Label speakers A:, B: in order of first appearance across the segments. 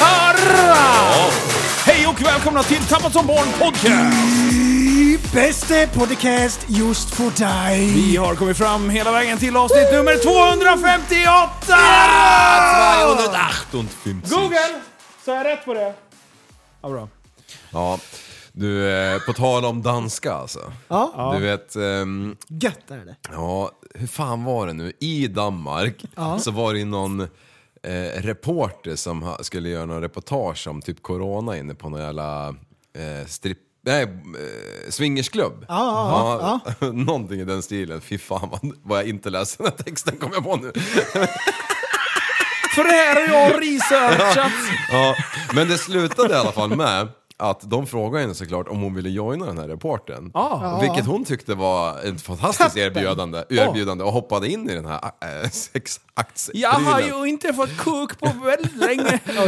A: Ja. Hej och välkomna till Tappat som barn podcast!
B: Bästa podcast just för dig.
A: Vi har kommit fram hela vägen till avsnitt nummer 258!
C: 258.
A: Google! Sa jag rätt på det? Ja, bra.
C: Ja. Du, eh, på tal om danska alltså.
B: Ja,
C: Du vet, ehm,
B: gött är det.
C: ja, hur fan var det nu? I Danmark så var det ju någon eh, reporter som ha, skulle göra någon reportage om typ corona inne på någon jävla eh, stripp... Nej, eh, swingersklubb.
B: ja,
C: Någonting i den stilen. Fy fan vad, vad jag inte läste den här texten kom jag på nu.
A: För det här har jag researchat.
C: Ja, men det slutade i alla fall med att de frågade henne såklart om hon ville joina den här reporten.
A: Ah.
C: Vilket hon tyckte var ett fantastiskt erbjudande, erbjudande och hoppade in i den här äh,
A: Jag har
C: sexaktsstriden.
A: ju inte fått kuk på väldigt länge.
B: Det var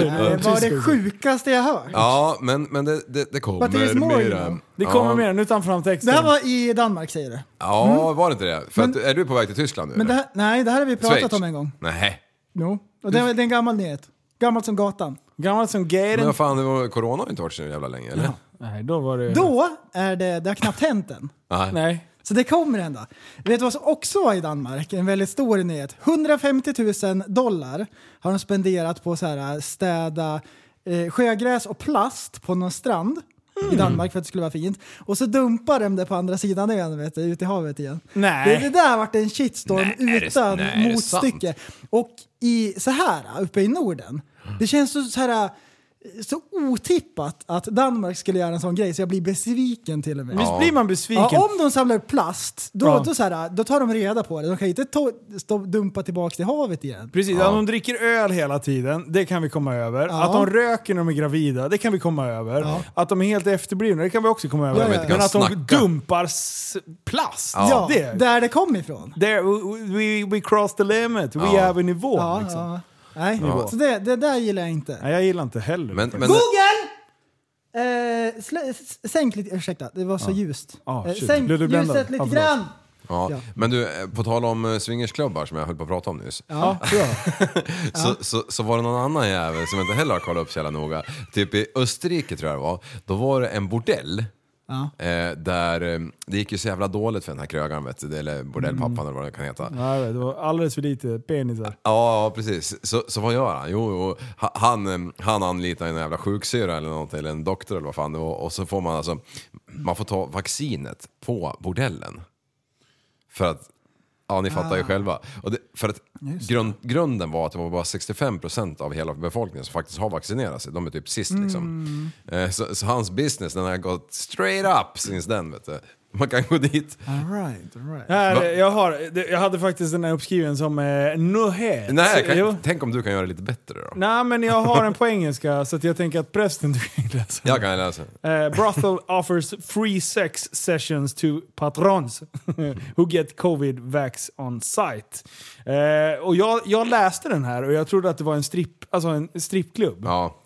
B: det Ah, sjukaste jag hört.
C: Ja, men, men det, det, det kommer
B: But there is more, you
C: mera.
B: know.
A: Det kommer
C: ja.
A: mer nu utan
B: Det
A: framtexten.
B: här var i Danmark säger du.
C: Ja, var det inte det? För att, är du på väg till Tyskland nu?
B: Mm. Men det
C: eller?
B: här, nej, det här har vi pratat
C: Schweiz?
B: om en gång.
C: Nej.
B: Jo. Och det, var- det är en gammal nyhet. Gammalt som gatan.
A: Gammalt som
C: Men
A: gayden.
C: vad fan, det var, corona har ju inte varit så jävla länge, eller?
A: Nej, då var det...
B: Då är det, det har knappt hänt än.
C: Nej.
A: Nej.
B: Så det kommer ändå. Vet du vad som också var i Danmark? En väldigt stor nyhet. 150 000 dollar har de spenderat på så här äh, städa eh, sjögräs och plast på någon strand
C: Mm.
B: i Danmark för att det skulle vara fint. Och så dumpar de det på andra sidan ön, vet du, ute i havet igen.
A: Nej.
B: Det, det där vart en shitstorm
C: Nej, är det-
B: utan
C: nej, är det
B: motstycke. Och i, så här, äh, uppe i Norden, det känns så, så här äh, så otippat att Danmark skulle göra en sån grej så jag blir besviken till och med.
A: Visst blir man besviken?
B: Ja, om de samlar plast, då,
A: Ja.
B: då, så här, då tar de reda på det. De kan ju inte to- stå, dumpa tillbaka till havet igen.
A: Precis, att de dricker öl hela tiden, det kan vi komma över.
B: Ja.
A: Att de röker när de är gravida, det kan vi komma över. Att de är helt efterblivna, det kan vi också komma över.
B: Ja, ja, ja.
A: Men att de
C: Snacka.
A: dumpar s- plast,
B: Ja,
A: det.
B: där det kom ifrån.
A: There, we, we cross the limit, we
C: Ja.
A: have a nivå.
B: Ja,
A: liksom.
B: ja. Nej, så det, det där gillar jag inte.
A: Nej, jag gillar inte heller.
C: Men, men,
B: Google! Eh, slä- s- sänk lite, ursäkta, det var så ljust.
A: Ah,
B: Eh,
A: shit.
B: sänk
A: Blev du bländad?
B: ljuset lite
A: Ja, förlåt.
B: grann!
C: ja.
B: Ja.
C: men du, eh, på tal om eh, swingersklubbar som jag höll på att prata om nyss.
B: Ja,
C: så, så, så var det någon annan jävel som jag inte heller har kollat upp så jävla noga. Typ i Österrike tror jag det var. Då var det en bordell. Eh, där eh, det gick ju så jävla dåligt för den här krögaren vet du, eller bordellpappan eller vad det kan heta.
A: Nej, det var alldeles för lite penisar.
C: Ja, ja, precis. Så, så vad gör han? Jo, jo ha- han, eh, han anlitar en jävla sjuksyra eller något, eller en doktor eller vad fan det var. Och så får man alltså, man får ta vaccinet på bordellen. För att, ja ni fattar ju
A: Ah.
C: själva. Och det, för att grund, grunden var att det var bara 65% av hela befolkningen som faktiskt har vaccinerat sig. De är typ sist
A: Mm.
C: liksom. Eh, Så, så hans business, den har gått straight up since den vet du. Man kan gå dit.
B: all right, all right.
A: Här,
C: Va?
A: Eh, jag, har, det- jag hade faktiskt den här uppskriven som eh, nyhet.
C: Nej,
A: Jo.
C: kan, tänk om du kan göra det lite bättre då.
A: Nej, men jag har den på engelska så att jag tänker att prästen du kan läsa den.
C: Jag kan läsa.
A: Eh, brothel offers free sex sessions to patrons who get covid vax on site. Eh, och jag, jag läste den här och jag trodde att det var en, stripp, alltså en strippklubb.
C: Ja.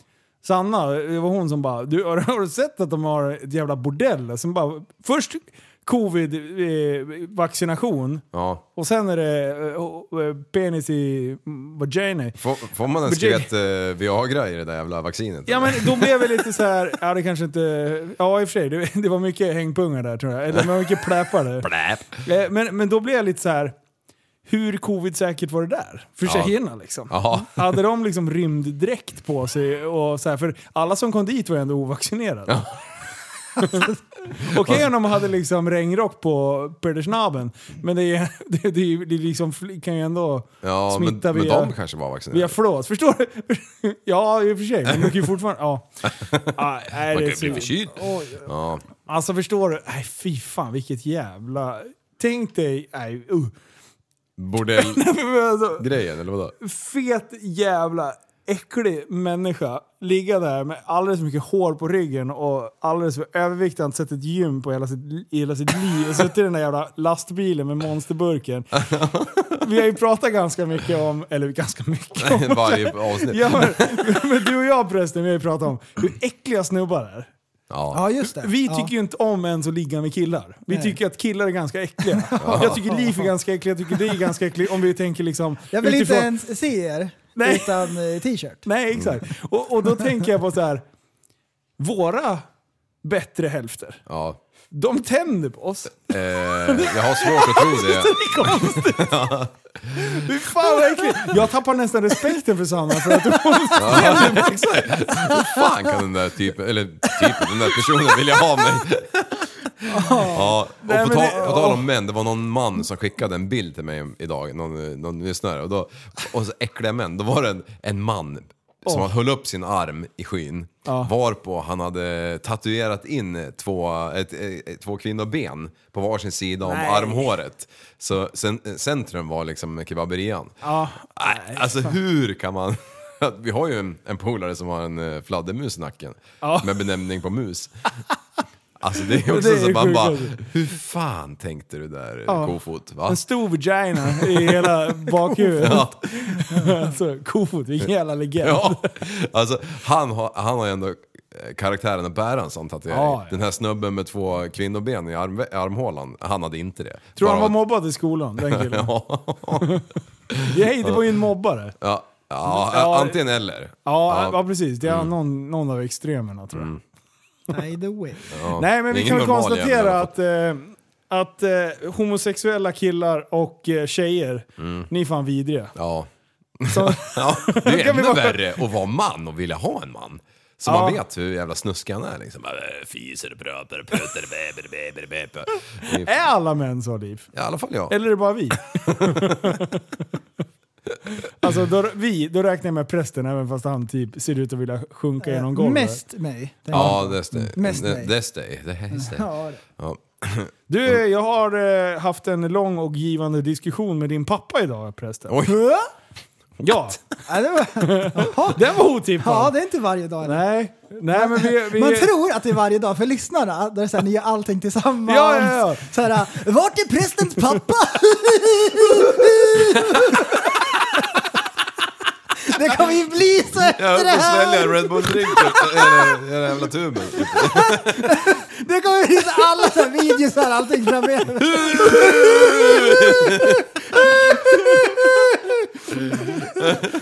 A: Sanna, det var hon som bara du, har, har du sett att de har ett jävla bordell? Som bara, först covid-vaccination
C: Ja.
A: och sen är det eh, oh, eh, penis i vagina.
C: Får, får man en
A: Men det-
C: skvätt eh, Viagra i det där jävla vaccinet?
A: Ja
C: eller?
A: men då blev jag lite så här. ja det kanske inte, ja i och för sig, det, det var mycket hängpungar där tror jag. Eller det var mycket pläpar där.
C: Bläp.
A: Eh, Men, men då blev jag lite så här. hur covid-säkert var det där? För
C: Ja.
A: tjejerna liksom.
C: Ja.
A: Hade de liksom rymddräkt på sig? Och så här, för alla som kom dit var ändå ovaccinerade. Okej om de hade liksom regnrock på Pedersnaben, men det, är, det, det, är- det är liksom, fl- kan ju ändå
C: Ja, men,
A: smitta
C: men
A: via...
C: de kanske var vaccinerade.
A: Via flås, förstår du? ja, i och för sig. Men man kan ju fortfarande... Ja. Ah, nej,
C: Man
A: det
C: kan
A: är
C: ju bli
A: så-
C: förkyld. Ja.
A: Alltså förstår du? Nej, fy fan vilket jävla... Tänk dig... Nej, uh.
C: Bordellgrejen,
A: Men alltså,
C: eller vadå?
A: fet jävla äcklig människa ligga där med alldeles för mycket hår på ryggen och alldeles för överviktig. Han sett ett gym på hela sitt, hela sitt liv och suttit i den där jävla lastbilen med monsterburken. Vi har ju pratat ganska mycket om, eller ganska mycket om,
C: Varje avsnitt.
A: Ja, men, men du och jag prästen, vi har ju pratat om hur äckliga snubbar är.
C: Ja.
B: Ja, just det.
A: Vi
B: ja.
A: tycker ju inte om ens att ligga med killar. Vi
B: Nej.
A: tycker att killar är ganska äckliga. Jag tycker Liv är ganska äcklig, jag tycker dig är ganska äcklig om vi tänker liksom
B: Jag vill
A: utifrån-
B: inte ens se er
A: Nej.
B: utan eh, t-shirt.
A: Nej, exakt. Och, och då tänker jag på så här. våra bättre hälfter,
C: ja.
A: de tänder på oss.
C: Eh, jag har svårt att tro det.
A: Det är konstigt. Fy fan vad äckligt. Jag tappar nästan respekten för Sanna för att
C: Hur fan kan den där typen, eller typen, den där personen vilja ha mig? Ja,
A: Nej,
C: och på,
A: men
C: ta,
A: det-
C: på tal om män, det var någon man som skickade en bild till mig idag, någon, eh, någon lyssnare, och, då, och så äckliga män, då var det en, en man som höll upp sin arm i skyn, varpå han hade tatuerat in två, ett, ett, två kvinnoben på varsin sida om armhåret. Så sen, centrum var liksom kebaberian. Nej, alltså hur kan man... Vi har ju en, en polare som har en eh, fladdermus i nacken med benämning på mus. Alltså det är också
A: Det är
C: så man
A: sjukt
C: bara,
A: alltså.
C: hur fan tänkte du där kofot? Va?
A: en stor vagina i hela bakhuvudet.
C: Ja,
A: Alltså, kofot, vilken jävla legend.
C: ja. Alltså, han, har, han har ju ändå eh, karaktären att bära en sån tatuering.
A: Ja, ja.
C: Den här snubben med två kvinnoben i arm, armhålan, han hade inte det.
A: Tror han
C: Bara-
A: var mobbad i skolan, den killen?
C: ja,
A: Nej, det var ju en mobbare.
C: ja, ja,
A: Ja.
C: antingen eller.
A: Ja, ja. precis. Det är
C: Mm.
A: någon, någon av extremerna tror jag.
B: Either way.
A: Nej, men
C: Det är
A: vi
C: ingen
A: kan väl
C: normal jävel i
A: konstatera
C: alla
A: att, eh, att eh, homosexuella killar och eh, tjejer,
C: Mm.
A: ni är fan vidriga.
C: Ja.
A: Så,
C: Ja, det är
A: kan vi
C: ännu
A: bara-
C: värre att vara man och vilja ha en man. Så man
A: Ja.
C: vet hur jävla snuskig han är liksom. Bara, äh, Fiser, pratar, putter, bäber, bäber, bäber. I
A: är alla män så, Liv?
C: alla fall jag.
A: Eller är det bara vi? alltså, då, vi, då räknar jag med prästen även fast han typ ser ut att vilja sjunka genom golvet.
B: Eh, Mest mig.
C: Ja, that's day.
B: Mest nej.
C: That's day. That's day.
B: Ja, det.
C: Ja.
A: Du, jag har eh, haft en lång och givande diskussion med din pappa idag, prästen.
C: Oj.
A: Ja,
B: Ja, det var,
A: den var otippad.
B: ja, det är inte varje dag. eller?
A: Nej, nej men vi... vi
B: Man tror att det är varje dag för lyssnarna. Där det är så här, ni gör allting tillsammans.
A: Ja, ja, ja.
B: Så här, vart är prästens pappa? det kommer ju bli så
C: Jag höll
B: efter
C: på
B: det här.
C: att svälja en Red typ. Bull-drink i den- i den jävla tuben.
B: Det kommer bli så alla så här videos här, allting framöver.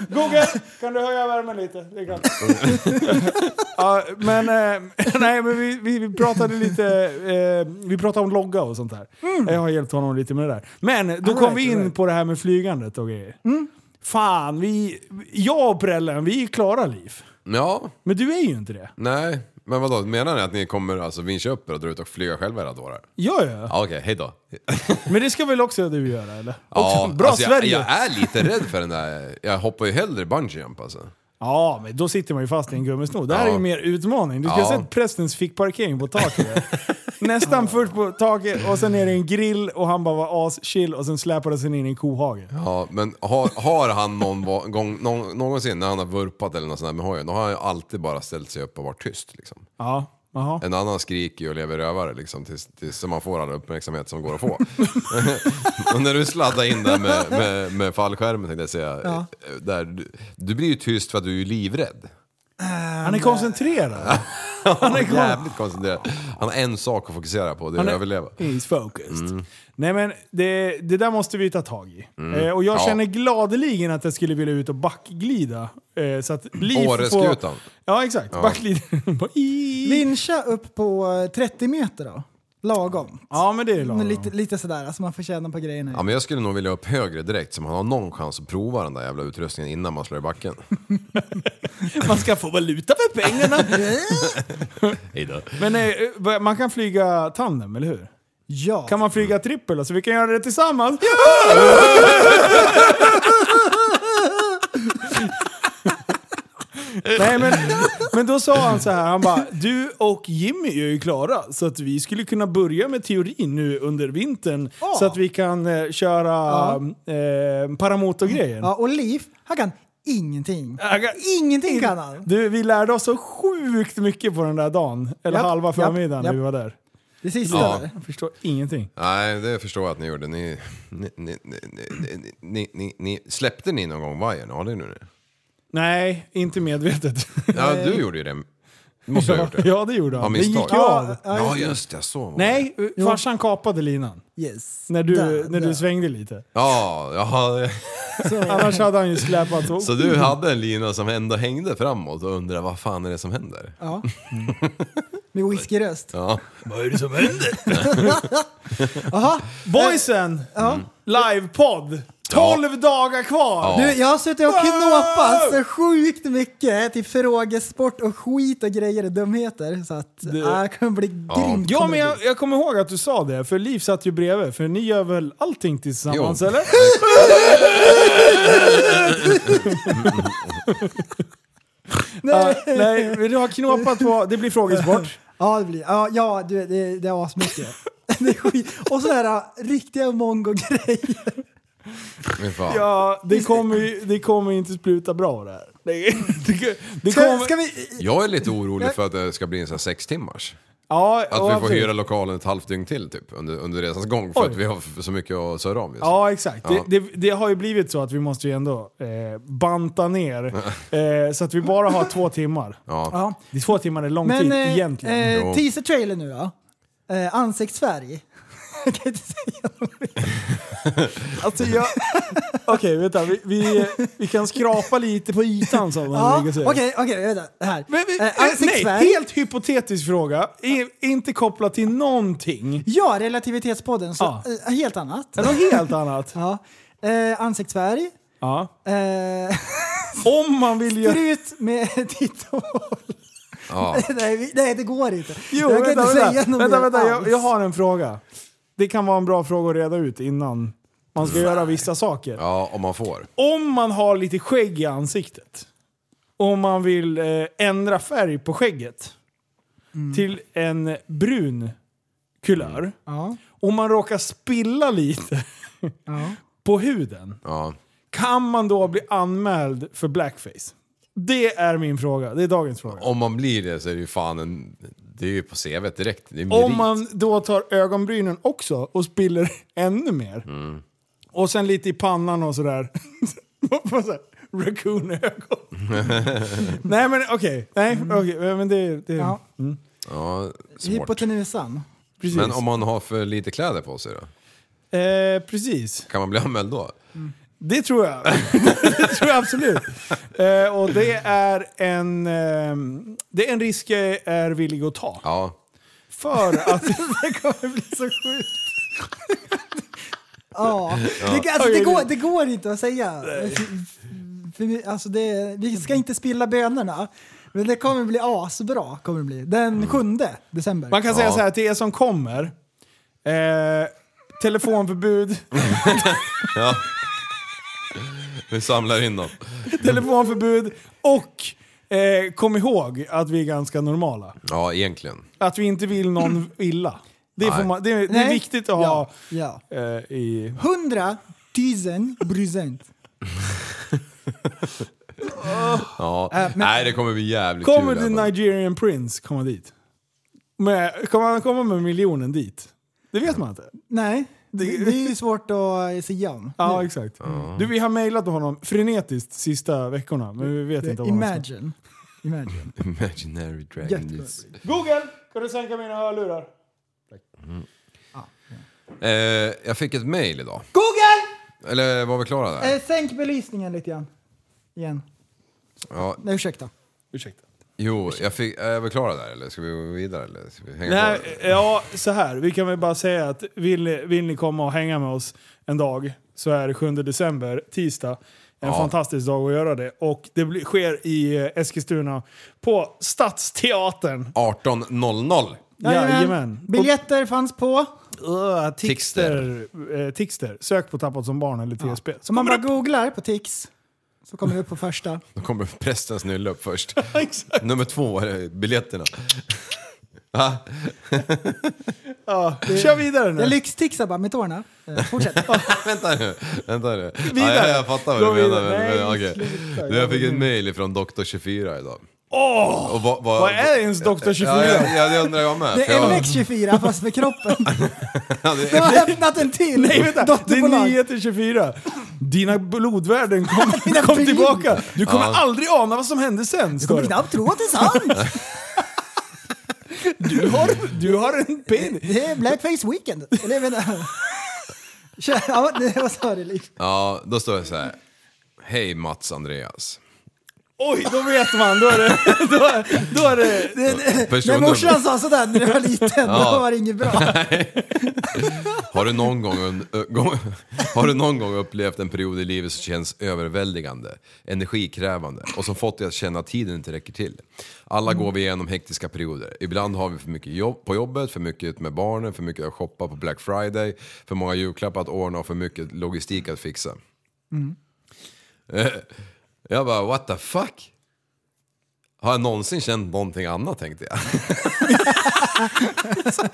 A: Google, kan du höja värmen lite? Det kan. ja, men eh, nej, men vi, vi, vi pratade lite eh, vi pratade om logga och sånt där. Jag har hjälpt honom lite med det där. Men då kom
B: right,
A: vi in
B: all right.
A: på det här med flygandet och grejer. Fan, vi, jag och Prellen, vi är klara liv.
C: Ja,
A: Men du är ju inte det.
C: nej. Men vadå, menar ni att ni kommer alltså vincha upp er och dra ut och flyga själva era dårar?
A: Ja, ja.
C: Ja, okej, hejdå.
A: Men det ska väl också du göra eller?
C: Ja,
A: Också, bra
C: alltså, jag,
A: Sverige!
C: jag är lite rädd för den där, jag hoppar ju hellre bungee jump alltså.
A: Ja, men då sitter man ju fast i en gummisnodd. Det här
C: Ja.
A: är ju mer utmaning. Du ska
C: Ja.
A: se att prästens fick parkering på taket. där. Nästan först på taket och sen är det en grill och han bara var aschill och sen släpades han in i en kohage.
C: Ja, men har, har han någon va- gång, någon, någonsin när han har vurpat eller något sånt där med hojen, då har han ju alltid bara ställt sig upp och varit tyst. Liksom.
A: Ja, aha.
C: En annan skriker ju och lever rövare liksom, tills, tills man får all uppmärksamhet som går att få. och när du sladdar in där med, med, med fallskärmen tänkte jag säga, där, du, du blir ju tyst för att du är ju livrädd.
A: Han är koncentrerad.
C: Han
A: är
C: är
A: kon-
C: jävligt koncentrerad. Han har en sak att fokusera på, det är
A: Han
C: att
A: är-
C: överleva.
A: He's focused.
C: Mm.
A: Nej men det, det där måste vi ta tag i. Eh, och jag
C: Ja.
A: känner gladeligen att jag skulle vilja ut och backglida. Eh, så att liv
C: Åreskutan.
A: Ja exakt, backglida. Bara i-
B: Vincha upp på eh, 30 meter då. Lagom.
A: ja men det är lagom.
B: Men Lite, lite sådär, alltså man får känna på grejerna.
C: Ja, men jag skulle nog vilja upp högre direkt så man har någon chans att prova den där jävla utrustningen innan man slår i backen.
A: Man ska få valuta för pengarna.
C: Hej då.
A: men eh, vad- man kan flyga tandem, eller hur?
B: Ja.
A: Kan man flyga trippel? Alltså vi kan göra det tillsammans. Nej men, men då sa han så här, han bara du och Jimmy är ju klara så att vi skulle kunna börja med teorin nu under vintern
B: Ja.
A: så att vi kan eh, köra eh, paramotorgrejen.
B: ja, och Liv, han kan ingenting.
A: Han kan-
B: Ingenting kan han.
A: Du, vi lärde oss så sjukt mycket på den där dagen, eller
B: Japp,
A: halva
B: japp,
A: förmiddagen när
B: japp.
A: vi var där.
B: Det sista
C: Ja.
B: där.
A: Jag förstår ingenting.
C: Nej, det förstår jag att ni gjorde. Ni, ni, ni, ni, ni, ni, ni, ni, släppte ni någon gång vajern? Har ni nu det?
A: Nej, inte medvetet.
C: Ja, du gjorde ju det. Måste ha gjort det.
A: Ja, det gjorde han.
C: Av
A: Det
C: misstag.
A: gick ju av.
C: Ja, just det. Jag såg honom.
A: Nej, farsan kapade linan.
B: Yes.
A: När du,
B: Där,
A: när
B: där.
A: du svängde lite.
C: Ja, ja,
A: Annars hade han ju släpat på.
C: så du hade en lina som ändå hängde framåt och undrade vad fan är det som händer?
B: Ja. Med whiskyröst.
C: Ja.
A: Vad är det som händer? Boysen! Livepodd! 12 dagar kvar!
C: Mm. Ja.
B: Du, jag har suttit och knåpat så sjukt mycket till frågesport och skit och grejer och dumheter. Så att det ah, det kommer bli grymt.
A: Ja,
B: kommer
A: men
B: det
A: jag, jag kommer ihåg att du sa det, för Liv satt ju bredvid. För ni gör väl allting tillsammans,
C: Jo.
A: eller?
B: bli.
A: Ja, nej, men du har knåpat på... Det blir frågesport.
B: Ja, det blir, ja, ja du, vet, det, det är asmycket. Det är skit. Och sådana här riktiga mongo-grejer.
C: Men fan.
A: Ja, det kommer ju det kommer inte spruta bra det här. Det, det, det
B: Ska,
A: kommer,
B: ska vi...
C: Jag är lite orolig för att det ska bli en sån här sex timmars.
A: ja,
C: Att
A: och
C: vi får hyra lokalen ett halvt dygn till typ under, under resans gång för
A: Oj.
C: att vi har f- så mycket att söra om just nu.
A: Ja, exakt.
C: Ja.
A: Det, det, det har ju blivit så att vi måste ju ändå eh, banta ner eh, så att vi bara har två timmar.
C: Ja.
B: Ja.
A: Det är två timmar är lång
B: Men
A: tid
B: eh,
A: typ egentligen.
B: eh,
C: Jo.
B: teaser-trailer nu då. Eh, ansiktsfärg. Jag kan inte säga något.
A: Alltså jag... Okej, vänta. Vi, vi, vi kan skrapa lite på ytan som man
B: Ja,
A: brukar säga.
B: Okej, okej, vänta. Det här.
A: Men vi,
B: Eh,
A: eh,
B: ansiktsfärg.
A: nej, helt hypotetisk fråga. I- inte kopplat till någonting.
B: Ja, relativitetspodden. Så,
A: Ja.
B: eh, helt annat.
A: Det är Något helt annat.
B: Ja. Eh, ansiktsfärg.
A: Ja.
B: Eh,
A: Om man vill göra...
B: Sprut med ditt hår.
C: Ja.
B: nej, vi- nej, det går inte.
A: Jo,
B: jag kan
A: vänta,
B: inte
A: vänta.
B: säga något
A: vänta,
B: mer
A: vänta. Jag,
B: alls.
A: jag har en fråga. Det kan vara en bra fråga att reda ut innan man ska göra vissa saker.
C: ja, om man får.
A: Om man har lite skägg i ansiktet, om man vill eh, ändra färg på skägget
B: Mm.
A: till en brun kulör,
B: Ja.
A: om man råkar spilla lite
B: Ja.
A: på huden,
C: Ja.
A: kan man då bli anmäld för blackface? Det är min fråga. Det är dagens fråga.
C: Om man blir det så är det ju fan en... Det är ju på CV direkt. Det är en
A: Om
C: merit.
A: man då tar ögonbrynen också och spiller ännu mer. Och sen lite i pannan och sådär. Vad så här, Raccoon-ögon. Nej men okej, nej okej, men det... det
B: Ja.
C: Ja, svårt.
B: Hypotenusan.
A: Precis.
C: Men om man har för lite kläder på sig då?
A: eh, precis.
C: Kan man bli anmäld då?
A: Det tror jag. det tror jag absolut. Eh, och det är en... ehm, det är en risk jag är villig att ta.
C: Ja.
A: För att...
B: Det kommer bli så sjukt. ja. Det, alltså,
A: Okej,
B: det, går,
A: vi-
B: det går inte att säga. För- För, vi- alltså, det, vi ska inte spilla bönorna. Men det kommer bli asbra. Kommer det bli. Den
A: Mm.
B: 7 december.
A: Man kan säga
C: Ja.
A: så här till er som kommer. Eh, telefonförbud,
C: ja. Vi samlar in dem.
A: telefonförbud och eh, kom ihåg att vi är ganska normala.
C: Ja, egentligen.
A: Att vi inte vill någon illa. Det, får
C: Nej.
A: man, det, är- det är
B: Nej.
A: viktigt att ha
B: Ja.
A: eh, i...
B: 100 000 procent.
C: Ja. Nej, det kommer bli jävligt
A: Äh, Kommer
C: kul.
A: the
C: även.
A: Nigerian Prince komma dit? Med, kommer han komma med miljonen dit? Det vet man inte.
B: Nej, det, det är ju svårt att säga om.
A: Ja, exakt. Du, vi har mejlat honom frenetiskt sista veckorna, men vi vet inte om han ska-
B: Imagine. Imagine.
C: Imaginary Dragons.
B: Jättebra.
A: Google! Kan du sänka mina hörlurar?
C: Eh, jag fick ett mail idag.
B: Google!
C: Eller var vi klara där?
B: Eh, sänk belysningen lite grann. Igen.
C: Ja,
B: Nej, ursäkta.
A: Ursäkta.
C: jo, jag fick, eh, är vi klara där eller ska vi gå vidare? Eller ska vi hänga
A: Nej,
C: kvar?
A: ja, så här. Vi kan väl bara säga att vill, ni- vill ni komma och hänga med oss en dag så är det 7 december, tisdag. En
C: Ja.
A: fantastisk dag att göra det. Och det blir, sker i eh, Eskilstuna på Stadsteatern.
C: 18.00.
A: Jajamän.
B: Biljetter fanns på.
A: Uh, Tixter. Eh, Tixter. Sök på Tappat som barn eller TSP.
B: Så man bara googlar på Tix så kommer det upp på första.
C: Då kommer prästens nylle upp först.
A: Exakt.
C: Nummer två är biljetterna. Va?
A: Ja, kör vidare nu.
B: Jag lyxtixar bara med tårna. Eh, fortsätt.
C: Vänta nu. Vänta nu.
A: Vidare.
C: Ja, jag, jag fattar vad
A: Gå
C: du menar.
A: vidare.
C: Men, men,
A: Nej,
C: okej.
A: sluta.
C: Du, jag fick ett mail från Doktor 24 idag.
A: Åh!
C: Och vad, vad,
A: Vad är ens Dr. 24?
C: Ja, ja, ja, det undrar jag med.
B: Det
C: för jag,
B: är MX24 fast för kroppen.
C: Ja, det
B: De
C: är-
B: har öppnat en till
A: Nej vänta, det är
B: dotterbolag.
A: 9 till 24. Dina blodvärden kom,
B: Mina
A: kom
B: blod.
A: tillbaka. Du kommer
C: Ja.
A: aldrig ana vad som hände sen.
B: Du
A: står
B: kommer
A: det.
B: knappt tro att det är sant!
A: Du har, du har en penis.
B: Det är blackface weekend. Eller jag menar... Kör- Ja, nej, vad sa du Liv?
C: ja, då står det så här. Hej Mats Andreas.
A: Oj, då vet man. Då är det... Då är, då är det
B: När
C: Personnummer-
B: morsan sa sådär när du var liten, då var det inget bra.
C: Har du, någon gång, un- ö, gång- har du någon gång upplevt en period i livet som känns överväldigande, energikrävande och som fått dig att känna att tiden inte räcker till? Alla går vi igenom hektiska perioder. Ibland har vi för mycket jobb på jobbet, för mycket med barnen, för mycket att shoppa på Black Friday, för många julklappar att ordna och för mycket logistik att fixa. Eh, Jag bara, what the fuck? Har jag någonsin känt någonting annat tänkte jag.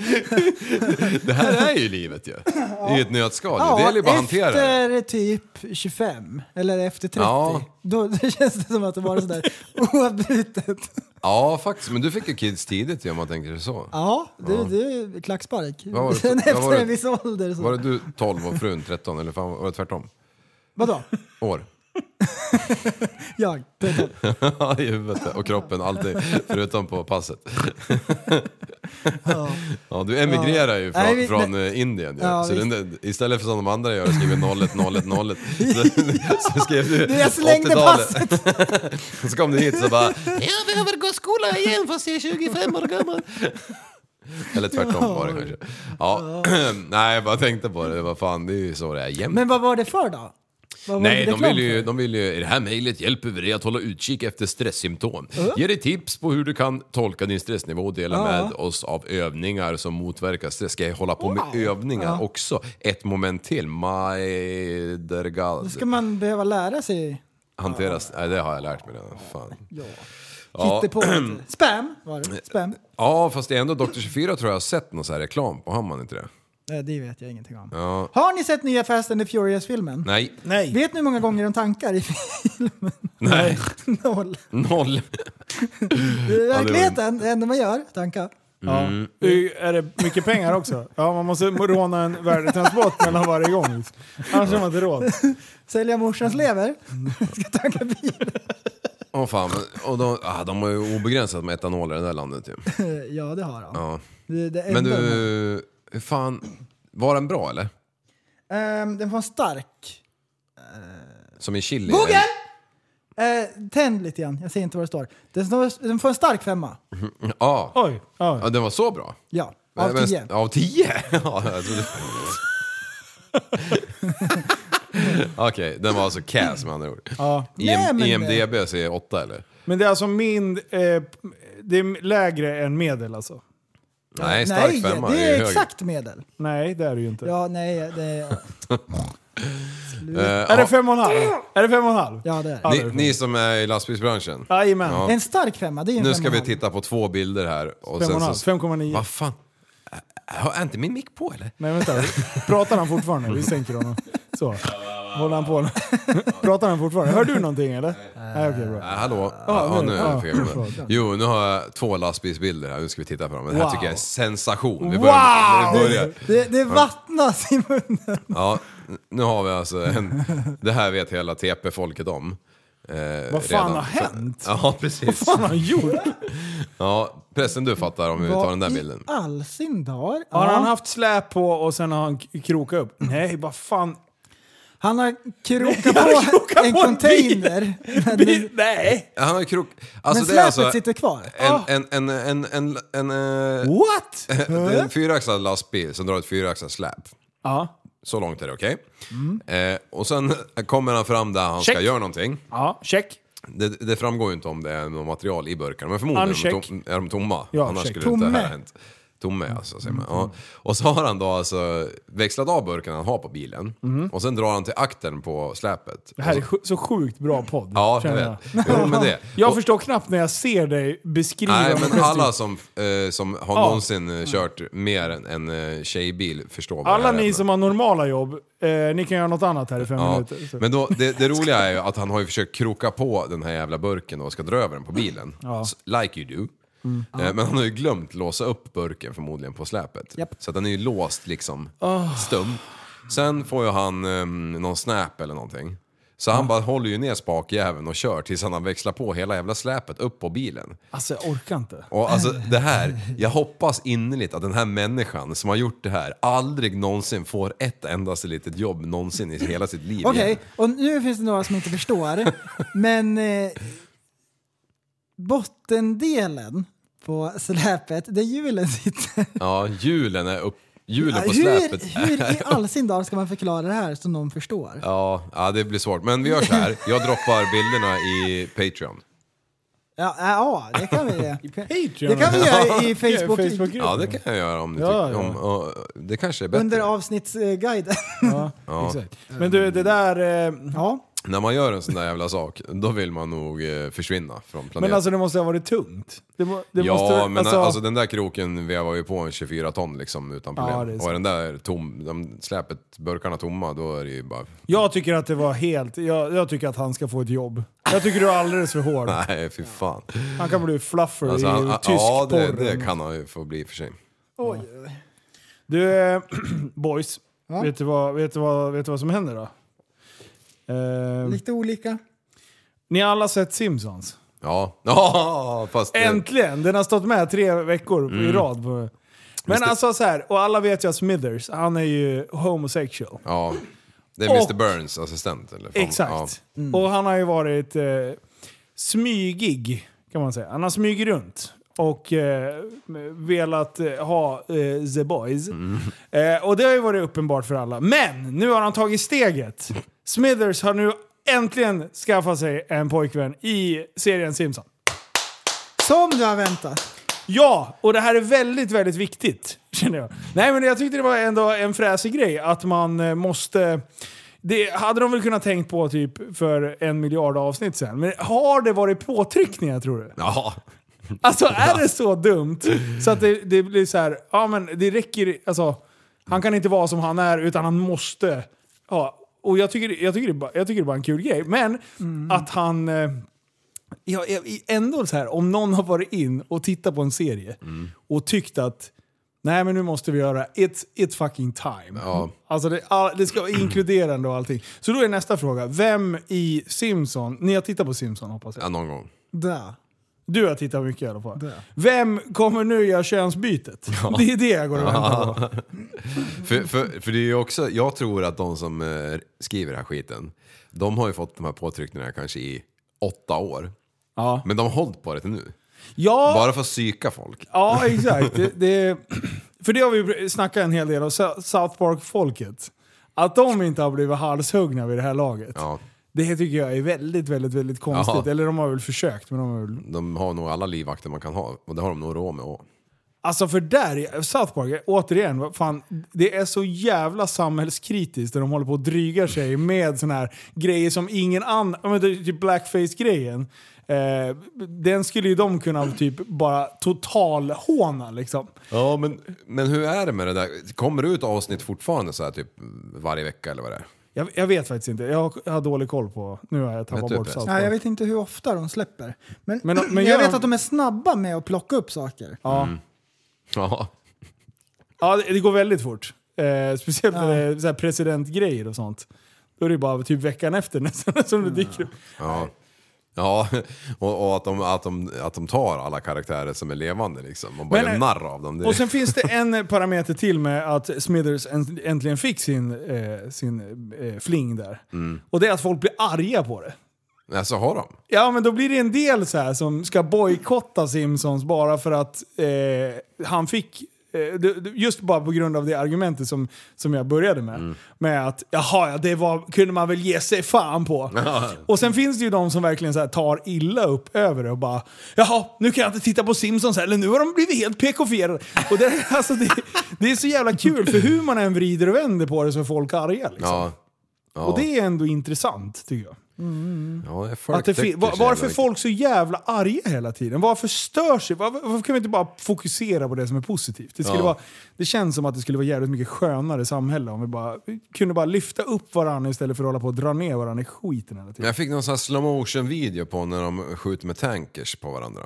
C: Det här är ju livet ju. Det är ju ett nötskal. ju. det gäller ju bara att hantera det.
B: efter typ 25, eller efter 30,
C: Ja.
B: då, då känns det som att det var sådär oavbrutet.
C: Ja, faktiskt. Men du fick ju kids tidigt ju, om man tänker det så.
B: Ja, du, du klackspark.
C: var det-
B: Sen
C: vad
B: efter
C: var det-
B: en viss ålder så.
C: Var det du 12 och frun 13? Eller fan, var det tvärtom?
B: Vadå?
C: År?
B: Jag? Peter.
C: Ja, i huvudet och kroppen, alltid. Förutom på passet. Ja, du emigrerar ju
B: Nej,
C: från,
B: vi-
C: från eh, Indien ju.
B: Ja,
C: Så
B: visst.
C: den, istället för som de andra gör och skriver 01, 01, 01. Så, så skrev du
B: Du, jag slängde
C: 80-talet.
B: passet!
C: Och så kom du hit så bara
D: Jag behöver gå skola igen fast jag är 25 år gammal.
C: Eller tvärtom var det kanske. Ja. Nej, jag bara tänkte på det. Vad fan, det är ju så det är jämt.
B: Men vad var det för då? Vad var det
C: Nej, de
B: reklam
C: vill, ju,
B: för?
C: de vill ju... I det här mejlet hjälper vi dig att hålla utkik efter stresssymptom. Ge dig tips på hur du kan tolka din stressnivå och dela med oss av övningar som motverkar stress. Ska jag hålla på med övningar också? Ett moment till. My dear God.
B: Då ska man behöva lära sig
C: Hanteras... Nej, det har jag lärt mig redan. Fan. Ja.
B: hittepå. lite. Spam var det. Spam.
C: Ja, fast det är ändå Dr. 24 tror jag har sett någon sån här reklam på. Har man inte det?
B: Nej, det vet jag ingenting om. Har ni sett nya Fast and the Furious-filmen?
C: Nej.
A: Nej.
B: Vet ni hur många gånger de tankar i filmen?
C: Nej.
B: Noll.
C: Noll.
B: I verkligheten, det enda man gör, tanka.
A: Ja. Är det mycket pengar också? Ja, man måste råna en värdetransport mellan varje gång. Annars har man inte råd.
B: Sälja morsans
C: Mm.
B: lever. Ska tanka bil.
C: Åh fan, men- och de, ah, de har ju obegränsat med etanol i det där landet ju.
B: Ja, det har han.
C: Ja.
B: Det, det
C: Men
B: enda
C: du,
B: de har.
C: hur fan, var den bra eller?
B: Ehm, den var stark.
C: Som i chili?
B: Google!
C: eller?
B: Uh, tänd lite igen, jag ser inte vad det står. Den, står- den får en stark femma.
C: Ja.
A: Oj, oj.
C: ja, den var så bra?
B: Ja, av
C: Men-
B: tio.
C: Av tio? Ja, jag trodde... Okej, den var alltså cass med andra ord.
A: Ja.
C: IM,
B: Nej, men-
C: IMDB säger åtta eller?
A: Men det är alltså min... Eh, det är lägre än medel alltså?
C: Nej, stark
B: Nej,
C: femma.
B: det är
C: högre.
B: exakt medel.
A: Nej, det är det ju inte.
B: Ja, nej, det,
C: Eh,
A: Är det
C: ja,
A: fem och en halv? Är det fem och en halv?
B: ja, det är det.
A: Ja.
C: ni, ni som är i lastbilsbranschen,
A: Jajamän.
C: Ja.
B: En stark femma, det är en
C: nu
B: femma
C: ska
B: och
C: vi
B: en halv.
C: titta på två bilder här. Och
A: Fem och
C: sen
A: en halv.
C: så,
A: 5,9.
C: vad fan? Har inte min mick på eller?
A: Nej vänta, pratar han fortfarande? Vi sänker honom. Så. Håller han på nu? Pratar han fortfarande? Hör du någonting
C: Eh,
A: eller? Nej okej bra.
C: Äh, hallå? Ja,
A: nu-
C: nu
A: ja,
C: fick jag
A: Ah, förlåt.
C: med. Jo, nu har jag två lastbilsbilder här. Nu ska vi titta på dem. Det här
A: Wow.
C: tycker jag är sensation. Vi
A: Wow!
C: vi börjar.
B: Det, det vattnas i munnen.
C: Ja, nu har vi alltså en... Det här vet hela TP-folket om. Eh,
A: Vad fan har hänt?
C: Ja, precis.
A: Vad har han gjort?
C: Ja, pressen du fattar om vi tar den där bilden.
B: i all sin dar?
A: Har
B: Ja.
A: han haft släp på och sen har han k- krokat upp? Nej, vad fan.
B: han har krokat på
A: krokat
B: en
A: på en
B: container. Men,
A: Vi- Nej!
C: Han har krok... Alltså,
B: men
C: det är
B: släpet
C: alltså
B: sitter kvar.
A: Ah!
C: en, en, en, en, en, en, eh,
A: What?
C: det är en fyraxlad lastbil som drar ett fyraxlat släp.
A: Ja.
C: Så långt är det okej. Eh, och sen kommer han fram där han ska
A: Mm. Check.
C: göra någonting.
A: Ja, check.
C: Det, det framgår ju inte om det är något material i burkarna, men förmodligen är de,
A: Uncheck.
C: tom, är de tomma.
A: Ja,
C: Annars
A: check. Mm.
C: skulle det inte
B: Tomme.
C: ha hänt. Tomme alltså, säger man. Ja. Och så har han då alltså växlat av burken han har på bilen och sen drar han till aktern på släpet.
A: Mm. Det här är sj- så sjukt bra podd.
C: Ja, jag
A: känner
C: vet. Jo, men det.
A: Jag
C: Och-
A: förstår knappt när jag ser dig beskriva
C: Nej,
A: vad
C: men
A: det-
C: alla som, eh, som har
A: Ja.
C: någonsin eh, kört mer än en eh, tjejbil förstår vad det
A: alla
C: här
A: ni
C: är.
A: som har normala jobb, eh, ni kan göra något annat här i fem
C: Ja,
A: minuter. Så.
C: men då, det, det roliga är ju att han har ju försökt kroka på den här jävla burken och ska dra över den på bilen. S- Like you do. Eh, Men han har ju glömt låsa upp burken förmodligen på släpet.
B: Japp.
C: Så att den är ju låst liksom, stum. Sen får ju han um, någon snap eller någonting. Så han bara håller ju ner spakjäveln och kör tills han har växlat på hela jävla släpet upp på bilen.
A: Alltså jag orkar inte.
C: Och alltså det här, jag hoppas innerligt att den här människan som har gjort det här aldrig någonsin får ett endaste litet jobb någonsin i hela sitt liv
B: Okej,
C: igen.
B: och nu finns det några som inte förstår. men eh, bottendelen på släpet där hjulen sitter.
C: Ja, hjulen är upp, hjulen på
B: Hur,
C: släpet.
B: hur i all sin dar ska man förklara det här så någon förstår?
C: Ja, ja, det blir svårt. Men vi gör så här, jag droppar bilderna i Patreon.
B: Ja, ja det kan vi.
A: Patreon.
B: Det kan vi göra i Facebook.
A: Facebook
C: Ja, det kan jag göra om ni
A: Ja,
C: tycker.
A: ja.
C: Om, ja, det kanske är bättre.
B: Under avsnittsguiden.
A: ja, exakt. Men du, det där... Eh,
B: Ja.
C: När man gör en sån där jävla sak, då vill man nog eh, försvinna från planeten.
A: men alltså det måste ha varit tungt. Det, må, det
C: ja,
A: måste,
C: men alltså, den där kroken vevar ju på en 24 ton liksom utan problem.
A: Ja, det är
C: och
A: sant.
C: är den där tom, de släpet, burkarna tomma, då är det ju bara...
A: Jag tycker att det var helt... Jag, jag tycker att han ska få ett jobb. Jag tycker du är alldeles för hård.
C: Nej, fy fan.
A: Han kan bli fluffer
C: Alltså,
A: i
C: han,
A: tysk
C: ja, det,
A: porr.
C: det kan han ju få bli i och för sig.
A: Du, eh, boys. Vet, du vad, vet, du vad, vet du vad som händer då? Eh,
B: Lite olika.
A: ni har alla sett Simpsons?
C: Ja, ja fast... eh,
A: Äntligen! Den har stått med tre veckor
C: Mm.
A: i rad. På. Men alltså så här, och alla vet ju att Smithers, han är ju homosexual.
C: Ja, det är Mr
A: Och-
C: Burns assistent eller? fan, Ja.
A: Exakt. Mm. Och han har ju varit eh, smygig, kan man säga. Han har smugit runt och eh, velat eh, ha eh, the boys.
C: Mm.
A: Eh, och det har ju varit uppenbart för alla. Men nu har han tagit steget. Smithers har nu äntligen skaffat sig en pojkvän i serien Simpson.
B: Som du har väntat.
A: Ja, och det här är väldigt, väldigt viktigt, känner jag. Nej, men jag tyckte det var ändå en fräsig grej att man eh, måste... Det hade de väl kunnat tänkt på typ för en miljard avsnitt sen. Men har det varit påtryckningar tror du?
C: Ja.
A: Alltså är det så dumt så att det, det blir så här, ja men det räcker, alltså han kan inte vara som han är utan han måste. Ja, och jag tycker, jag tycker, det, är bara- jag tycker det är bara en kul grej. Men att han, eh, ja, ja, ändå så här, om någon har varit in och tittat på en serie och tyckt att Nej men nu måste vi göra it, it fucking time.
C: Ja.
A: Alltså det, all, det ska vara inkluderande och allting. Så då är nästa fråga, vem i Simpson, ni har tittat på Simpson hoppas jag?
C: ja, någon gång.
B: Där.
A: Du har tittat mycket i alla fall.
B: Det.
A: Vem kommer nu göra könsbytet? Det är det jag går och väntar på.
C: För, för, för det är ju också, jag tror att de som eh, skriver den här skiten, de har ju fått de här påtryckningarna kanske i åtta år.
A: Ja,
C: Men de har hållit på det till nu.
A: ja,
C: Bara för att psyka folk.
A: ja exakt. Det, det, för det har vi snackat en hel del om, Sou- South Park-folket. Att de inte har blivit halshuggna vid det här laget.
C: Ja,
A: Det tycker jag är väldigt, väldigt, väldigt konstigt.
C: Ja.
A: Eller de har väl försökt, men de har väl...
C: de har nog alla livvakter man kan ha och det har de nog råd med. också.
A: Alltså för där, South Park, återigen, vad fan, det är så jävla samhällskritiskt där de håller på och drygar sig med såna här grejer som ingen annan, ja, men det är typ blackface-grejen. Eh, den skulle ju de kunna typ bara totalhåna liksom.
C: Ja, men, men hur är det med det där? Kommer det ut avsnitt fortfarande så här typ varje vecka eller vad det är?
A: Jag, jag vet faktiskt inte, jag har, jag har dålig koll på, nu har jag tappat
C: Vet du
A: bort
C: det?
A: South
B: Ja, jag
A: Park.
B: vet inte hur ofta de släpper. Men,
A: Men-
B: men,
A: men gör
B: jag vet
A: de-
B: att de är snabba med att plocka upp saker.
A: Ja,
C: Mm. Ja.
A: ja det, det går väldigt fort. Eh, speciellt när det är
C: Mm.
A: så här presidentgrejer och sånt. Då är det ju bara typ veckan efter nästan som det dyker upp.
C: ja. Ja, och, och att, de, att, de, att de tar alla karaktärer som är levande liksom. Och bara
A: Men,
C: gör
A: eh,
C: narr av dem. Det,
A: Och sen finns det en parameter till med att Smithers änt- äntligen fick sin, eh, sin eh, fling där. Och det är att folk blir arga på det.
C: Alltså har de?
A: Ja, men då blir det en del så här som ska bojkotta Simpsons bara för att eh, han fick... eh, det- det- Just bara på grund av det argumentet som, som jag började med. Med att jaha, ja, det var, kunde man väl ge sig fan på. och sen finns det ju de som verkligen så här tar illa upp över det och bara jaha, nu kan jag inte titta på Simpsons heller, nu har de blivit helt PK-fierade. Och det, är- alltså, det, det är så jävla kul, för hur man än vrider och vänder på det så är folk arga. Liksom.
C: Ja. Ja,
A: Och det är ändå intressant tycker jag.
C: ja, det
A: Att det fin- var, varför är folk så jävla arga hela tiden? Varför stör sig? Varför, varför kan vi inte bara fokusera på det som är positivt? Det, skulle
C: Ja.
A: vara, det känns som att det skulle vara jävligt mycket skönare samhälle om vi bara vi kunde bara lyfta upp varandra istället för att hålla på och dra ner varandra i skiten hela tiden.
C: Jag fick någon sån här slow motion video på när de skjuter med tankers på varandra.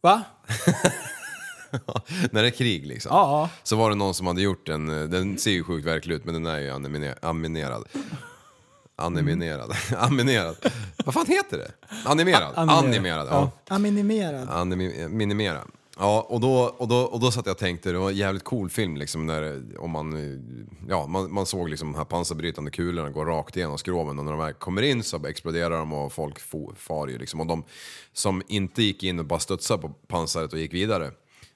A: Va?
C: när det är krig liksom.
A: Ja.
C: Så var det någon som hade gjort en, eh, den ser ju sjukt verklig ut men den är ju animine- animerad. Animerad. animerad. Vad fan heter det? Animerad.
A: animerad.
C: Animerad, ja.
B: Ja, minimerad.
C: Animi- eh, minimera. Ja, och då, och, då, och då satt jag och tänkte, det var en jävligt cool film liksom när, om man, eh, ja, man, man såg liksom de här pansarbrytande kulorna gå rakt igenom skroven och när de här kommer in så exploderar de och folk fo, far ju liksom. Och de som inte gick in och bara studsade på pansaret och gick vidare,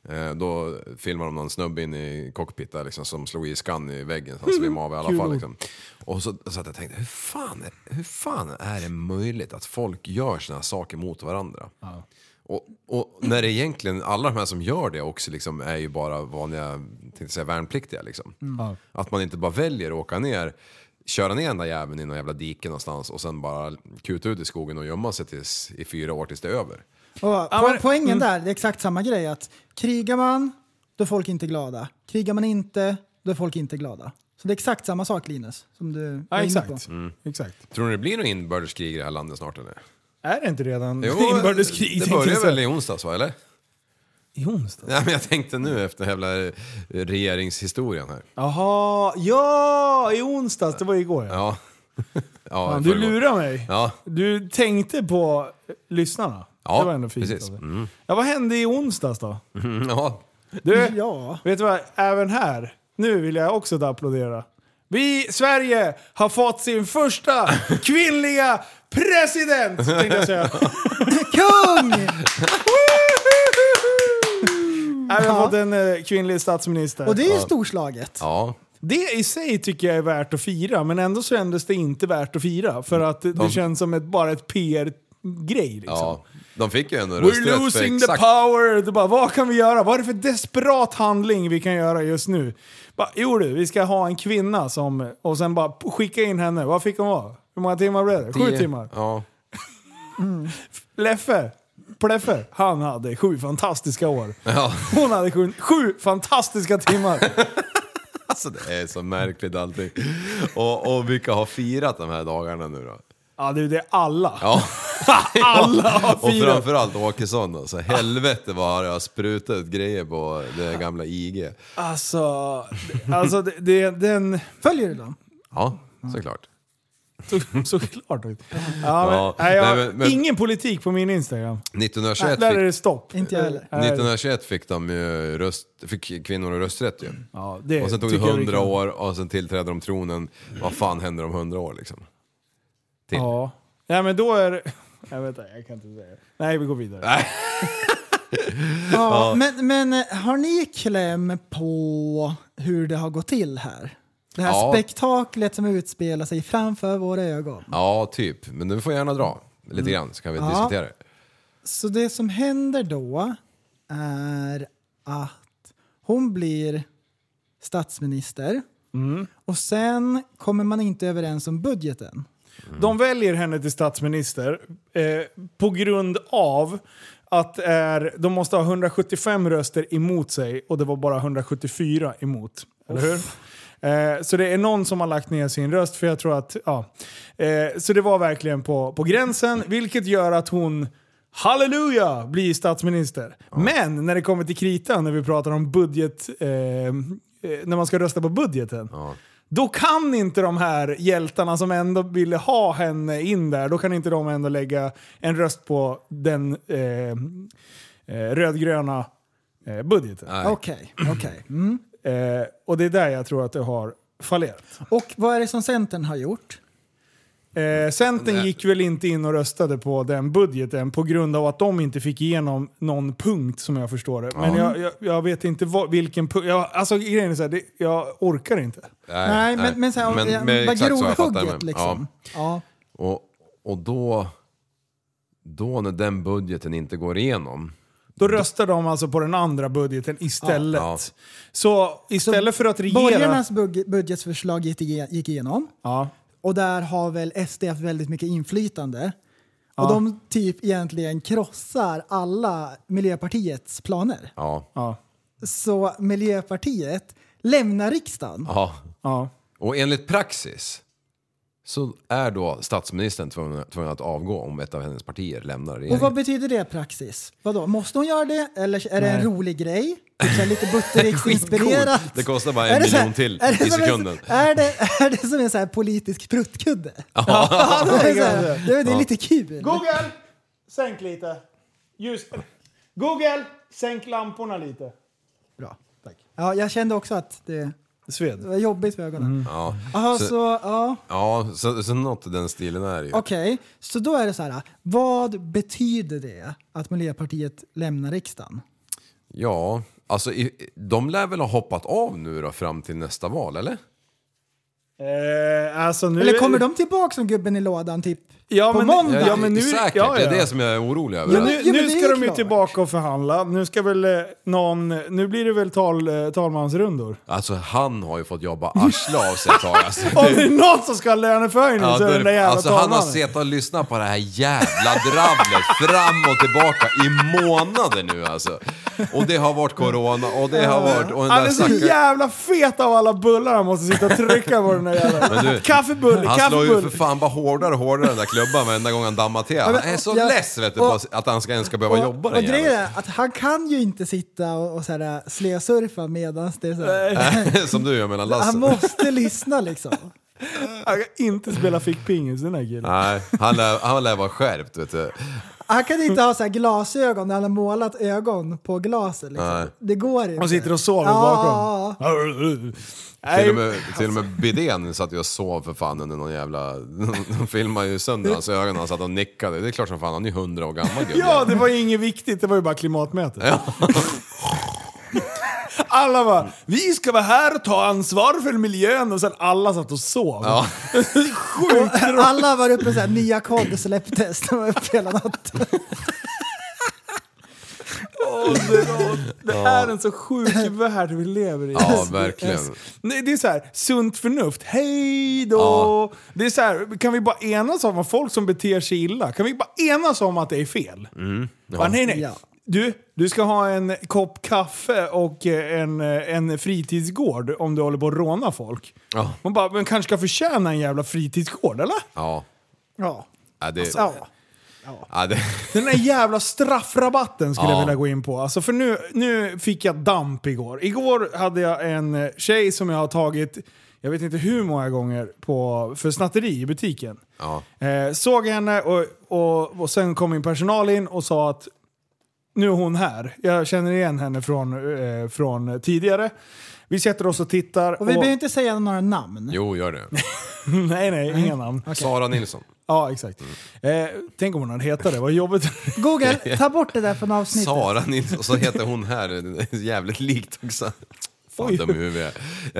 C: eh, då filmade de någon snubbe in i cockpit där liksom som slog i skan i väggen så han svimmade av i alla fall liksom. Och så satt jag och tänkte, hur fan, är- hur fan är det möjligt att folk gör såna här saker mot varandra? Och, och när det egentligen, alla de här som gör det också liksom är ju bara vanliga tänkte jag säga, värnpliktiga. Liksom. Att man inte bara väljer att åka ner, köra ner den där jäveln i någon jävla dike någonstans och sen bara kuta ut i skogen och gömma sig tills, i fyra år tills det är över.
B: Och po-
A: men- mm.
B: poängen där, det är exakt samma grej. Att krigar man, då är folk inte glada. Krigar man inte, då är folk inte glada. Så det är exakt samma sak Linus, som du
A: Ja,
B: var inne på.
A: exakt.
C: Mm.
A: exakt.
C: Tror ni det blir något inbördeskrig i det här landet snart eller?
A: Är det inte redan inbördeskrig?
C: det
A: tänkte jag
C: började
A: säga.
C: väl i onsdags va, eller?
A: I onsdag?
C: Nej men jag tänkte nu efter jävla eh, regeringshistorien här.
A: Jaha, ja! I onsdags, det var igår ja.
C: Ja. ja
A: Fan,
C: i
A: du
C: förrgår.
A: lurar mig.
C: Ja.
A: Du tänkte på eh, lyssnarna.
C: Ja,
A: det var ändå fint.
C: precis.
A: av dig. Ja, vad hände i onsdags då?
C: Mm, ja.
A: Du,
B: Ja.
A: vet du vad? Även här, nu vill jag också att applådera. Vi, Sverige, har fått sin första kvinnliga president! Tänkte jag säga.
B: Kung!
A: Även fått en eh, kvinnlig statsminister.
B: Och det är ju storslaget.
C: ja.
A: Det i sig tycker jag är värt att fira, men ändå så kändes det inte värt att fira. För att det, det känns som ett, bara ett PR-grej. Liksom.
C: Ja, de fick ju ändå
A: We're
C: rösträtt för
A: losing the
C: exakt
A: power! Det bara, vad kan vi göra? Vad är det för desperat handling vi kan göra just nu? Bara, jo du, vi ska ha en kvinna som... Och sen bara p- skicka in henne. Vad fick hon vara? Hur många timmar blev det? Sju
C: tio-
A: timmar?
C: Ja.
A: Leffe, Pleffe, han hade sju fantastiska år.
C: ja.
A: Hon hade sju, sju fantastiska timmar.
C: Alltså det är så märkligt allting. Och, och vilka har firat de här dagarna nu då?
A: Ja du, det är alla.
C: Ja.
A: Alla har
C: Och
A: firat.
C: framförallt Åkesson då. Så helvete vad det har sprutat ut grejer på det gamla IG.
A: Alltså, alltså det, det, den...
B: Följer du dem?
C: Ja, såklart.
A: Så, såklart. Ja, men,
C: Ja,
A: nej, jag,
C: nej, men- men-
A: ingen politik på min Instagram.
C: 1921
A: Där är det
C: fick,
A: stopp. Eh,
B: Inte jag heller.
A: Nej.
C: 1921 fick, de ju röst, fick kvinnor rösträtt ju.
A: Ja, det
C: Och sen tog det
A: tycker jag vi
C: 100
A: kan-
C: år och sen tillträdde de tronen. Vad fan händer om 100 år liksom? Typ. till.
A: Ja. Nej men då är det... Nej vänta, jag kan inte säga det. Nej vi går vidare.
B: Ja, men, men eh, har ni kläm på hur det har gått till här? Det här
C: Ja.
B: spektaklet som utspelar sig framför våra ögon.
C: Ja, typ. Men du får gärna dra lite
A: Mm.
C: grann så kan vi
B: Ja.
C: diskutera det.
B: Så det som händer då är att hon blir statsminister
C: Mm.
B: och sen kommer man inte överens om budgeten.
A: De väljer henne till statsminister eh, på grund av att är, de måste ha 175 röster emot sig och det var bara 174 emot. Eller hur? Eh, så det är någon som har lagt ner sin röst för jag tror att, ja. Eh, så det var verkligen på, på gränsen, vilket gör att hon Halleluja! Blir statsminister. Men när det kommer till kritan, när vi pratar om budget, eh, eh, när man ska rösta på budgeten. Då kan inte de här hjältarna som ändå ville ha henne in där, då kan inte de ändå lägga en röst på den eh, eh, rödgröna eh, budgeten.
B: Okej, okej. Mm.
A: Eh, och det är där jag tror att det har fallerat.
B: Och vad är det som Centern har gjort?
A: Eh, Centern gick väl inte in och röstade på den budgeten på grund av att de inte fick igenom någon punkt som jag förstår det. Men jag, jag, jag vet inte vad, vilken punkt. Jag, alltså grejen är så här, det, jag orkar inte.
B: Nej, men, men, så här,
C: Men-
B: men,
C: men
B: vad
C: exakt så jag fattar
B: grovhugget
C: det.
B: liksom. Ja.
C: Och, och då, då när den budgeten inte går igenom,
A: Då röstar de alltså på den andra budgeten istället.
C: Ja.
A: Så istället för att regera...
B: Borgarnas bug- budgetförslag gick ige- gick igenom.
A: Ja.
B: Och där har väl SD haft väldigt mycket inflytande. Och de typ egentligen krossar alla Miljöpartiets planer.
C: ja,
A: Ja.
B: Så Miljöpartiet lämnar riksdagen.
C: ja.
A: Ja.
C: Och enligt praxis så är då statsministern tvungen, tvungen att avgå om ett av hennes partier lämnar
B: Och vad
C: regeringen.
B: betyder det praxis? Vadå, måste hon göra det eller är det en rolig grej? Typ så här lite Buttericks-inspirerat?
C: Skitcoolt. Det kostar bara
B: Är
C: en
B: det så här-
C: miljon till
B: är det
C: i
B: som en-
C: sekunden.
B: Är det, är det som en så här politisk pruttkudde? Ja, det, är så här, det, är- det är lite kul.
A: Google! Sänk lite. Ljus. Google! Sänk lamporna lite.
B: Bra, tack. Ja, jag kände också att det det
A: Sved.
B: var jobbigt för ögonen.
C: Mm. Ja,
B: Aha,
C: Så-
B: så, ja,
C: ja så, så något i den stilen är det ju.
B: okej. Så då är det så här, vad betyder det att Miljöpartiet lämnar riksdagen?
C: Ja, alltså i, de lär väl ha hoppat av nu då fram till nästa val, eller?
A: Eh, alltså nu
B: Eller kommer de tillbaka som gubben i lådan typ
A: ja,
B: på
A: men,
B: måndag?
A: Ja, men nu,
C: Säkert,
A: ja,
C: det
A: ja.
C: är det som jag är orolig över.
A: Men nu,
B: Ja, men
A: nu
B: det
A: ska
B: är
A: de ju
B: klart.
A: tillbaka och förhandla. Nu ska väl eh, någon... Nu blir det väl tal, eh, talmansrundor.
C: Alltså han har ju fått jobba arsle av sig ett tag alltså.
A: Om det är någon som ska ha löneförhöjning
C: Ja,
A: så är det den
C: då-
A: där jävla
C: alltså han
A: talmannen.
C: har suttit och lyssnat på det här jävla dravlet fram och tillbaka i månader nu alltså. Och det har varit corona och det har varit... Och den
A: Han
C: där
A: är så
C: stackaren-
A: jävla fet av alla bullar han måste sitta och trycka på den där
C: Men
A: jävla...
C: du,
A: Kaffebulle,
C: han slår ju för
A: kaffebulle!
C: fan bara hårdare och hårdare den där klubban varenda gång han dammar till. Han är så
B: jag-
C: less vet du,
B: och-
C: på att han ska, ens ska behöva jobba
B: och
C: den
B: grejen
C: jäveln.
B: är att han kan ju inte sitta och, och så här slösurfa medans det är så här.
C: Som du gör mellan
B: Han
C: lassen.
B: måste lyssna liksom.
A: Han kan inte spela fickpingis den här killen.
C: Nej, han lär, han lär vara skärpt vet du.
B: Han kan inte ha så här glasögon när han har målat ögon på glaset. Liksom.
C: Nej.
B: Det går inte.
A: Han sitter och sover
B: Ja,
A: bakom.
B: ja, ja.
C: Till och
A: Nej, Alltså.
C: med, till och med bidén satt ju och sov för fan under någon jävla... De filmade ju sönder hans ögon när han satt och nickade. Det är klart som fan, han är ju hundra år gammal gubben.
A: ja, det var ju inget viktigt. Det var ju bara klimatmötet. Alla bara, vi ska vara här och ta ansvar för miljön och sen alla satt och sov.
C: Ja.
A: Sjukt
B: Och Alla var uppe så här, nya kod släpptes. De var uppe hela natten.
A: ålder. Det är en så sjuk värld vi lever i.
C: Ja, verkligen.
A: Nej, det är så här, sunt förnuft, hej då!
C: Ja.
A: Det är så här, kan vi bara enas om att folk som beter sig illa, kan vi bara enas om att det är fel?
C: Mm,
A: Bara, nej, nej.
B: Ja.
A: Du, du ska ha en kopp kaffe och eh, en, eh, en fritidsgård om du håller på att råna folk.
C: Ja.
A: Man bara, men kanske ska förtjäna en jävla fritidsgård, eller? Alltså,
B: Ja.
C: Ja. Ja, det,
B: ja.
C: ja, det,
A: Den där jävla straffrabatten skulle
C: Ja.
A: jag vilja gå in på. Alltså för nu, nu fick jag damp igår. Igår hade jag en eh, tjej som jag har tagit, jag vet inte hur många gånger, på, för snatteri i butiken.
C: ja.
A: Eh, såg henne och, och, och sen kom min personal in och sa att nu är hon här. Jag känner igen henne från, eh, från tidigare. Vi sätter oss och tittar.
B: Och vi behöver inte säga några namn.
C: Jo, gör det.
A: nej, nej, inga namn.
C: Sara Nilsson.
A: Ja, exakt. Eh, tänk om hon hade hetat det, vad jobbigt.
B: Google, ta bort det där från avsnittet.
C: Sara Nilsson. Och så heter hon här jävligt likt också. Fan,
A: Oj.
C: dum i huvudet. Eh,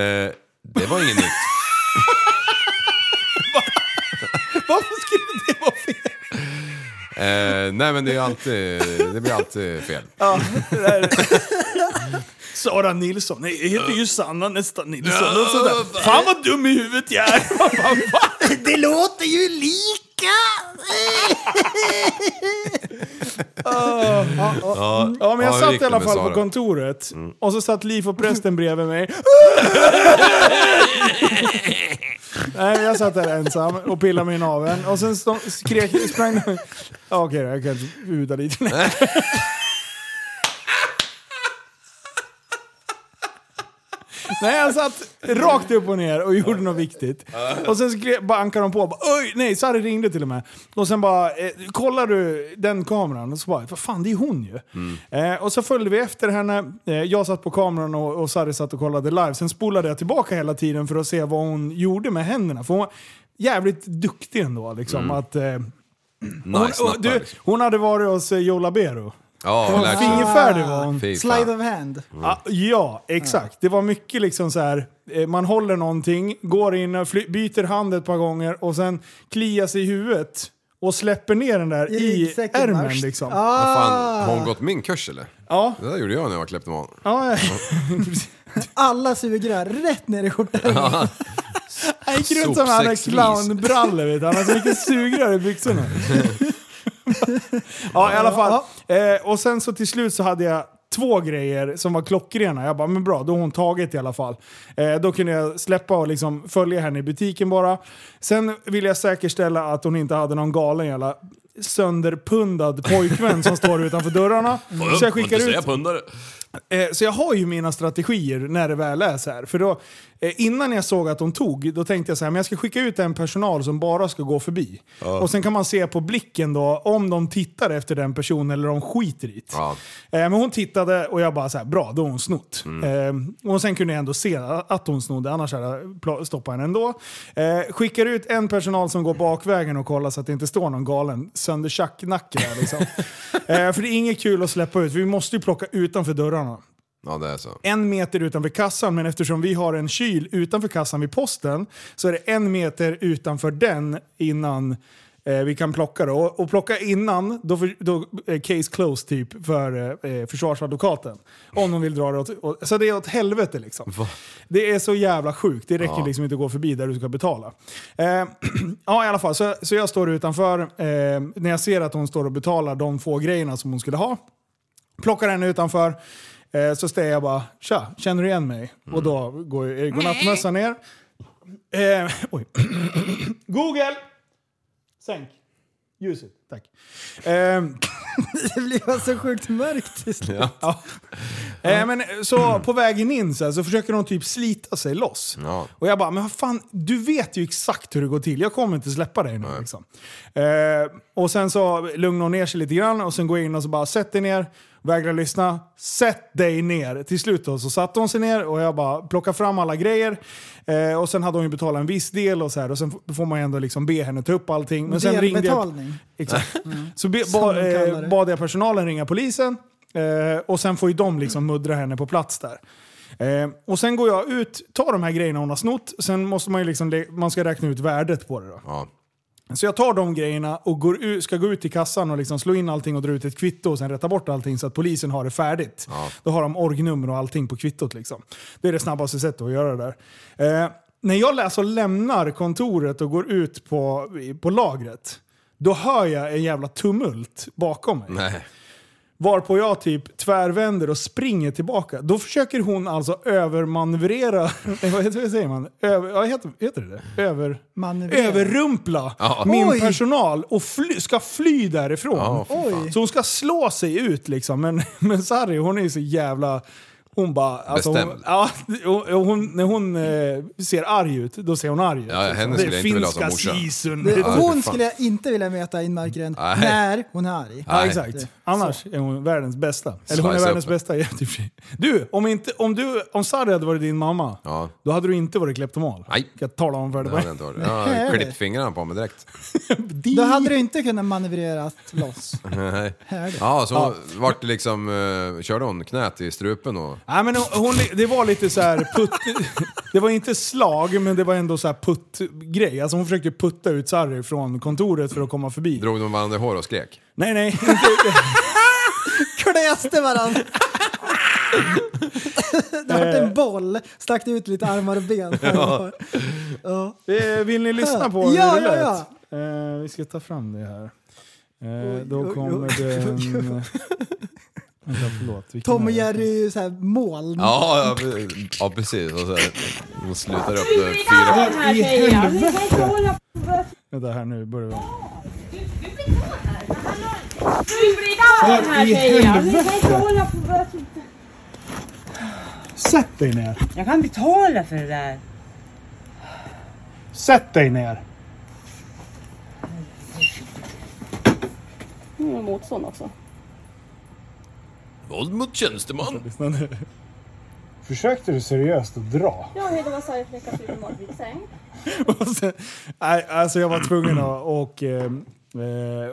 C: det var inget nytt.
A: Varför skulle det vara fel?
C: Eh, nej men det, är alltid, det blir alltid fel.
A: Sara Nilsson. Nej, jag heter ju Sanna nästan Nilsson. Och sådär. Fan vad dum i huvudet jag är! Man bara, "Va?"
B: Det låter ju lika!
A: Ah, ja, men jag
C: Ja, hur gick
A: satt i
C: det
A: alla
C: med
A: fall på
C: Sara? Mm.
A: kontoret och så satt Liv och prästen bredvid mig. Nej, jag satt där ensam och pillade min naveln och sen stå- skrek, sprang Ja, Okej då, jag kanske budar lite. Nej. Nej, han satt rakt upp och ner och gjorde något viktigt. Och sen så kle- bankade de på. Bara, Oj, nej, Sari ringde till och med. Och sen bara, eh, kollar du den kameran? Och så bara, vad fan det är hon ju. Eh, och så följde vi efter henne. Eh, jag satt på kameran och, och Sari satt och kollade live. Sen spolade jag tillbaka hela tiden för att se vad hon gjorde med händerna. För hon var jävligt duktig ändå. Liksom, att, eh, hon,
C: Mm. Nice
A: och, du, hon hade varit hos eh, Joe Labero.
C: Ja, lärt sig.
A: Fingerfärdig var hon.
C: Fy fan.
B: Slide of hand.
A: Ah, ja, exakt. Det var mycket liksom så här. eh, Man håller någonting, går in, och fly- byter hand ett par gånger och sen kliar sig i huvudet och släpper ner den där i
B: ryggsäcken
A: ärmen
B: först.
A: liksom. Ja,
C: Vad
B: Ah,
C: fan, har hon gått min kurs eller?
A: ja.
C: Det där gjorde jag när jag var kleptoman.
A: ja.
B: alla sugrör rätt ner i skjortan.
A: Han gick runt som han hade
C: Sopsäcksvis.
A: clownbrallor vet du. Han har så mycket sugrör i byxorna. ja, i alla fall. Eh, och sen så till slut så hade jag två grejer som var klockrena. Jag bara, men bra, då har hon tagit i alla fall. Eh, då kunde jag släppa och liksom följa henne i butiken bara. Sen ville jag säkerställa att hon inte hade någon galen jävla sönderpundad pojkvän som står utanför dörrarna.
C: Mm.
A: Så jag skickar ut
C: pundare.
A: Eh, så jag har ju mina strategier när det väl är så här. För då, eh, innan jag såg att de tog, då tänkte jag så här, men jag ska skicka ut en personal som bara ska gå förbi. Och sen kan man se på blicken då om de tittar efter den personen eller om de skiter i det.
C: Ja.
A: Eh, men hon tittade och jag bara så här, bra, då har hon snott. Eh, och sen kunde jag ändå se att hon snodde, annars hade jag pl- stoppat henne ändå. Eh, skickar ut en personal som går bakvägen och kollar så att det inte står någon galen söndertjacknacke där liksom. eh, för det är inget kul att släppa ut, vi måste ju plocka utanför dörrarna
C: Ja, det är så.
A: en meter utanför kassan, men eftersom vi har en kyl utanför kassan vid posten så är det en meter utanför den innan eh, vi kan plocka det. Och, och plocka innan, då, för, då eh, case closed typ för eh, eh, försvarsadvokaten. Om de vill dra det åt... åt så det är åt helvete liksom. Det är så jävla sjukt. Det räcker liksom inte att gå förbi där du ska betala. Eh, ja, i alla fall. Så, så jag står utanför eh, när jag ser att hon står och betalar de få grejerna som hon skulle ha. Plockar henne utanför. Eh, så säger jag bara “Tja, känner du igen mig?” Och då går eh, går nattmössan ner. Eh, oj. Google! Sänk ljuset, tack. Eh,
B: Det blir så sjukt mörkt till slut.
A: Eh, men, så på vägen in så, här, så försöker de typ slita sig loss.
C: Ja.
A: Och jag bara, men vad fan, du vet ju exakt hur det går till. Jag kommer inte släppa dig nu. Liksom. Eh, och sen så lugnar hon ner sig lite grann och sen går jag in och så bara, sätt dig ner. Vägrar lyssna. Sätt dig ner! Till slut då, så satte hon sig ner och jag bara plockade fram alla grejer. Eh, och sen hade hon ju betalat en viss del och så här. Och sen f- får man ju ändå liksom be henne ta upp allting. Men sen ringde jag...
B: Delbetalning.
A: Exakt. Så be,
B: Mm. Som
A: ba,
B: de kallar
A: eh,
B: det.
A: bad jag personalen ringa polisen eh, och sen får ju de liksom muddra henne på plats där. Eh, och sen går jag ut, tar de här grejerna hon har snott, sen måste man ju liksom, le- man ska räkna ut värdet på det då.
C: Ja.
A: Så jag tar de grejerna och går ut, ska gå ut till kassan och liksom slå in allting och dra ut ett kvitto och sen rätta bort allting så att polisen har det färdigt. Då har de orgnummer och allting på kvittot. Liksom. Det är det snabbaste sättet att göra det där. Eh, när jag alltså lämnar kontoret och går ut på, på lagret, då hör jag en jävla tumult bakom mig.
C: Nej.
A: Varpå jag typ tvärvänder och springer tillbaka. Då försöker hon alltså övermanövrera... Nej, vad heter- vad säger man? Över, ja, heter, heter det det Över,
B: Manövrera.
A: överrumpla
C: Ja.
A: min
B: Oj.
A: personal och fly, ska fly därifrån.
C: Ja, fy fan.
B: Oj.
A: Så hon ska slå sig ut liksom. Men, men Sarri hon är ju så jävla... Hon bara... Alltså, hon,
C: Bestämd.
A: ja, och- och hon, när hon eh, ser arg ut, då ser hon arg ut.
C: Ja, henne
A: liksom.
C: skulle jag inte vilja ha som
A: finska
C: morsa.
A: sisun.
B: Det,
C: Ja, för
B: hon
C: fan.
B: skulle jag inte vilja möta i en mörk rund
C: Nej.
B: när hon är arg.
A: Ja,
C: Nej.
A: exakt. Annars är hon världens bästa. Eller hon är
C: Slice
A: världens
C: up.
A: bästa jämt i och för sig. Du, om, inte, om, du, om Sari hade varit din mamma,
C: Ja.
A: då hade du inte varit kleptoman.
C: Nej.
A: Kan jag tala om för
C: Det
A: dig.
C: hade jag inte varit. Jag hade klippt fingrarna på mig direkt.
B: Då hade du inte kunnat manövrera loss.
C: Nej.
B: Här.
C: Ja, så hon vart det liksom... eh, körde hon knät i strupen och...
A: Nej, men hon, hon, det var lite så här putt... det var inte slag, men det var ändå så här putt-grej. Alltså hon försökte putta ut Sarri från kontoret för att komma förbi.
C: Drog de varandra i hår och skrek?
A: Nej, nej. inte-
B: Kläste varandra. Det vart en boll, stack ut lite armar och ben. Ja.
A: Eh, Vill ni lyssna på hur
B: Ja,
A: det
B: ja,
A: lät?
B: ja.
A: Eh, vi ska ta fram det här. Eh,
B: oj,
A: då
B: oj,
A: kommer
B: oj,
A: den...
B: oj, oj.
A: Vänta, förlåt. Vilken
B: Tom och
A: är det?
B: Jerry är ju så här moln.
C: Ja, ja, pre- ja precis. Och så hon slutar upp där fyra...
A: Vänta här nu, börjar vi om.
E: Du blir galen här tjejen! Ni kan inte hålla på och börja titta.
A: Sätt dig ner!
E: Jag kan betala för det där.
A: Sätt dig ner!
F: Nu är motstånd också.
C: Våld mot tjänsteman.
A: Försökte du seriöst att dra?
F: Jag och Hilda Masai fläkas ut i matviksäng.
A: Nej, alltså jag var tvungen att... Och, eh, eh,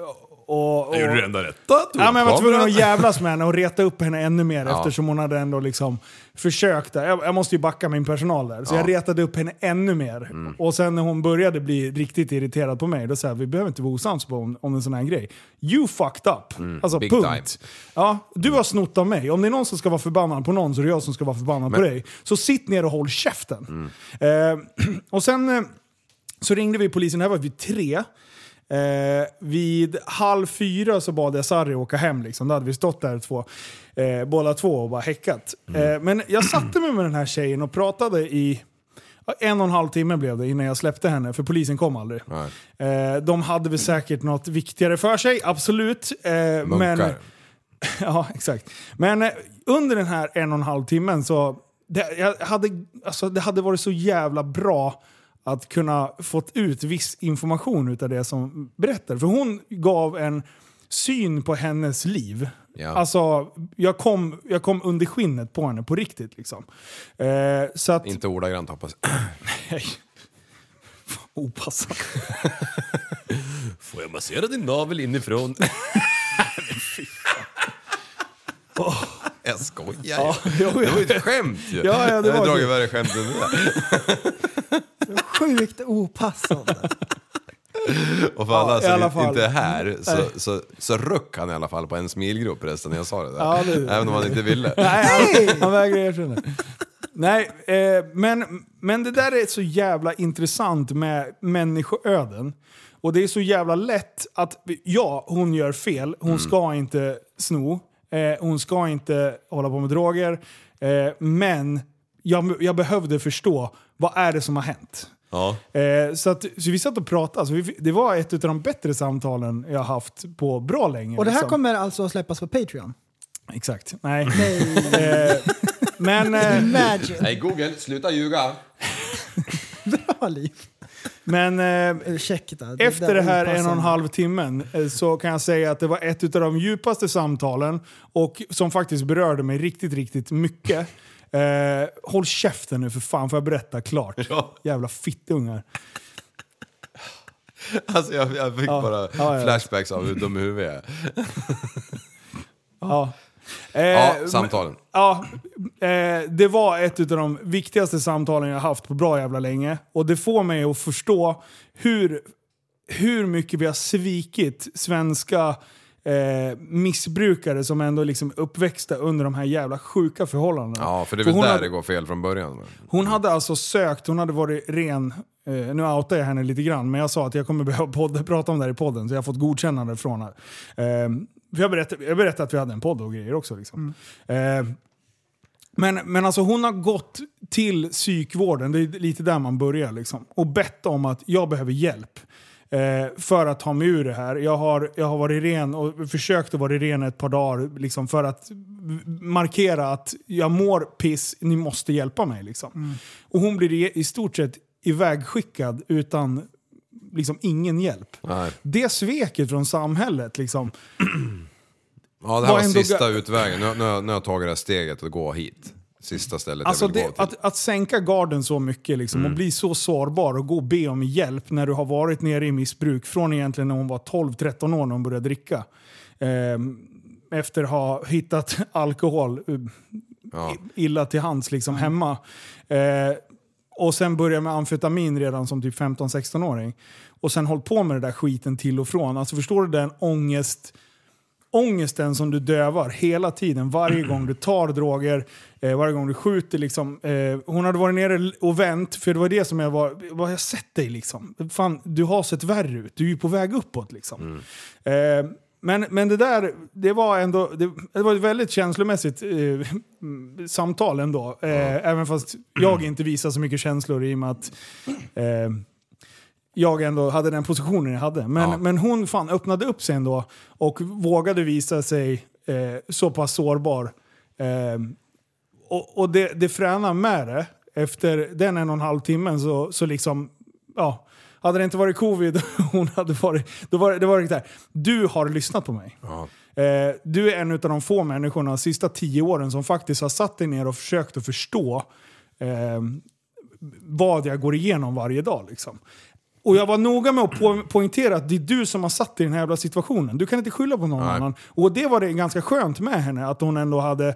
A: och, och,
C: Jag gjorde det enda rätta. tog
A: Ja, men jag var
C: kameran.
A: tvungen att jävlas med henne och reta upp henne ännu mer
C: Ja.
A: eftersom hon hade ändå liksom försökt. där. Jag, jag måste ju backa min personal där. Så jag retade upp henne ännu mer.
C: Mm.
A: Och sen när hon började bli riktigt irriterad på mig, då sa jag vi behöver inte vara osams på om, om en sån här grej. You fucked up. Alltså
C: Mm, big
A: punkt.
C: time.
A: Ja, du har snott av mig. Om det är någon som ska vara förbannad på någon så är det jag som ska vara förbannad på dig. Så sitt ner och håll käften.
C: Mm.
A: Eh, och sen eh, så ringde vi polisen, det här var vid tre. Eh, vid halv fyra så bad jag Sarri åka hem. Liksom. Då hade vi stått där två, eh, båda två och bara häckat. Eh, men jag satte mig med den här tjejen och pratade i ja, en och en halv timme blev det innan jag släppte henne, för polisen kom aldrig. Eh, de hade väl säkert något viktigare för sig, absolut. Eh, men,
C: Munkar.
A: ja, exakt. men eh, under den här en och en halv timmen så det, jag hade, alltså, det hade varit så jävla bra att kunna fått ut viss information utav det som berättar. För hon gav en syn på hennes liv.
C: Ja.
A: Alltså, jag kom, jag kom under skinnet på henne på riktigt. Liksom. Eh, så att,
C: Inte ordagrant hoppas
A: Nej. Fan, Opassande.
C: Får jag massera din navel inifrån? Jag skojar ja,
A: jo,
C: Det var ju ett skämt ju.
A: Ja, ja, det
C: Jag har
A: var
C: dragit
A: det.
C: värre skämt än det där.
B: Sjukt opassande.
C: Och för alla
A: Ja, i
C: som
A: alla
C: inte-
A: fall.
C: inte är här
A: Nej.
C: så, så, så ruck han i alla fall på en smilgrop resten när jag sa det där.
A: Ja, det-
C: Även om han inte ville.
A: Nej, han, han vägrar erkänna. Nej, eh, men, men det där är så jävla intressant med människoöden. Och det är så jävla lätt att, ja, hon gör fel. Hon ska inte sno. Eh, hon ska inte hålla på med droger. Eh, men jag, jag behövde förstå, vad är det som har hänt?
C: Ja.
A: Eh, så, att, så vi satt och pratade. Alltså, vi, det var ett av de bättre samtalen jag haft på bra länge.
B: Och det här
A: liksom.
B: kommer alltså att släppas på Patreon.
A: Exakt. Nej. Eh, men, eh,
B: Magic.
C: Nej Google, sluta ljuga!
B: Bra liv.
A: men eh,
B: Ursäkta. det
A: efter
B: där
A: det här en och en
B: opassande.
A: halv timmen eh, så kan jag säga att det var ett av de djupaste samtalen och som faktiskt berörde mig riktigt, riktigt mycket. Eh, håll käften nu för fan, får jag berätta klart?
C: Ja.
A: Jävla fittungar.
C: Alltså jag, jag fick
A: Ja.
C: bara
A: Ja, ja.
C: flashbacks av hur dum i huvudet jag är.
A: Ja. Eh,
C: Ja, samtalen.
A: Ja, eh, det var ett av de viktigaste samtalen jag haft på bra jävla länge. Och det får mig att förstå hur, hur mycket vi har svikit svenska eh, missbrukare som ändå liksom uppväxta under de här jävla sjuka förhållandena.
C: Ja, för det är väl
A: hon
C: där
A: hade-
C: det går fel från början.
A: hon hade alltså sökt, hon hade varit ren. eh, nu outar jag henne lite grann, men jag sa att jag kommer behöva podda, prata om det här i podden, så jag har fått godkännande från henne. Eh, för jag, berättade, jag berättade att vi hade en podd och grejer också. Liksom. Eh, men, men alltså hon har gått till psykvården, det är lite där man börjar, liksom, och bett om att jag behöver hjälp. Eh, för att ta mig ur det här. Jag har, jag har varit ren och försökt att vara ren ett par dagar liksom, för att markera att jag mår piss, ni måste hjälpa mig. Liksom. Och hon blir i, i stort sett ivägskickad utan liksom, ingen hjälp.
C: Nej.
A: Det sveket från samhället liksom,
C: Ja, det här
A: Var
C: var
A: ändå
C: sista
A: ga-
C: utvägen. Nu, nu, har- nu har jag tagit det här steget och gå hit. Sista stället
A: Alltså
C: jag vill gå
A: det,
C: till. Mm.
A: att, att sänka garden så mycket liksom, och bli så sårbar och gå och be om hjälp när du har varit nere i missbruk från egentligen när hon var 12-13 år när hon började dricka. Ehm, efter att ha hittat alkohol eh,
C: Ja. Mm.
A: illa till hands liksom, hemma. Eh, och sen börja med amfetamin redan som typ 15-16-åring. Och sen hållit på med det där skiten till och från. Alltså förstår du den ångest ångesten som du dövar hela tiden. Varje gång du tar droger, eh, varje gång du skjuter. Liksom, eh, hon hade varit nere och vänt, för det var det som jag var... Jag har sett dig liksom. Fan, du har sett värre ut. Du är ju på väg uppåt liksom. Eh, men, men det där, det var ändå... Det, det var ett väldigt känslomässigt eh, mm, samtal ändå. Eh, Även fast jag inte visar så mycket känslor i och med att... Eh, jag ändå hade den positionen jag hade. Men,
C: Ja.
A: men hon fan öppnade upp sig ändå och vågade visa sig eh, så pass sårbar. Eh, och, och det, det fräna med det, efter den en och en halv timmen så, så liksom, ja. Hade det inte varit covid, hon hade varit, då var det, det var det där. Du har lyssnat på mig. Eh, du är en av de få människorna de sista tio åren som faktiskt har satt dig ner och försökt att förstå eh, vad jag går igenom varje dag. Liksom. Och jag var noga med att po- poängtera att det är du som har satt dig i den här jävla situationen. Du kan inte skylla på någon
C: Nej.
A: annan. Och det var det ganska skönt med henne, att hon ändå hade...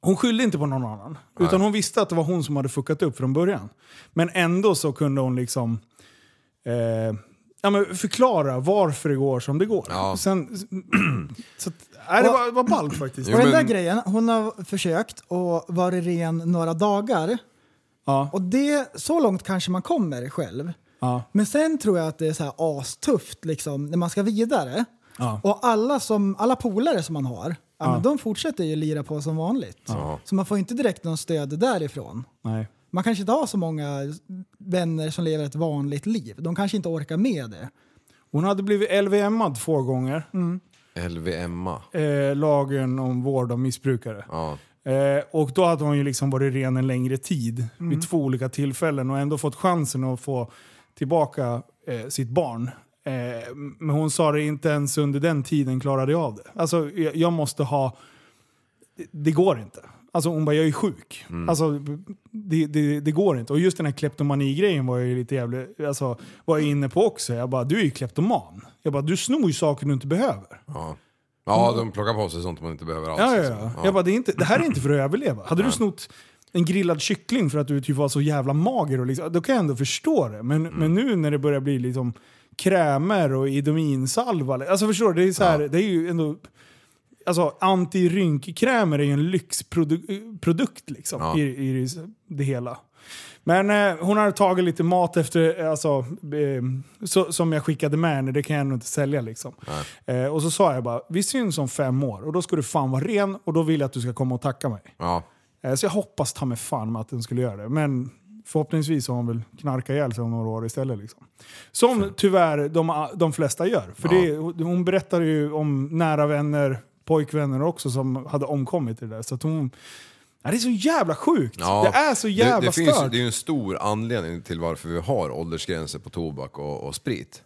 A: Hon skyllde inte på någon annan. Utan hon visste att det var hon som hade fuckat upp från början. Men ändå så kunde hon liksom... Eh, ja, men förklara varför det går som det går.
C: Ja.
A: Sen, så att, nej, det var, var ballt faktiskt.
C: Jo,
B: och den där
C: men-
B: grejen, hon har försökt och varit ren några dagar.
A: Ja.
B: Och det, så långt kanske man kommer själv.
A: Ja.
B: Men sen tror jag att det är så här astufft liksom, när man ska vidare.
A: Ja.
B: Och alla, som, alla polare som man har, ja. men de fortsätter ju lira på som vanligt. Så man får inte direkt någon stöd därifrån.
A: Nej.
B: Man kanske inte har så många vänner som lever ett vanligt liv. De kanske inte orkar med det.
A: Hon hade blivit LVMad två gånger.
B: Mm.
C: LVMA.
A: eh, lagen om vård av missbrukare.
C: Ja.
A: Eh, och då hade hon ju liksom varit ren en längre tid vid två olika tillfällen och ändå fått chansen att få tillbaka eh, sitt barn. Eh, men hon sa det inte ens under den tiden klarade jag av det. Alltså jag, jag måste ha... det- Det går inte. Alltså hon bara, jag är sjuk. Alltså det, det, det går inte. Och just den här kleptomani-grejen var jag ju lite jävligt, alltså, var jag inne på också. Jag bara, du är ju kleptoman. Jag bara, du snor ju saker du inte behöver.
C: Ja. ja, de plockar på sig sånt man inte behöver alls.
A: Ja, ja,
C: liksom.
A: ja. Jag bara, det, är inte, det här är inte för att överleva. Hade du snott en grillad kyckling för att du typ var så jävla mager, och liksom, då kan jag ändå förstå det. Men, men nu när det börjar bli liksom krämer och idominsalva. Alltså förstår du? Det är, så här, det är ju ändå... Alltså antirynkkrämer är ju en lyxprodukt liksom,
C: Ja.
A: i, i det hela. Men eh, hon har tagit lite mat efter, eh, alltså, eh, så, som jag skickade med henne, det kan jag ändå inte sälja liksom. Eh, och så sa jag bara, vi syns om fem år och då ska du fan vara ren och då vill jag att du ska komma och tacka mig.
C: Ja.
A: Eh, så jag hoppas ta mig fan med att hon skulle göra det. Men förhoppningsvis har hon väl knarkat ihjäl sig om några år istället. Liksom. Som tyvärr de, de flesta gör. För det, hon berättade ju om nära vänner, pojkvänner också som hade omkommit i det där. Så att hon... Ja, det är så jävla sjukt!
C: Ja,
A: Det är så jävla
C: det, det,
A: stört!
C: finns, det är ju en stor anledning till varför vi har åldersgränser på tobak och, och sprit.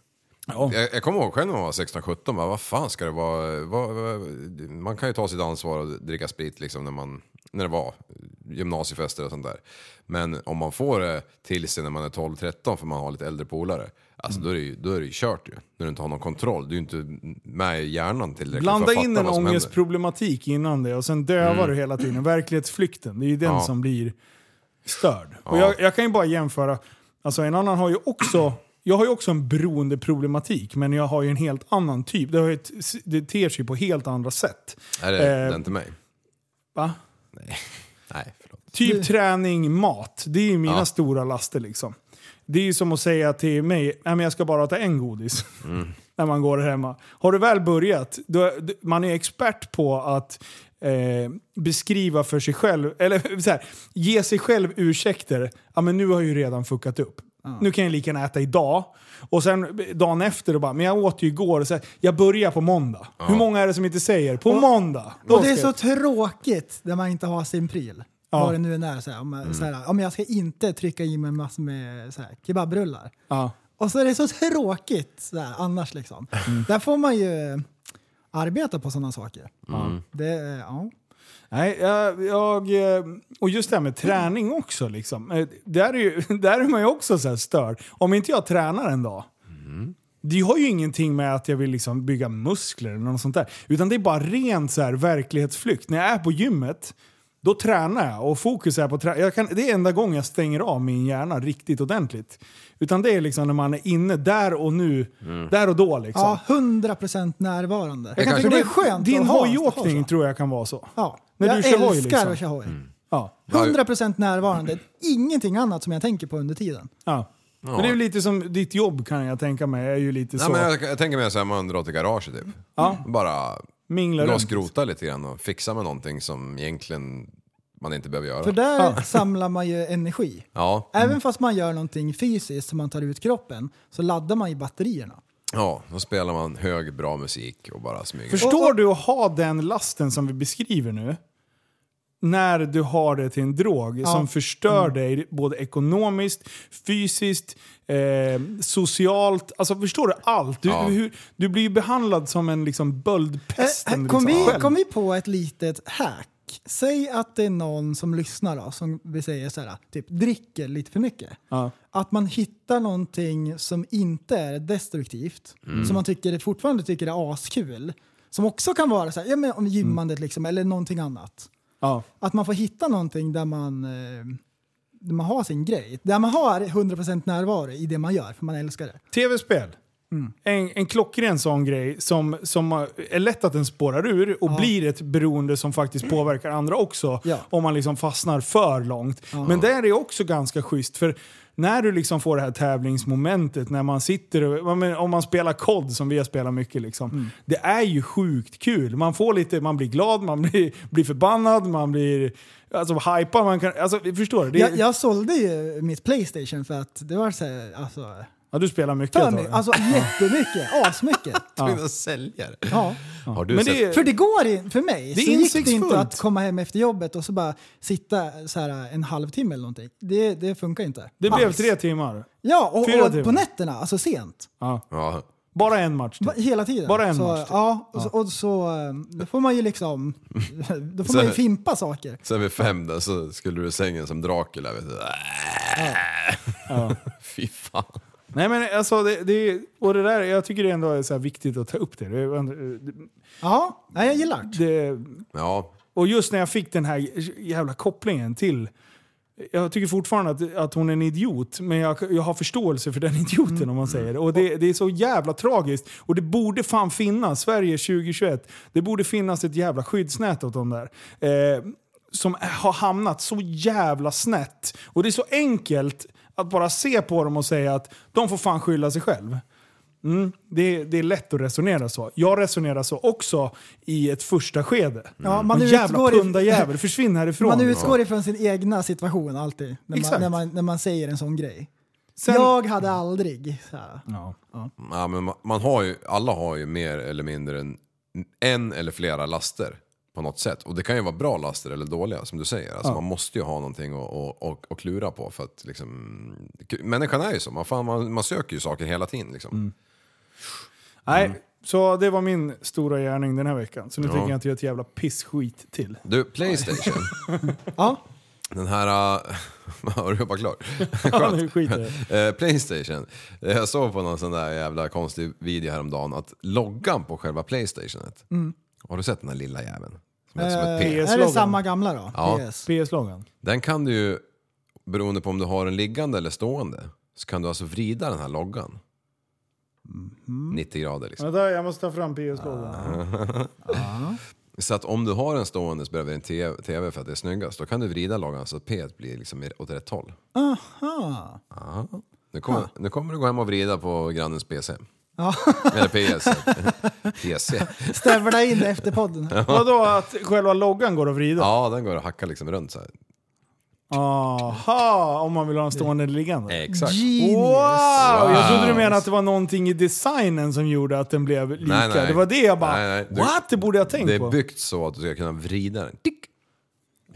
C: Jag, jag kommer ihåg själv när man var 16-17, bara, vad fan ska det vara? Vad, vad, man kan ju ta sitt ansvar och dricka sprit liksom när, man, när det var gymnasiefester och sånt där. Men om man får det till sig när man är 12-13 för man har lite äldre polare, alltså då, är det ju, då är det ju kört ju. När du inte har någon kontroll, du är ju inte med i hjärnan tillräckligt
A: Blanda
C: för att
A: in
C: fatta
A: en
C: vad som händer. Mm.
A: ångestproblematik innan det och sen dövar du hela tiden. Verklighetsflykten, det är ju den
C: Ja.
A: som blir störd. Och jag, jag kan ju bara jämföra, alltså en annan har ju också, jag har ju också en beroendeproblematik men jag har ju en helt annan typ. Det, har ju ett, det ter sig på helt andra sätt.
C: Är det,
A: Eh,
C: det är inte mig?
A: Va?
C: Nej, förlåt.
A: Typ träning, mat. Det är ju mina
C: Ja.
A: stora laster liksom. Det är ju som att säga till mig, nej men jag ska bara ta en godis. när man går hemma. Har du väl börjat, då, d- man är expert på att eh, beskriva för sig själv, eller så här, ge sig själv ursäkter. Ja men nu har jag ju redan fuckat upp. Nu kan jag lika gärna äta idag. Och sen dagen efter då bara, men jag åt ju igår. Och så här, jag börjar på måndag. Hur många är det som inte säger på måndag? då
B: Och det är
A: ska
B: så
A: jag-"
B: tråkigt när man inte har sin pryl.
A: Ja.
B: Vad det nu än är. Så här, om, så här, om jag ska inte trycka i mig massor med så här, kebabrullar.
A: ja.
B: Och så är det så tråkigt så här, annars liksom.
A: Mm.
B: Där får man ju arbeta på sådana saker. Det, är- ja.
A: Nej, jag, jag, eh, och just det här med träning också. Liksom. Eh, Där, är ju, där är man ju också så här störd. Om inte jag tränar en dag, det har ju ingenting med att jag vill liksom bygga muskler eller något sånt där. Utan det är bara rent så här verklighetsflykt. När jag är på gymmet, då tränar jag och fokus är på träning. Det är enda gången jag stänger av min hjärna riktigt ordentligt. Utan det är liksom när man är inne där och nu, där och då liksom.
B: ja, 100% närvarande.
C: kan
B: För
C: tycka-
B: det är skönt
A: Din
B: att ha- ha
A: hojåkning
B: så.
A: tror jag kan vara så.
B: Ja.
A: När
B: jag
A: du kör hoj,
B: älskar
A: liksom.
B: att köra hoj.
A: Ja.
B: 100% närvarande. Ingenting annat som jag tänker på under tiden.
A: Ja. Men det är ju lite som ditt jobb kan jag tänka mig. är ju lite
C: Nej,
A: så.
C: men jag, jag tänker mer såhär, man drar till garaget typ. Bara
A: Minglar
C: dra och
A: runt.
C: skrota lite grann och fixa med någonting som egentligen man inte behöver göra.
B: För där samlar man ju energi.
C: Ja,
B: Även
A: Mm.
B: fast man gör någonting fysiskt som man tar ut kroppen så laddar man ju batterierna.
C: ja, då spelar man hög, bra musik och bara smyger.
A: Förstår du att ha den lasten som vi beskriver nu? när du har det till en drog som förstör
B: Mm.
A: dig både ekonomiskt, fysiskt, eh, socialt. Alltså förstår du allt? Du,
C: Ja.
A: hur, du blir ju behandlad som en liksom böldpest.
B: Eh,
A: om du
B: kom,
A: liksom
B: vi,
A: själv-
B: kom vi på ett litet hack? Säg att det är någon som lyssnar då, som vi säger så här, typ dricker lite för mycket.
A: Ja.
B: Att man hittar någonting som inte är destruktivt, som man tycker, fortfarande tycker är askul. Som också kan vara så här, ja, men om gymmandet liksom, eller någonting annat.
A: Ja.
B: Att man får hitta någonting där man, eh, där man har sin grej. Där man har 100% närvaro i det man gör, för man älskar det.
A: Tv-spel.
B: Mm.
A: En, en klockren sån grej som, som eh, är lätt att den spårar ur och blir ett beroende som faktiskt påverkar andra också.
B: Ja.
A: Om man liksom fastnar för långt. Men där är också ganska schysst. För när du liksom får det här tävlingsmomentet, när man sitter och, ja, men om man spelar kod som vi har spelat mycket, liksom,
B: Mm.
A: det är ju sjukt kul. Man, får lite, man blir glad, man blir, blir förbannad, man blir alltså, hypad. Man kan, alltså, förstår du? Det,
B: Jag, jag sålde ju mitt Playstation för att det var så här, alltså,
A: ja, du spelar mycket.
B: För
A: ett tag,
B: mycket.
A: ja.
B: Alltså jättemycket. Asmycket.
C: Tvungen att sälja det.
B: Ja.
C: Har du
A: Men
C: sett?
A: det är-
B: För det går in, för mig
A: Det är
B: så gick det
A: insiktsfullt.
B: inte att komma hem efter jobbet och så bara sitta så här en halvtimme eller någonting. Det, det funkar inte.
A: Det blev
B: Alls.
A: tre timmar.
B: Ja, och,
A: fyra
B: och
A: timmar.
B: på nätterna, alltså sent.
C: Ja.
A: Bara en match. typ.
B: Va- Hela tiden.
A: Bara en
B: så,
A: match, typ.
B: Ja, och så, och så eh, då får man ju liksom, då får
C: Så-
B: man ju fimpa saker.
C: Sen vid fem där så skulle du i sängen som Dracula. Vet du. Fy fan.
A: Nej men alltså, det, det, och det där, jag tycker det ändå är så här viktigt att ta upp det. det.
B: Ja, nej, jag gillar det.
A: det.
C: Ja,
A: Och just när jag fick den här jävla kopplingen till jag tycker fortfarande att, att hon är en idiot, men jag, jag har förståelse för den idioten om man säger det. Och det, det är så jävla tragiskt. Och det borde fan finnas, Sverige 2021, det borde finnas ett jävla skyddsnät åt de där. Eh, som har hamnat så jävla snett. Och det är så enkelt att bara se på dem och säga att de får fan skylla sig själv. Mm, det, det är lätt att resonera så. Jag resonerar så också i ett första skede.
B: Ja, man
A: Någon Mm. jävla
B: utgår i-
A: pundarjävel, försvinn härifrån.
B: Man utgår ifrån sin egna situation alltid. När
A: Exakt.
B: man, när man, när man säger en sån grej.
A: Sen-
B: jag hade aldrig... Så här.
C: ja men man, man har ju, alla har ju mer eller mindre en, en eller flera laster på något sätt. Och det kan ju vara bra laster eller dåliga som du säger. Alltså, Man måste ju ha någonting att, att, att, att klura på för att liksom... Människan är ju så, man, fan, man, man söker ju saker hela tiden liksom.
A: Mm. Nej, så det var min stora gärning den här veckan. Så nu tänker jag inte göra ett jävla pissskit till.
C: Du, Playstation.
B: Ja.
C: Den här... äh, Har du jobbat klart?
A: Ja, nu skiter jag i det.
C: Eh, Playstation. Eh, Jag såg på någon sån där jävla konstig video häromdagen att loggan på själva Playstationet.
A: Mm.
C: Har du sett den där lilla jäveln? Som är som ett P.
A: PS.
B: Är det
A: PS-logon.
B: samma gamla då?
C: Ja.
B: PS.
A: PS-loggan.
C: Den kan du ju, beroende på om du har den liggande eller stående, så kan du alltså vrida den här loggan. 90 grader liksom.
A: Vänta, jag måste ta fram PS-loggan.
C: Ah. Så att om du har den stående bredvid din te- TV för att det är snyggast, då kan du vrida loggan så att P blir liksom åt rätt håll.
B: Aha.
C: Nu kommer, nu kommer du gå hem och vrida på grannens PC.
B: Ja.
C: Eller PS. PC.
B: Stävla in det efter podden. här.
A: Vadå, att själva loggan går att vrida?
C: Ja, den går att hacka liksom runt så här.
A: Aha, om man vill ha en stående eller liggande.
C: Exakt.
B: Genius.
A: Wow! Jag trodde du menade att det var någonting i designen som gjorde att den blev lika.
C: Nej, nej.
A: Det var det jag bara,
C: Nej, nej. Du-
A: what? Det borde jag ha
C: Det
A: tänkt på.
C: är byggt så att du ska kunna vrida den. Tick!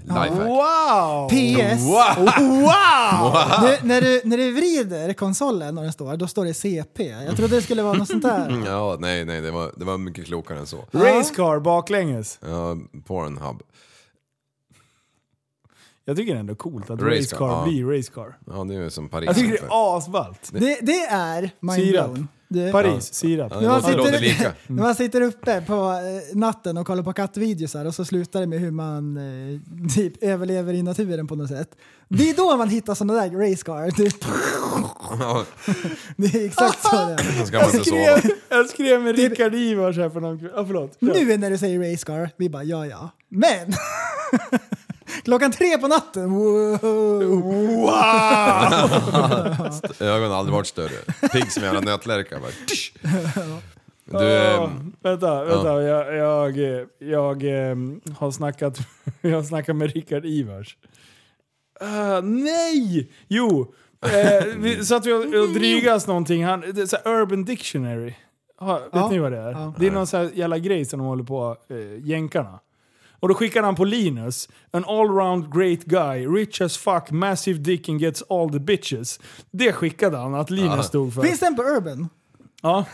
C: Lifehack.
A: Wow!
B: PS.
C: Wow!
A: Wow!
B: Nu, när, du, när du vrider konsolen och den står, då står det CP. Jag trodde det skulle vara något sånt där.
C: Mm, Ja, nej, nej, det var, det var mycket klokare än så.
A: Racecar baklänges.
C: Ja, Pornhub.
A: Jag tycker det är ändå coolt att
C: Racecar,
A: Racecar
C: ja.
A: blir Racecar.
C: Ja, det är ju som Paris.
A: Jag tycker det
C: ungefär.
A: är asballt.
B: Det, det är
A: Sirap.
B: mindblown. Det-
A: Alltså, Paris, sirap.
C: det
B: man
C: låter-
B: sitter-
C: låter lika.
B: När man sitter uppe på eh, natten och kollar på kattvideos här och så slutar det med hur man eh, typ överlever i naturen på något sätt. Det är då man hittar sådana där racecar. Typ.
C: Ja,
B: Det är exakt så det är.
C: så ska man inte sova.
A: skrev, jag skrev med Rickard Ivars här för någon kväll. Ja, förlåt.
B: Nu är när du säger racecar, vi bara ja ja. Men! Klockan tre på natten, wow.
A: Wow!
C: Ögonen har aldrig varit större. Pigg som en jävla nötlärka. bara. Tsch! Du,
A: Ja,
C: ehm,
A: vänta, vänta. Jag, jag, eh, jag eh, har snackat, jag har snackat med Rickard Ivars. Ah, nej! Jo, eh, vi satt vi och, och drygas någonting. Han, det är så här Urban Dictionary. Ha, vet
B: Ja.
A: ni vad det är?
B: Ja.
A: Det är någon så här jävla grej som de håller på, eh, jänkarna. Och då skickade han på Linus. An allround great guy, rich as fuck, massive dick and gets all the bitches. Det skickade han att Linus stod för.
B: Finns den på Urban?
A: Ja.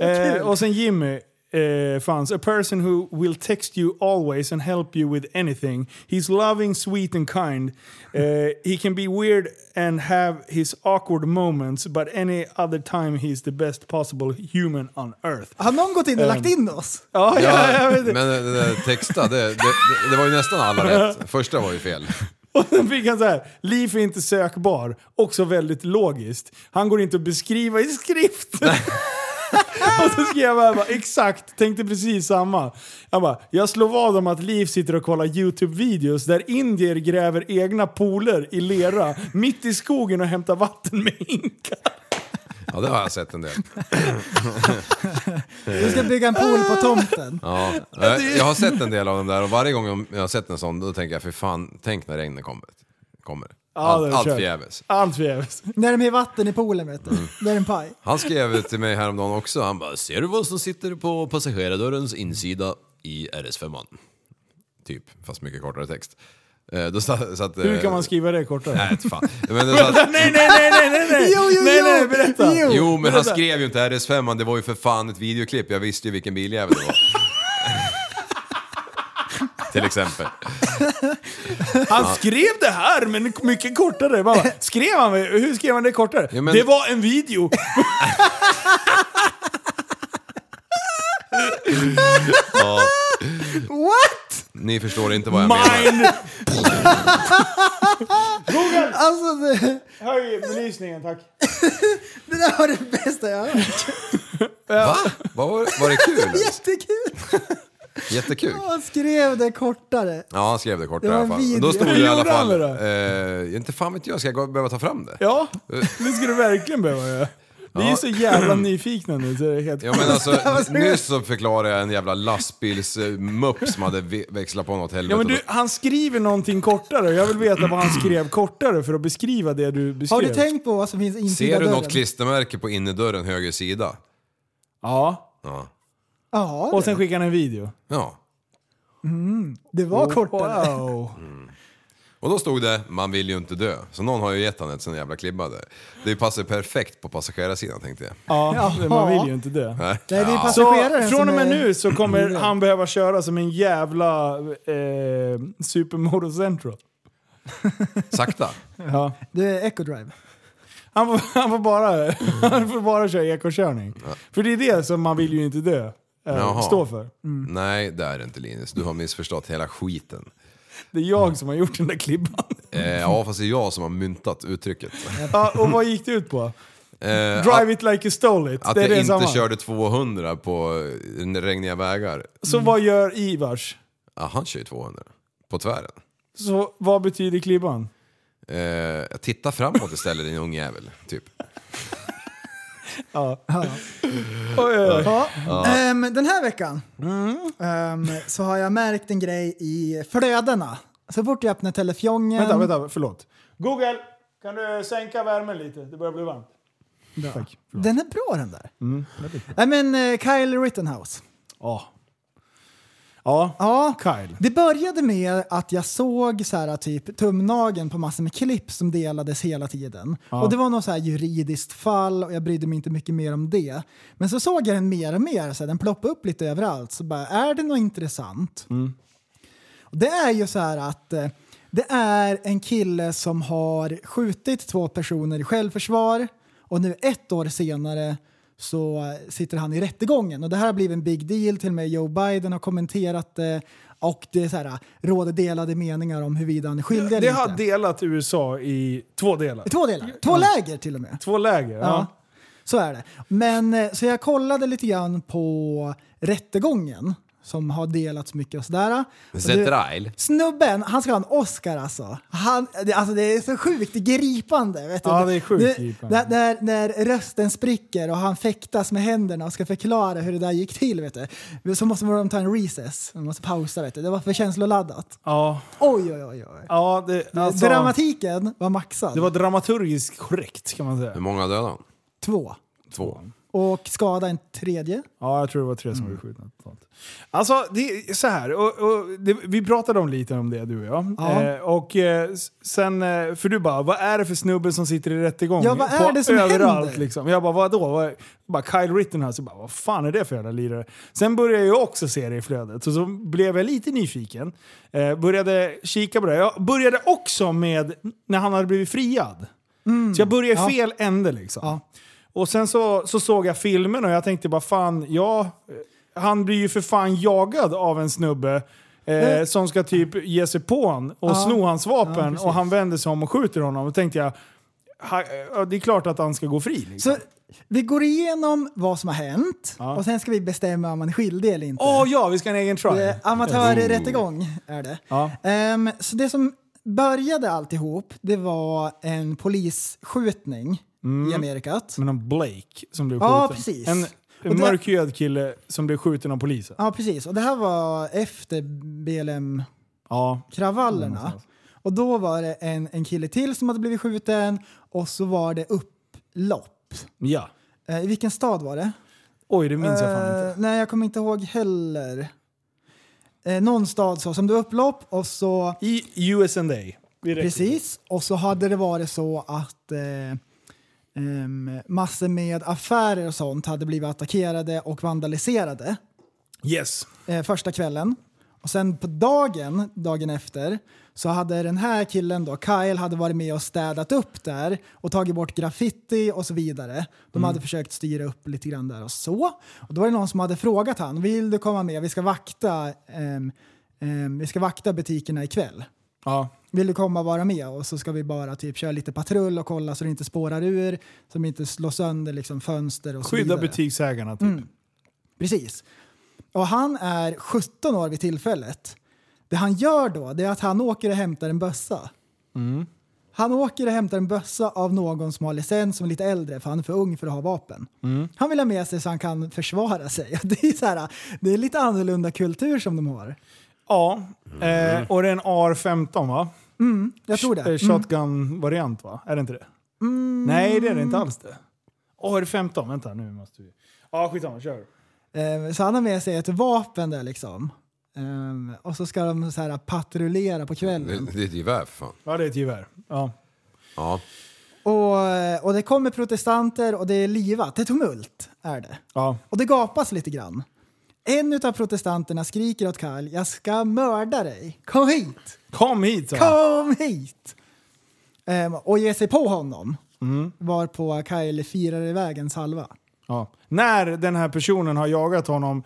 B: kul.
A: eh, och sen Jimmy. Eh, fanns. A person who will text you always and help you with anything. He's loving, sweet and kind. Eh, he can be weird and have his awkward moments but any other time he's the best possible human on earth.
B: Har någon gått in och
A: Ehm.
B: lagt in oss?
A: Ja, ja, jag vet
C: men eh,
A: det.
C: det där texta, det, det, det, det var ju nästan alla rätt. Första var ju fel.
A: Och sen fick han så här, Liv är inte sökbar. Också väldigt logiskt. Han går inte att beskriva i skrift. och så skrev jag bara, exakt, tänkte precis samma. Jag bara, jag slår vad om att Liv sitter och kollar YouTube-videos där indier gräver egna pooler i lera mitt i skogen och hämtar vatten med hinkar.
C: Ja, det har jag sett en del.
B: Du ska bygga en pool på tomten.
C: Ja. Jag, Eh, jag har sett en del av dem där och varje gång jag har sett en sån då tänker jag för fan, tänk när regnet kommer. kommer.
A: det
C: Allt,
A: är
C: allt
A: kört.
C: förgäves.
A: Allt förgäves.
B: När de är vatten i poolen vet du.
A: Mm.
B: Då är det en paj.
C: Han skrev till mig häromdagen också, han bara “Ser du vad som sitter på passagerardörrens insida i RS5?” Typ, fast mycket kortare text. Eh, Då satt, satt,
A: Hur kan man skriva det kortare?
C: Nej, eh, fan. Men då satt,
A: Nej, nej, nej, nej, nej, nej!
B: Jo, jo,
A: nej,
B: jo.
A: nej, berätta!
B: Jo.
C: Jo, men han skrev ju inte RS5, det var ju för fan ett videoklipp. Jag visste ju vilken biljävel det var. Till exempel.
A: Han skrev det här, men mycket kortare. Man Bara, skrev han, hur skrev han det kortare?
C: Ja, men-
A: Det var en video.
B: What?
C: Ni förstår inte vad jag menar.
A: Mine!
B: Alltså det,
A: Höj belysningen tack.
B: det där var det bästa jag har hört.
C: Va? Var, var det kul?
B: Jättekul!
C: Jättekul.
B: Han skrev det kortare.
C: Ja, han skrev det kort i
B: Det var
C: alla
B: en
C: fall.
B: video.
C: Då stod det
A: Hur
C: i alla
A: gjorde han
C: fall...
A: med
C: Eh, inte fan vet jag, ska jag gå- behöva ta fram det?
A: Ja, det ska du verkligen behöva göra. Vi är
C: Eh. Ja.
A: så jävla nyfikna nu så det är helt
C: Ja men alltså, nyss så förklarade jag en jävla lastbilsmupp som hade ve- växlat på något helvete.
A: Ja, men du, han skriver någonting kortare jag vill veta vad han skrev kortare för att beskriva det du beskrev.
B: Har du tänkt på vad som finns insida
C: Ser du
B: dörren?
C: något klistermärke på innerdörren höger sida?
A: Ja,
C: Ja.
B: Ja,
A: och sen skickar han en video.
C: ja.
B: det var kortare.
A: Wow.
C: Och då stod det “Man vill ju inte dö”, så någon har ju gett han ett sån jävla klibba där. Det passar ju perfekt på passagerarsidan tänkte jag.
A: Ja,
B: Jaha.
A: man vill ju inte dö.
C: Nej.
B: Nej, det är
C: Ja.
A: Så
B: passageraren
A: från och med
B: som är-
A: nu så kommer han behöva köra som en jävla eh, Supermoto Central.
C: Sakta.
A: Ja.
B: Du är Ecodrive.
A: Han, får, han, får bara, han får bara köra ekokörning. För det är det som man vill ju inte dö. Eh,
C: Jaha.
A: stå för.
C: Nej, det är det inte Linus. Du har missförstått hela skiten.
A: Det är jag som har gjort den där klibban.
C: Eh, ja, fast det är jag som har myntat uttrycket.
A: Mm. Ja, och vad gick det ut på?
C: Eh,
A: Drive it like you stole it.
C: Att
A: det är
C: jag
A: det
C: inte
A: samma.
C: körde 200 på eh, regniga vägar.
A: Så vad gör Ivars?
C: Ja, han kör ju 200. På tvären.
A: Så vad betyder klibban?
C: Eh, titta framåt istället din ungjävel, typ.
A: Oj, oj, oj.
B: Ja. Ehm, den här veckan ehm, så har jag märkt en grej i flödena. Så fort jag öppnar telefjongen...
A: Vänta, vänta, förlåt. Google, kan du sänka värmen lite? Det börjar bli varmt. Tack.
B: Den är bra den där.
A: Mm.
B: Nej men eh, Kyle Rittenhouse.
A: Ja. Ja,
B: Ja,
A: Kyle.
B: Det började med att jag såg så här, typ tumnagen på massor med klipp som delades hela tiden. Och det var något så här juridiskt fall och jag brydde mig inte mycket mer om det. Men så såg jag den mer och mer, så här, den ploppade upp lite överallt. Så bara, är det något intressant? Och det är ju så här att eh, det är en kille som har skjutit två personer i självförsvar och nu ett år senare så sitter han i rättegången och det här har blivit en big deal till och med Joe Biden har kommenterat det och det är så här, råder delade meningar om huruvida han är skyldig eller
A: Det
B: inte.
A: har delat USA i två delar.
B: Två delar, två läger till och med.
A: Två läger. Ja.
B: Ja. Så är det. Men eh, så jag kollade lite grann på rättegången som har delats mycket och sådär. Och det-
C: Zetrail.
B: Snubben, han ska ha en Oscar alltså. Han, det- alltså det är så sjukt gripande. Vet du?
A: Ja, det är sjukt gripande.
B: När, när, när rösten spricker och han fäktas med händerna och ska förklara hur det där gick till. Vet du? Så måste de ta en recess, de måste pausa. Vet du? Det var för känsloladdat.
A: Ja.
B: Oj, oj, oj. oj.
A: Ja, det, alltså,
B: Dramatiken var maxad.
A: det var dramaturgiskt korrekt kan man säga.
C: Hur många dödade han?
B: Två.
C: Två.
B: Och skada en tredje.
A: Ja, jag tror det var tre som
B: Mm.
A: blev skjutna. totalt. Alltså, det är så här. Och, och, det, vi pratade om lite om det, du och jag.
B: Ja.
A: Eh, och eh, s- sen, eh, för du bara, vad är det för snubbe som sitter i rättegång?
B: Ja, vad är
A: på
B: det som
A: överallt,
B: händer?
A: Liksom. Jag bara, vadå? Vad, bara Kyle Rittenhouse. Jag bara, vad fan är det för jävla lirare? Sen började jag också se det i flödet. Så, så blev jag lite nyfiken. Eh, började kika på det. Jag började också med när han hade blivit friad. Så jag började i
B: Mm. Ja.
A: fel ände liksom.
B: Ja.
A: Och sen så, så såg jag filmen och jag tänkte bara fan, ja, eh, han blir ju för fan jagad av en snubbe eh, som ska typ ge sig på han och sno hans
B: Mm. Ja,
A: vapen
B: precis.
A: och han vänder sig om och skjuter honom. Och tänkte jag, ha, ja, det är klart att han ska gå fri. Liksom.
B: Så vi går igenom vad som har hänt
A: Ja.
B: och sen ska vi bestämma om man är skyldig eller inte.
A: Åh ja, vi ska ha en egen
B: Det
A: try.
B: är Amatörrättegång är det.
A: Ja.
B: Ehm, så det som började alltihop, det var en polisskjutning
A: Mm.
B: i Amerikat.
A: Men om Blake som blev
B: Ja,
A: skjuten.
B: precis.
A: En,
B: Och
A: en
B: det-
A: mörkhyad kille som blev skjuten av polisen.
B: Ja, precis. Och det här var efter
A: Ja.
B: BLM-kravallerna.
A: Mm.
B: Och då var det en, en kille till som hade blivit skjuten och så var det upplopp.
A: ja.
B: Eh, I vilken stad var det?
A: Oj, det minns jag fan inte.
B: Eh, nej, jag kommer inte ihåg heller. Eh, någon stad så, som det var upplopp och så...
A: I USA. Direkt.
B: Precis, och så hade det varit så att eh, ehm, massor med affärer och sånt hade blivit attackerade och vandaliserade
A: Yes.
B: eh, första kvällen. Och sen på dagen, dagen efter, så hade den här killen då, Kyle, hade varit med och städat upp där och tagit bort graffiti och så vidare. De hade försökt styra upp lite grann där och så. Och då var det någon som hade frågat han, vill du komma med? Vi ska vakta, ehm, ehm, vi ska vakta butikerna ikväll.
A: Ja.
B: Vill du komma och vara med? Och så ska vi bara typ köra lite patrull och kolla så det inte spårar ur, så det inte slår sönder liksom fönster och så
A: Skydda
B: vidare.
A: butiksägarna typ.
B: Precis. Och han är 17 år vid tillfället. Det han gör då, det är att han åker och hämtar en bössa.
A: Mm.
B: Han åker och hämtar en bössa av någon som har licens, som är lite äldre, för han är för ung för att ha vapen.
A: Mm.
B: Han vill ha med sig så han kan försvara sig. Det är, så här, det är lite annorlunda kultur som de har.
A: Ja, eh, och det är en AR-15 va?
B: Jag tror det. Mm.
A: Eh, Shotgun-variant va? Är det inte det? Nej, det är det inte alls det. AR-15, vänta nu måste vi... Ja, skitsamma, kör.
B: Eh, Så han har med sig ett vapen där liksom. Eh, Och så ska de så här patrullera på
C: Det,
B: kvällen.
C: det är ett gevär för fan.
A: Ja, det är ett gevär. Ja.
C: Ja.
B: Och, och det kommer protestanter och det är livat. Det är tumult, är det.
A: Ja.
B: Och det gapas lite grann. En av protestanterna skriker åt Karl, jag ska mörda dig. Kom hit!
A: Kom hit sa han.
B: Kom hit! Ehm, och ger sig på honom. Varpå Kyle firar iväg en salva.
A: ja. När den här personen har jagat honom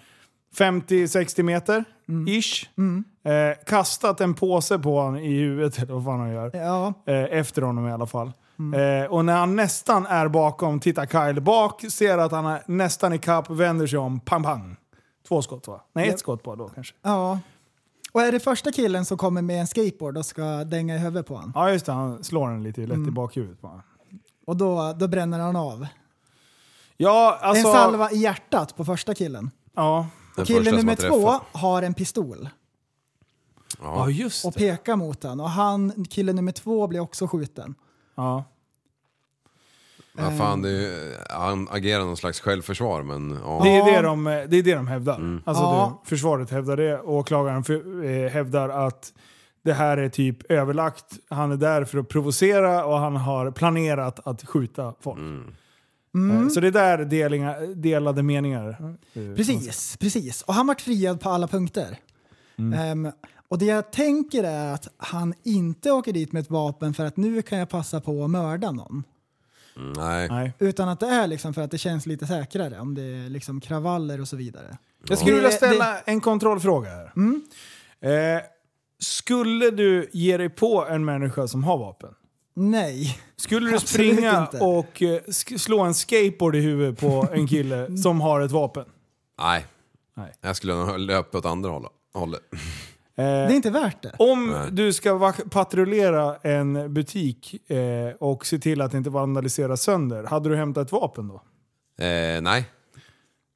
A: 50-60 meter,
B: Mm.
A: ish. Eh, kastat en påse på honom i huvudet, eller vad fan han gör.
B: Ja,
A: Eh, efter honom i alla fall. Eh, och när han nästan är bakom, tittar Kyle bak, ser att han är nästan i kapp, vänder sig om, pang pang. Två skott va? Nej, ett skott bara då kanske.
B: ja. Och är det första killen som kommer med en skateboard och ska dänga i huvudet på honom.
A: Ja just det, han slår den lite lätt i bakhuvudet bara.
B: Och då, då bränner han av.
A: Ja, alltså...
B: en salva i hjärtat på första killen.
A: Ja.
C: Den första
B: Killen
C: som
B: nummer
C: man träffar.
B: två har en pistol.
A: ja, just
B: och pekar mot han. Och han, kille nummer två blir också skjuten.
A: Ja.
C: Ja, fan, det är, ju- han agerar någon slags självförsvar men ja.
A: Det, är det, de, det är det de hävdar. Alltså,
B: Ja.
A: det, försvaret hävdar det, och åklagaren för, eh, hävdar att det här är typ överlagt. Han är där för att provocera och han har planerat att skjuta folk. Eh, Så det är där delinga, delade meningar. eh,
B: Precis, precis. Och han vart friad på alla punkter.
A: Mm.
B: Ehm, och det jag tänker är att han inte åker dit med ett vapen för att nu kan jag passa på att mörda någon.
C: Nej.
A: Nej.
B: Utan att det är liksom för att det känns lite säkrare om det är liksom kravaller och så vidare.
A: Jag skulle vilja
B: Det-
A: ställa en kontrollfråga här. Eh, skulle du ge dig på en människa som har vapen?
B: Nej.
A: Skulle du
B: Absolut
A: springa
B: inte.
A: och eh, sk- slå en skateboard i huvudet på en kille som har ett vapen?
C: Nej.
A: Nej.
C: Jag skulle nog löpa åt andra hålla- hållet.
A: Eh,
B: Det är inte värt det.
A: Om du ska vak- patrullera en butik eh, och se till att inte vandalisera sönder, hade du hämtat ett vapen då?
C: Eh, nej.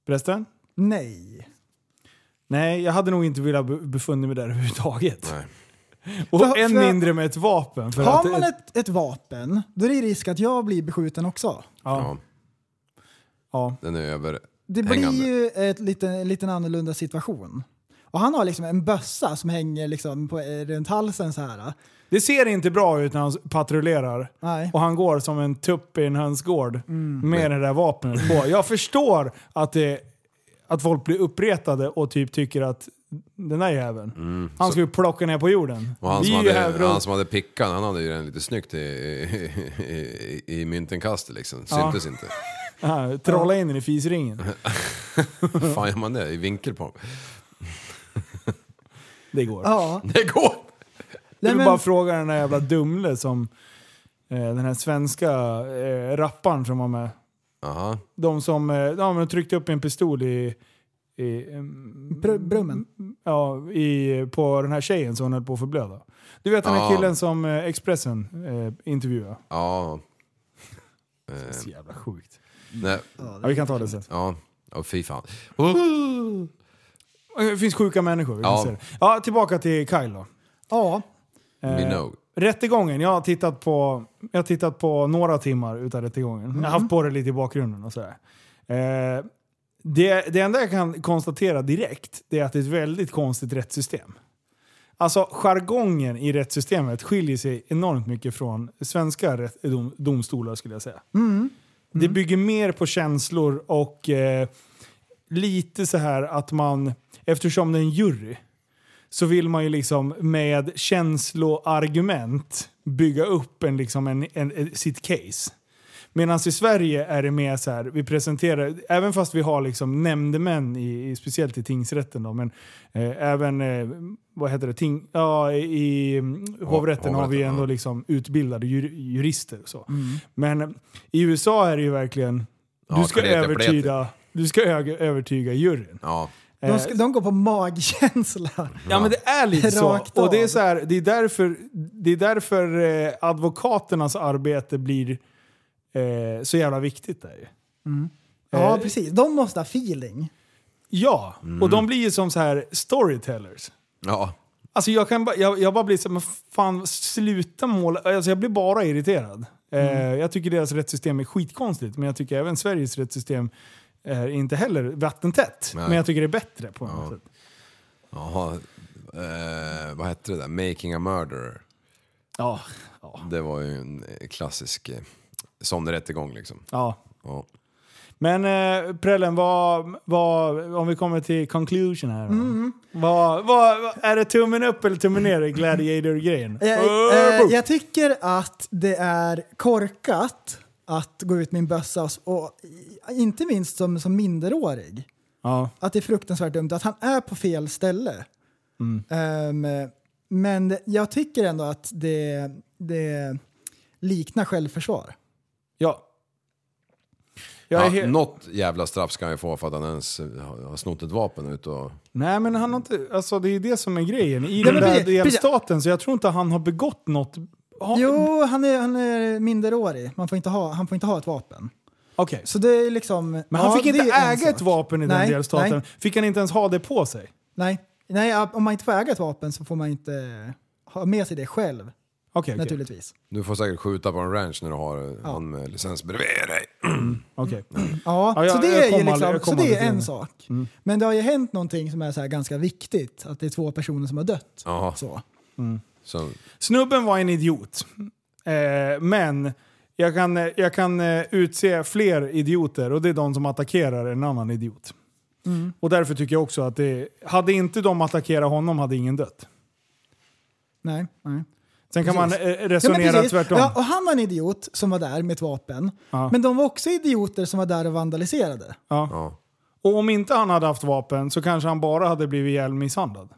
A: Prästen?
B: Nej.
A: Nej, jag hade nog inte velat be- befunnit mig där överhuvudtaget.
C: Nej.
A: Och
B: För-
A: än
B: för-
A: mindre med ett vapen. För att,
B: Har man ett, ett vapen, då är det risk att jag blir beskjuten också.
A: Ja.
C: Ja.
B: Ja.
C: Den är över...
B: Det
C: Hängande.
B: blir ju ett lite, en liten annorlunda situation. Och han har liksom en bössa som hänger liksom på, eh, runt halsen så här.
A: Det ser inte bra ut när han patrullerar.
B: Nej. Mm.
A: Och han går som en tupp i en hönsgård med det där vapnet på. Jag förstår att, det, att folk blir uppretade och typ tycker att den där jäveln, han ska ju plocka ner på jorden.
C: Mm. Och han
A: Vi
C: som,
A: är ju här för
C: hade,
A: att-
C: han som hade pickan, han hade ju den lite snyggt i, i, i, i myntinkastet liksom. Syntes inte.
A: här, trolla in den i fisringen.
C: fan gör man det? I vinkel på
A: Det går.
B: Ja.
C: Det går!
A: Jag
B: Nej,
A: vill
B: men-
A: bara fråga den där jävla Dumle som eh, den här svenska eh, rapparen som var med.
C: Aha.
A: De som eh, ja, men tryckte upp en pistol i, i, eh,
B: Br- brummen.
A: ja, i, på den här tjejen som hon höll på att förblöda. Du vet den här
C: Ja.
A: killen som eh, Expressen eh, intervjuade.
C: Ja.
A: Så jävla sjukt.
C: Nej.
A: Ja, vi kan ta det sen.
C: Ja. Åh fy fan. Oh.
A: Det finns sjuka människor. Vi
C: Ja.
A: ja. Ja, tillbaka till Kyle då.
B: Ja.
A: Eh.
C: Minogue.
A: Rättegången, jag har tittat på, jag har tittat på några timmar utav rättegången. Jag har haft på det lite i bakgrunden och sådär. Eh, det, det enda jag kan konstatera direkt, det är att det är ett väldigt konstigt rättssystem. Alltså jargongen i rättssystemet skiljer sig enormt mycket från svenska rätt, dom, domstolar skulle jag säga. Det bygger mer på känslor och eh, lite så här att man, eftersom det är en jury, så vill man ju liksom med känsloargument bygga upp en, liksom en, en, en, sitt case. Medan i Sverige är det mer så här, vi presenterar, även fast vi har liksom nämndemän, i, i, speciellt i tingsrätten då, men eh, även, eh, vad heter det, ting, ja, i, i hovrätten, har vi
C: hovrätten,
A: ändå
C: ja. Mm.
A: liksom utbildade jur, jurister. Och så. Men i USA är det ju verkligen,
C: Ja,
A: du ska,
C: klete,
A: övertyga, du ska ö- övertyga juryn.
C: Ja.
A: Eh.
B: De, ska, de går på magkänsla.
A: Ja men det är lite så.
B: Rakt
A: Och det är,
B: av.
A: så här, det är därför, det är därför eh, advokaternas arbete blir eh, så jävla viktigt. Där. ju.
B: Ja, precis. De måste ha feeling.
A: Ja,
C: Mm.
A: och de blir ju som så här storytellers.
C: Ja.
A: Alltså jag, kan ba, jag, jag bara blir så här, men fan sluta måla. Alltså jag blir bara irriterad.
C: Mm.
A: Eh, jag tycker deras rättssystem är skitkonstigt, men jag tycker även Sveriges rättssystem är inte heller vattentätt.
C: Nej.
A: Men jag tycker det är bättre på något sätt.
C: Jaha. Eh, vad hette det där? Making a murderer.
A: Ja,
C: Det var ju en eh, klassisk eh, sån rättegång liksom.
A: ja.
C: Ja.
A: Men eh, Prellen, vad, vad, om vi kommer till conclusion här. då.
B: Mm-hmm.
A: Vad, vad, vad- är det tummen upp eller tummen ner i Gladiator-grejen?
B: Jag,
A: Öh,
B: eh, jag tycker att det är korkat att gå ut med en bössa och, och inte minst som, som minderårig.
A: ja.
B: Att det är fruktansvärt dumt att han är på fel ställe.
A: Mm.
B: Ehm, men jag tycker ändå att det, det liknar självförsvar.
A: ja. Jag är
C: Ja,
A: helt-
C: något jävla straff ska han ju få för att han ens eh, har har snott ett vapen ut och...
A: Nej men han har inte, alltså det är det som är grejen. I
B: men
A: den där
B: precis, precis.
A: delstaten så jag tror inte han har begått något. Ha,
B: Jo, han är, han är minderårig. Man får inte ha, han får inte ha ett vapen.
A: Okej.
B: Så det är liksom...
A: Men han
B: ja,
A: fick
B: det
A: inte
B: är en
A: äga
B: sak.
A: ett vapen i
B: Nej,
A: den delstaten.
B: nej.
A: Fick han inte ens ha det på sig?
B: Nej. Nej, ja, om man inte får äga ett vapen så får man inte ha med sig det själv,
A: Okej, okej.
B: naturligtvis.
C: Du får säkert skjuta på en ranch när du har eh, han med licens bredvid dig.
A: okej.
B: Ja,
A: Ja, jag-
B: så det
A: jag
B: är
A: kommer
B: ju
A: aldrig-
B: liksom,
A: jag
B: så
A: kommer
B: det
A: aldrig
B: är
A: till det.
B: en
A: Mm.
B: sak. Men det har ju hänt någonting som är så här ganska viktigt, att det är två personer som har dött.
C: Jaha.
B: Så.
C: Så,
A: Snubben var en idiot. Eh, men jag kan, jag kan eh, utse fler idioter och det är de som attackerar en annan idiot.
B: Mm.
A: Och därför tycker jag också att det, hade inte de attackerat honom hade ingen dött.
B: Nej, nej.
A: Sen kan
B: Precis.
A: man eh,
B: Ja, men
A: resonera
B: precis.
A: tvärtom.
B: Ja, och han var en idiot som var där med ett vapen.
A: Ja.
B: Men de var också idioter som var där och vandaliserade.
A: Ja.
C: ja.
A: Och om inte han hade haft vapen så kanske han bara hade blivit ihjäl misshandlad.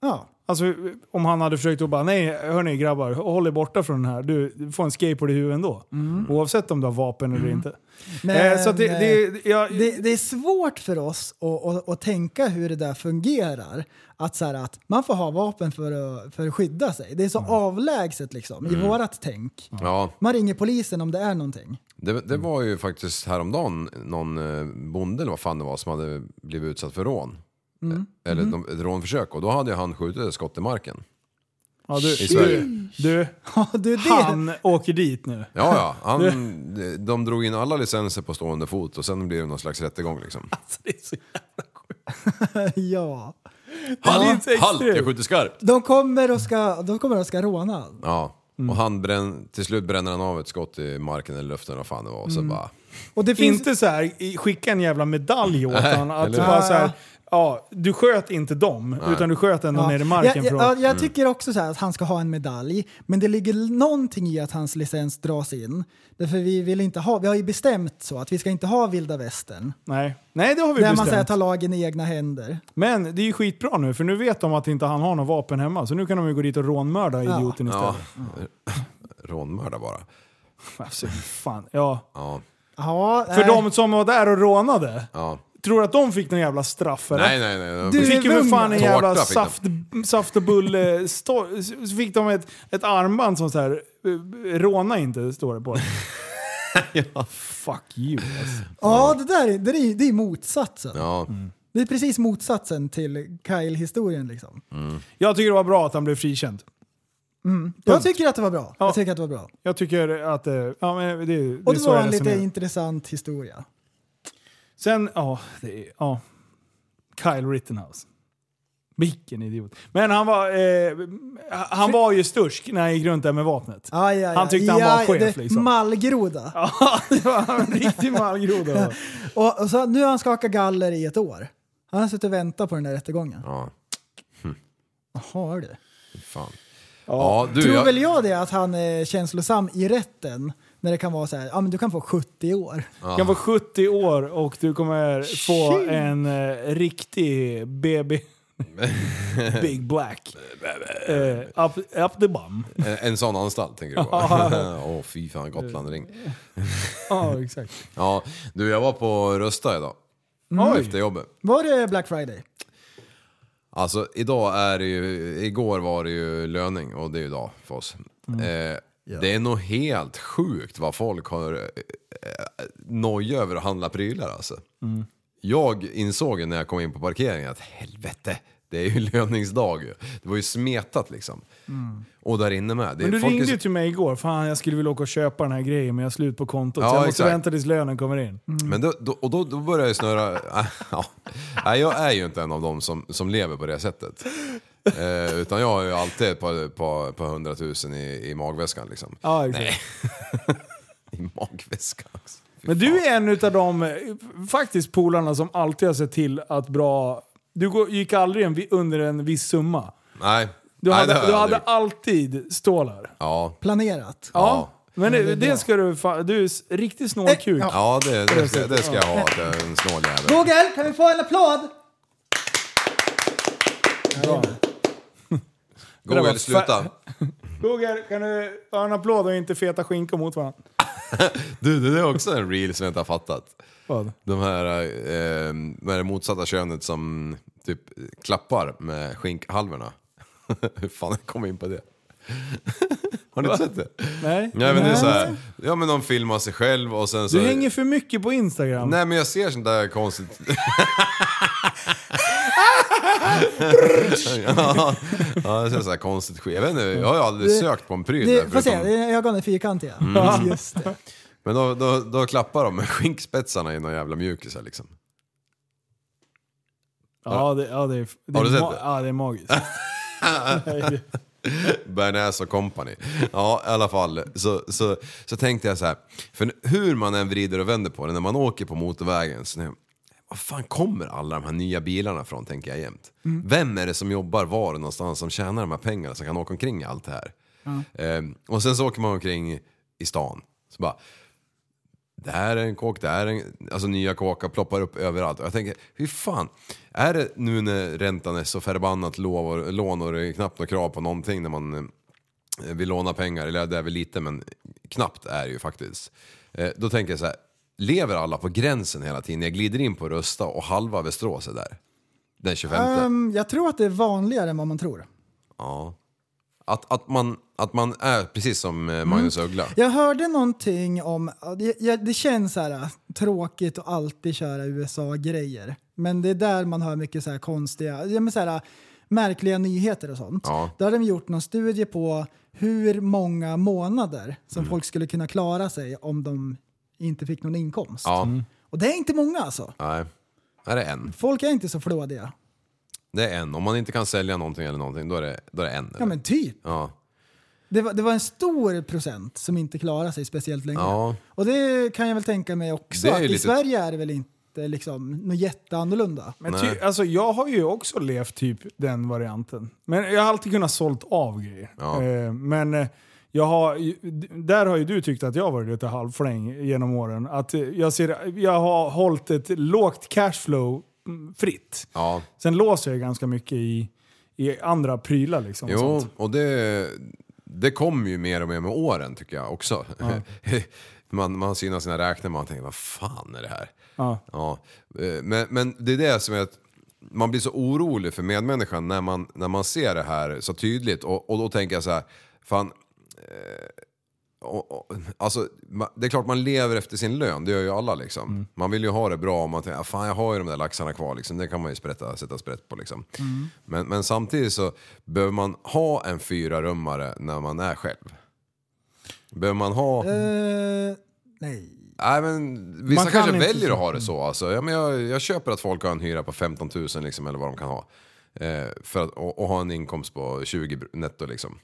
B: Ja.
A: Alltså om han hade försökt att bara nej hörni grabbar håll er borta från den här. Du, du får en skateboard i huvudet ändå. Oavsett om du har vapen eller inte.
B: Mm. Men,
A: eh, så att det, det, jag,
B: Det, det är svårt för oss att, att, att tänka hur det där fungerar. Att, så här, att man får ha vapen för att, för att skydda sig. Det är så avlägset liksom, i
A: Mm.
B: vårat tänk.
C: ja.
B: Man ringer polisen om det är någonting.
C: Det, det var ju faktiskt häromdagen någon eh, bonde eller vad fan det var som hade blivit utsatt för rån. Eh, Eller ett- ett rånförsök och då hade ju han skjutit ett skott i marken.
A: Ja, du,
C: i Sverige.
A: Du,
B: Ja, du, det.
A: han åker dit nu.
C: Ja, ja. Han, de drog in alla licenser på stående fot och sen blir det någon slags rättegång liksom.
A: Alltså, det är så jävla sjukt.
B: Ja.
C: Halt,
A: extremt.
C: halt jag skjuter skarpt!
B: De kommer och ska, de kommer och ska råna.
C: Ja. Och han brän, till slut bränner han av ett skott i marken eller luften eller vad fan det var. Och så bara...
B: Och det finns...
A: Inte så här, i- skicka en jävla medalj åt honom. Att
C: eller-
A: bara så här, ja, du sköt inte dem, utan du sköt ändå ner i marken.
B: jag,
A: från,
B: jag, jag tycker också så här att han ska ha en medalj, men det ligger någonting i att hans licens dras in. Därför vi vill inte ha, vi har ju bestämt så att vi ska inte ha vilda västern.
A: nej. nej, det har vi
B: Där man
A: bestämt.
B: säger tar lagen i egna händer.
A: Men det är ju skitbra nu, för nu vet de att inte han har något vapen hemma. Så nu kan de ju gå dit och rånmörda idioten
C: Ja.
A: istället.
C: Rånmörda bara.
A: Alltså, fan. Ja.
C: Ja.
B: Ja, eh,
A: För
B: nej.
A: de som var där och rånade,
C: ja.
A: tror du att de fick någon jävla straff eller?
C: Nej, nej, nej.
B: Du-
A: De fick ju för fan en
C: Tårta
A: jävla
C: fick de.
A: saft, saft och bulle... stå- Så fick de ett, ett armband som så här... eh, Råna inte, står det på. Fuck you. Alltså.
B: ja det där är- det är, det är motsatsen.
C: Ja.
B: Det är precis motsatsen till Kyle-historien liksom.
A: Jag tycker det var bra att han blev frikänd.
B: Jag tycker att det var bra.
A: Ja.
B: Jag tycker att det var bra.
A: Jag tycker att... eh, Ja, men det, det är
B: Och det
A: så
B: var
A: jag
B: en lite
A: resonerar.
B: intressant historia.
A: Sen, ja, det är, ja. Kyle Rittenhouse. Vilken idiot. Men han var, eh, han var ju stursk när han gick runt där med vapnet.
B: Ja, ja, ja.
A: Han tyckte han
B: ja,
A: var chef,
B: det-
A: liksom.
B: Mallgroda.
A: Ja, det var en riktig mallgroda.
B: Och, och så, nu har han skakat galler i ett år. Han har suttit och väntat på den där rättegången.
C: Ja.
B: Jaha du.
C: Fan. Ja, du,
B: Tror väl
C: jag,
B: jag det att han är känslosam i rätten när det kan vara så här, ja men du kan få 70 år.
A: Du kan vara 70 år och du kommer få
B: Shit.
A: en eh, riktig BB. Big Black. Eh, up, up the bum.
C: Eh, en sån anstalt tänker du på? Åh fy fan, Gotlandring.
A: Ja, exakt.
C: Ja, du jag var på Rösta idag. Efter jobbet.
B: Var det Black Friday?
C: Alltså idag är det ju, igår var det ju löning och det är ju idag för oss.
A: Mm.
C: Eh, Det är nog helt sjukt vad folk har eh, eh, noja över att handla prylar alltså.
A: Mm.
C: Jag insåg ju när jag kom in på parkeringen att helvete, det är ju löningsdag ju. Det var ju smetat liksom. Och där inne med. Det,
A: Mm. Men du
C: folk är
A: ringde
C: så-
A: ju till mig igår. Fan, jag skulle vilja åka och köpa den här grejen men jag har slut på kontot.
C: Ja,
A: så jag måste
C: exakt. Mm.
A: vänta tills lönen kommer in.
C: Men då, då, och då, då börjar jag snurra... ja. Nej, jag är ju inte en av dem som, som lever på det sättet. Eh, utan jag har ju alltid ett par, par, par hundratusen i, i magväskan liksom.
A: Ja, exakt.
C: I magväskan. alltså. Fy
A: Men
C: fan.
A: du är en av de eh, faktiskt polarna som alltid har sett till att bra... Du går- gick aldrig en, vi- under en viss summa.
C: Nej.
A: Du
C: Nej,
A: hade,
C: det har jag
A: du hade
C: aldrig gjort.
A: alltid stålar.
C: Ja.
B: Planerat?
C: Ja.
A: Men det, det ska du fa- Du är s- riktigt snålkuk.
B: Eh,
C: Ja, det, det, ska, det ska jag ha. Att jag är en snål jävel.
B: Google, kan vi få en applåd?
A: Bra. där var
C: Google,
A: fa-
C: sluta.
A: Google, kan du ha en applåd och inte feta skinkor mot varandra?
C: Du, det är också en reel som jag inte har fattat.
A: Vad?
C: De här eh, med det motsatta könet som typ klappar med skinkhalvorna. Hur fan kom jag in på det? Har ni inte sett det?
A: Nej.
C: Nej men det är så här, ja men de filmar sig själv och sen så...
A: Du hänger för mycket på Instagram.
C: Nej men jag ser sånt där konstigt... ja, ja, jag ser så här konstigt skit. Jag vet inte, jag har ju aldrig sökt på en pryl där
B: Det, får se,
C: förutom-
B: ögonen är fyrkantiga. Just det.
C: Men då, då, då klappar de med skinkspetsarna i någon jävla mjukis här liksom.
A: Ja, det, ja, det, är- det
C: Har du
A: är
C: sett
A: ma-
C: det?
A: Ja, det är magiskt. Nej.
C: Bernäs och company. Ja, i alla fall. Så, så, så tänkte jag så här. För hur man än vrider och vänder på det när man åker på motorvägen. Så nu, vad fan kommer alla de här nya bilarna från tänker jag jämt. Vem är det som jobbar var någonstans som tjänar de här pengarna som kan åka omkring i allt det här? Ehm, och sen så åker man omkring i stan. Så bara, det här är en kåk, det här är en... Alltså nya kåkar ploppar upp överallt. Och jag tänker, hur fan? Är det nu när räntan är så förbannat låg och lån och det är knappt något krav på någonting när man eh, vill låna pengar, eller det är väl lite men knappt är det ju faktiskt. Eh, Då tänker jag så här, lever alla på gränsen hela tiden? Jag glider in på Rösta och halva Västerås är där. Den 25.
B: Ehm, jag tror att det är vanligare än vad man tror.
C: Ja. Att, att, man, att man är precis som eh, Magnus Uggla.
B: Jag hörde någonting om, ja, det, jag, det känns så här äh, tråkigt att alltid köra USA-grejer. Men det är där man hör mycket så här konstiga, ja, men så här, märkliga nyheter och sånt.
C: Ja.
B: Då hade de gjort någon studie på hur många månader som
C: Mm.
B: folk skulle kunna klara sig om de inte fick någon inkomst.
C: Ja,
B: Och det är inte många alltså.
C: nej. Är det en?
B: Folk är inte så flådiga.
C: Det är en. Om man inte kan sälja någonting eller någonting, då är det, då är det en. eller?
B: Ja men typ.
C: ja.
B: Det var, det var en stor procent som inte klarar sig speciellt länge.
C: Ja.
B: Och det kan jag väl tänka mig också.
C: Det är
B: Att
C: ju
B: I
C: lite-
B: Sverige är det väl inte liksom, något jätteannorlunda.
A: Men ty, alltså, jag har ju också levt typ den varianten. Men jag har alltid kunnat sålt av grejer.
C: Ja.
A: Eh, men eh, jag har, ju- d- där har ju du tyckt att jag har varit lite halvfläng genom åren. Att eh, jag, ser, jag har hållit ett lågt cashflow mm, fritt.
C: ja.
A: Sen låser jag ganska mycket i, i andra prylar liksom. och
C: Jo,
A: sånt.
C: och det, det kommer ju mer och mer med åren tycker jag också. man, man synar sina räkningar och man tänker, vad fan är det här?
A: Ja.
C: Ja, eh, men, men det är det som är att man blir så orolig för medmänniskan när man, när man ser det här så tydligt. Och, och då tänker jag så här, fan, eh, och, och, alltså, ma- det är klart man lever efter sin lön, det gör ju alla liksom. Man vill ju ha det bra om man tänker, "Ah, fan jag har ju de där laxarna kvar liksom, det kan man ju sprätta, sätta sprätt på liksom. Men, men samtidigt så behöver man ha en fyra rummare när man är själv. Behöver man ha...
B: Eh, nej.
C: Nej, men vissa
A: Man kan
C: kanske
A: inte Mm.
C: väljer
A: så-
C: att ha det så. Alltså. Ja, men jag, jag köper att folk har en hyra på 15 000 liksom, eller vad de kan ha. Eh, för att, och, och ha en inkomst på 20 br- netto. Liksom.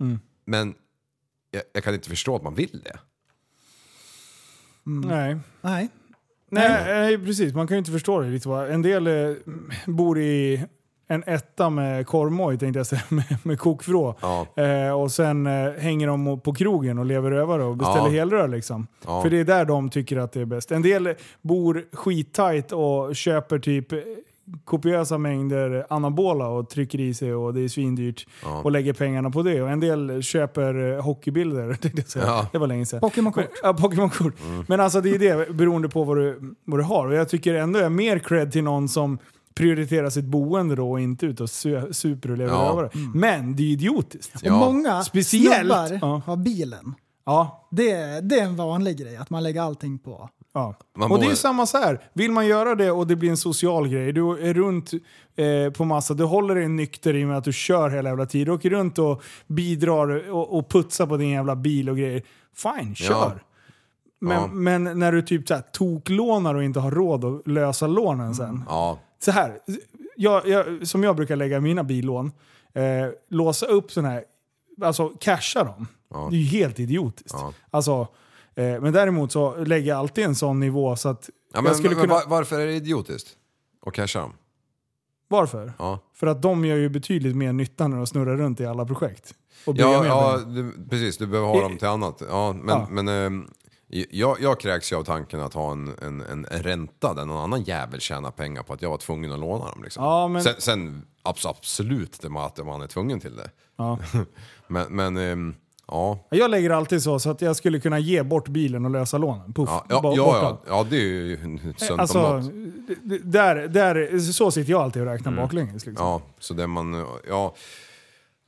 A: Mm.
C: Men jag, jag kan inte förstå att man vill det.
A: Nej.
B: Nej.
A: Nej, nej, precis. Man kan ju inte förstå det lite. va? En del eh, bor i en etta med korvmoj tänkte jag säga, med, med kokvrå.
C: Ja.
A: Eh, och sen eh, hänger de på krogen och lever rövare och beställer
C: Ja.
A: helrör liksom.
C: Ja.
A: För det är där de tycker att det är bäst. En del bor skittajt och köper typ eh, kopiösa mängder anabola och trycker i sig och det är svindyrt och lägger pengarna på det. Och en del köper eh, hockeybilder. tänkte jag säga.
C: Ja.
A: Det var länge sedan.
B: Pokémonkort.
A: Men- Ja, Pokémon-kort. Men alltså det är det, beroende på vad du, vad du har. Och jag tycker ändå jag är mer cred till någon som prioriterar sitt boende då och inte ut och su- super och lever
C: Ja.
A: över det. Men det är ju idiotiskt.
B: Och många
A: Speciellt.
B: snubbar
A: Ja.
B: har bilen.
A: Ja,
B: Det, är- det är en vanlig grej, att man lägger allting på.
A: ja.
C: Man
A: och det är
C: borde-
A: ju samma så här. Vill man göra det och det blir en social grej, du är runt eh, på massa, du håller dig nykter i och med att du kör hela jävla tiden. Du åker runt och bidrar och, och putsar på din jävla bil och grejer. Fine, kör!
C: Ja.
A: Men,
C: Ja.
A: men när du typ så här toklånar och inte har råd att lösa lånen sen.
C: Ja,
A: så här, jag, jag, som jag brukar lägga mina billån, eh, låsa upp sådana här, alltså casha dem. Det är ju helt idiotiskt.
C: Ja.
A: Alltså, eh, men däremot så lägger jag alltid en sån nivå så att
C: ja men,
A: jag skulle
C: men
A: kunna...
C: va- varför är det idiotiskt? Och casha dem?
A: varför?
C: Ja,
A: För att de gör ju betydligt mer nytta när de snurrar runt i alla projekt. Och bygger
C: ja,
A: mer
C: ja
A: pengar.
C: du, precis. Du behöver ha dem till annat. Ja, men,
A: Ja.
C: men ehm, jag, jag kräks ju av tanken att ha en, en, en ränta där någon annan jävel tjänar pengar på att jag var tvungen att låna dem. Liksom.
A: Ja, men-
C: Sen, sen abs- absolut det med att man är tvungen till det. men men ehm, ja.
A: Jag lägger alltid så, så att jag skulle kunna ge bort bilen och lösa lånen. Puff,
C: Ja, ja,
A: ba-
C: ja,
A: borta.
C: ja, ja, det är ju sunt om
A: Alltså,
C: något. Mm.
A: d- d- där, där, så sitter jag alltid och räknar baklänges. Liksom.
C: Ja, så det man... Ja,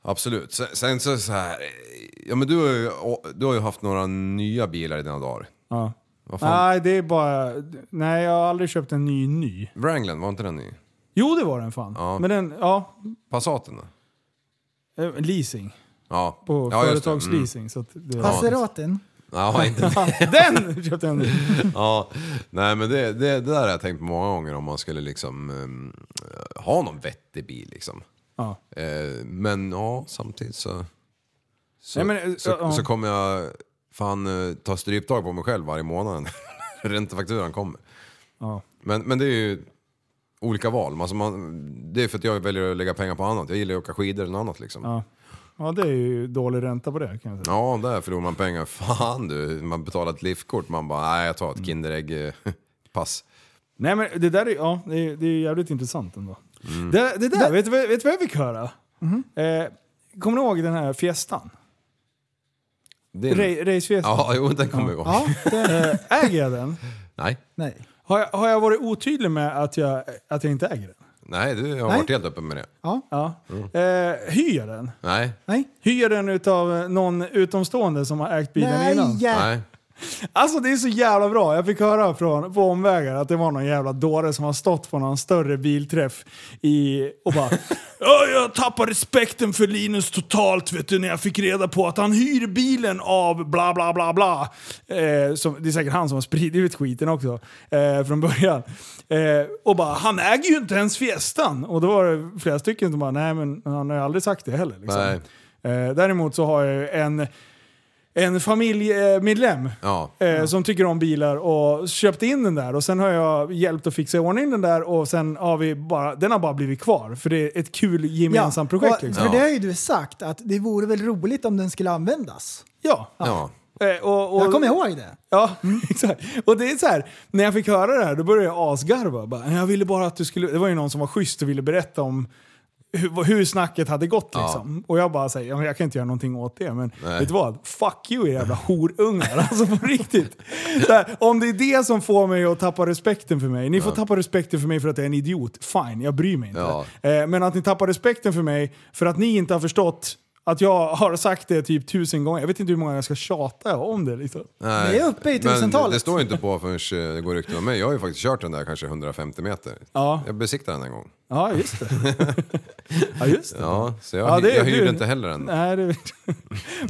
C: absolut. Sen, sen så, så här... Ja, men du har, ju, du har ju haft några nya bilar i dina dagar.
A: Ja.
C: Vad fan?
A: Nej, det är bara... Nej, jag har aldrig köpt en ny ny.
C: Wranglen, var inte den ny?
A: Jo, det var den fan.
C: Ja.
A: Men den, ja.
C: Passaten då?
A: eh, Leasing.
C: Ja.
A: På
C: ja, just det. Mm.
A: företagsleasing. Så att det,
B: Passeratin.
C: Ja, inte
A: Den köpte jag en ny.
C: ja. Nej, men det, det, det där har jag tänkt på många gånger om man skulle liksom ehm, ha någon vettig bil liksom.
A: Ja.
C: Eh, men ja, samtidigt så... Så,
A: Nej, men, eh,
C: så,
A: ja.
C: så kommer jag fan eh, ta stryptag på mig själv varje månad när räntefakturan kommer.
A: Ja.
C: Men, men det är ju olika val. Alltså man, det är för att jag väljer att lägga pengar på annat. Jag gillar ju att åka skidor eller något annat liksom.
A: Ja. ja, det är ju dålig ränta på det kan jag säga.
C: Ja, där förlorar man pengar. Fan du, man betalar ett liftkort. Man bara, nej jag
A: Mm.
C: tar ett eh, Kinderägg-pass.
A: Nej, men det där är, ja, det är, det är jävligt intressant ändå.
C: Mm.
A: Det, det där, vet du vad- vet du vad jag fick höra? Eh, kommer ni ihåg den här fiestan?
C: Din...
A: Ra- Racefiestan.
C: Mm. Ja, jo den kommer jag ihåg.
B: Ja, det,
A: Eh, äger jag den?
C: Nej,
B: nej.
A: Har jag, har jag varit otydlig med att jag, att jag inte äger den?
C: nej du jag har varit helt öppen med det.
A: Ja.
C: Mm.
A: Eh, hyr jag den?
C: Nej,
B: Nej.
A: Hyr den utav någon utomstående som har ägt bilen
B: Nej.
A: innan?
B: ja.
C: nej.
A: Alltså det är så jävla bra. Jag fick höra från, på omvägar att det var någon jävla dåre som har stått på någon större bilträff i, och bara "Ja, Jag tappade respekten för Linus totalt vet du när jag fick reda på att han hyr bilen av bla bla bla bla. Eh, som, det är säkert han som har spridit ut skiten också eh, från början. Eh, och bara han äger ju inte ens Fiestan. Och då var det flera stycken som bara nej men han har ju aldrig sagt det heller. Liksom.
C: Nej.
A: Eh, däremot så har jag ju en en familjemedlem
C: Ja.
A: eh, som tycker om bilar och köpte in den där och sen har jag hjälpt att fixa i ordning den där och sen har vi bara, den har bara blivit kvar för det är ett kul gemensamt projekt.
B: och-
A: Liksom.
B: För det
C: Ja.
B: har ju du sagt, att det vore väl roligt om den skulle användas.
A: Ja.
C: Ja.
A: Eh, och, och,
B: Jag kommer ihåg det.
A: Ja,
C: Mm.
A: exakt. Och det är så här, när jag fick höra det här då började jag asgarva. Bara, Jag ville bara att du skulle... Det var ju någon som var schysst och ville berätta om hur, hur snacket hade gått liksom. Och jag bara säger, jag kan inte göra någonting åt det. Men vet du vad? Fuck you jävla horungar. Alltså på riktigt. Så här, om det är det som får mig att tappa respekten för mig. Ni får tappa respekten för mig för att jag är en idiot. Fine, jag bryr mig inte.
C: Ja.
A: Eh, Men att ni tappar respekten för mig för att ni inte har förstått att jag har sagt det typ tusen gånger. Jag vet inte hur många jag ska tjata om det liksom.
C: Nej.
B: Vi är uppe i
C: Men
B: tusentalet.
C: det står ju inte på förrän eh, det går rykten om mig. Jag har ju faktiskt kört den där kanske 150 meter.
A: Ja.
C: Jag besiktade den en gång.
A: Ja, just det. ja, just det.
C: Ja, så jag,
A: Ja, det-
C: jag hyrde
A: du-
C: inte heller den.
A: Nej, det Men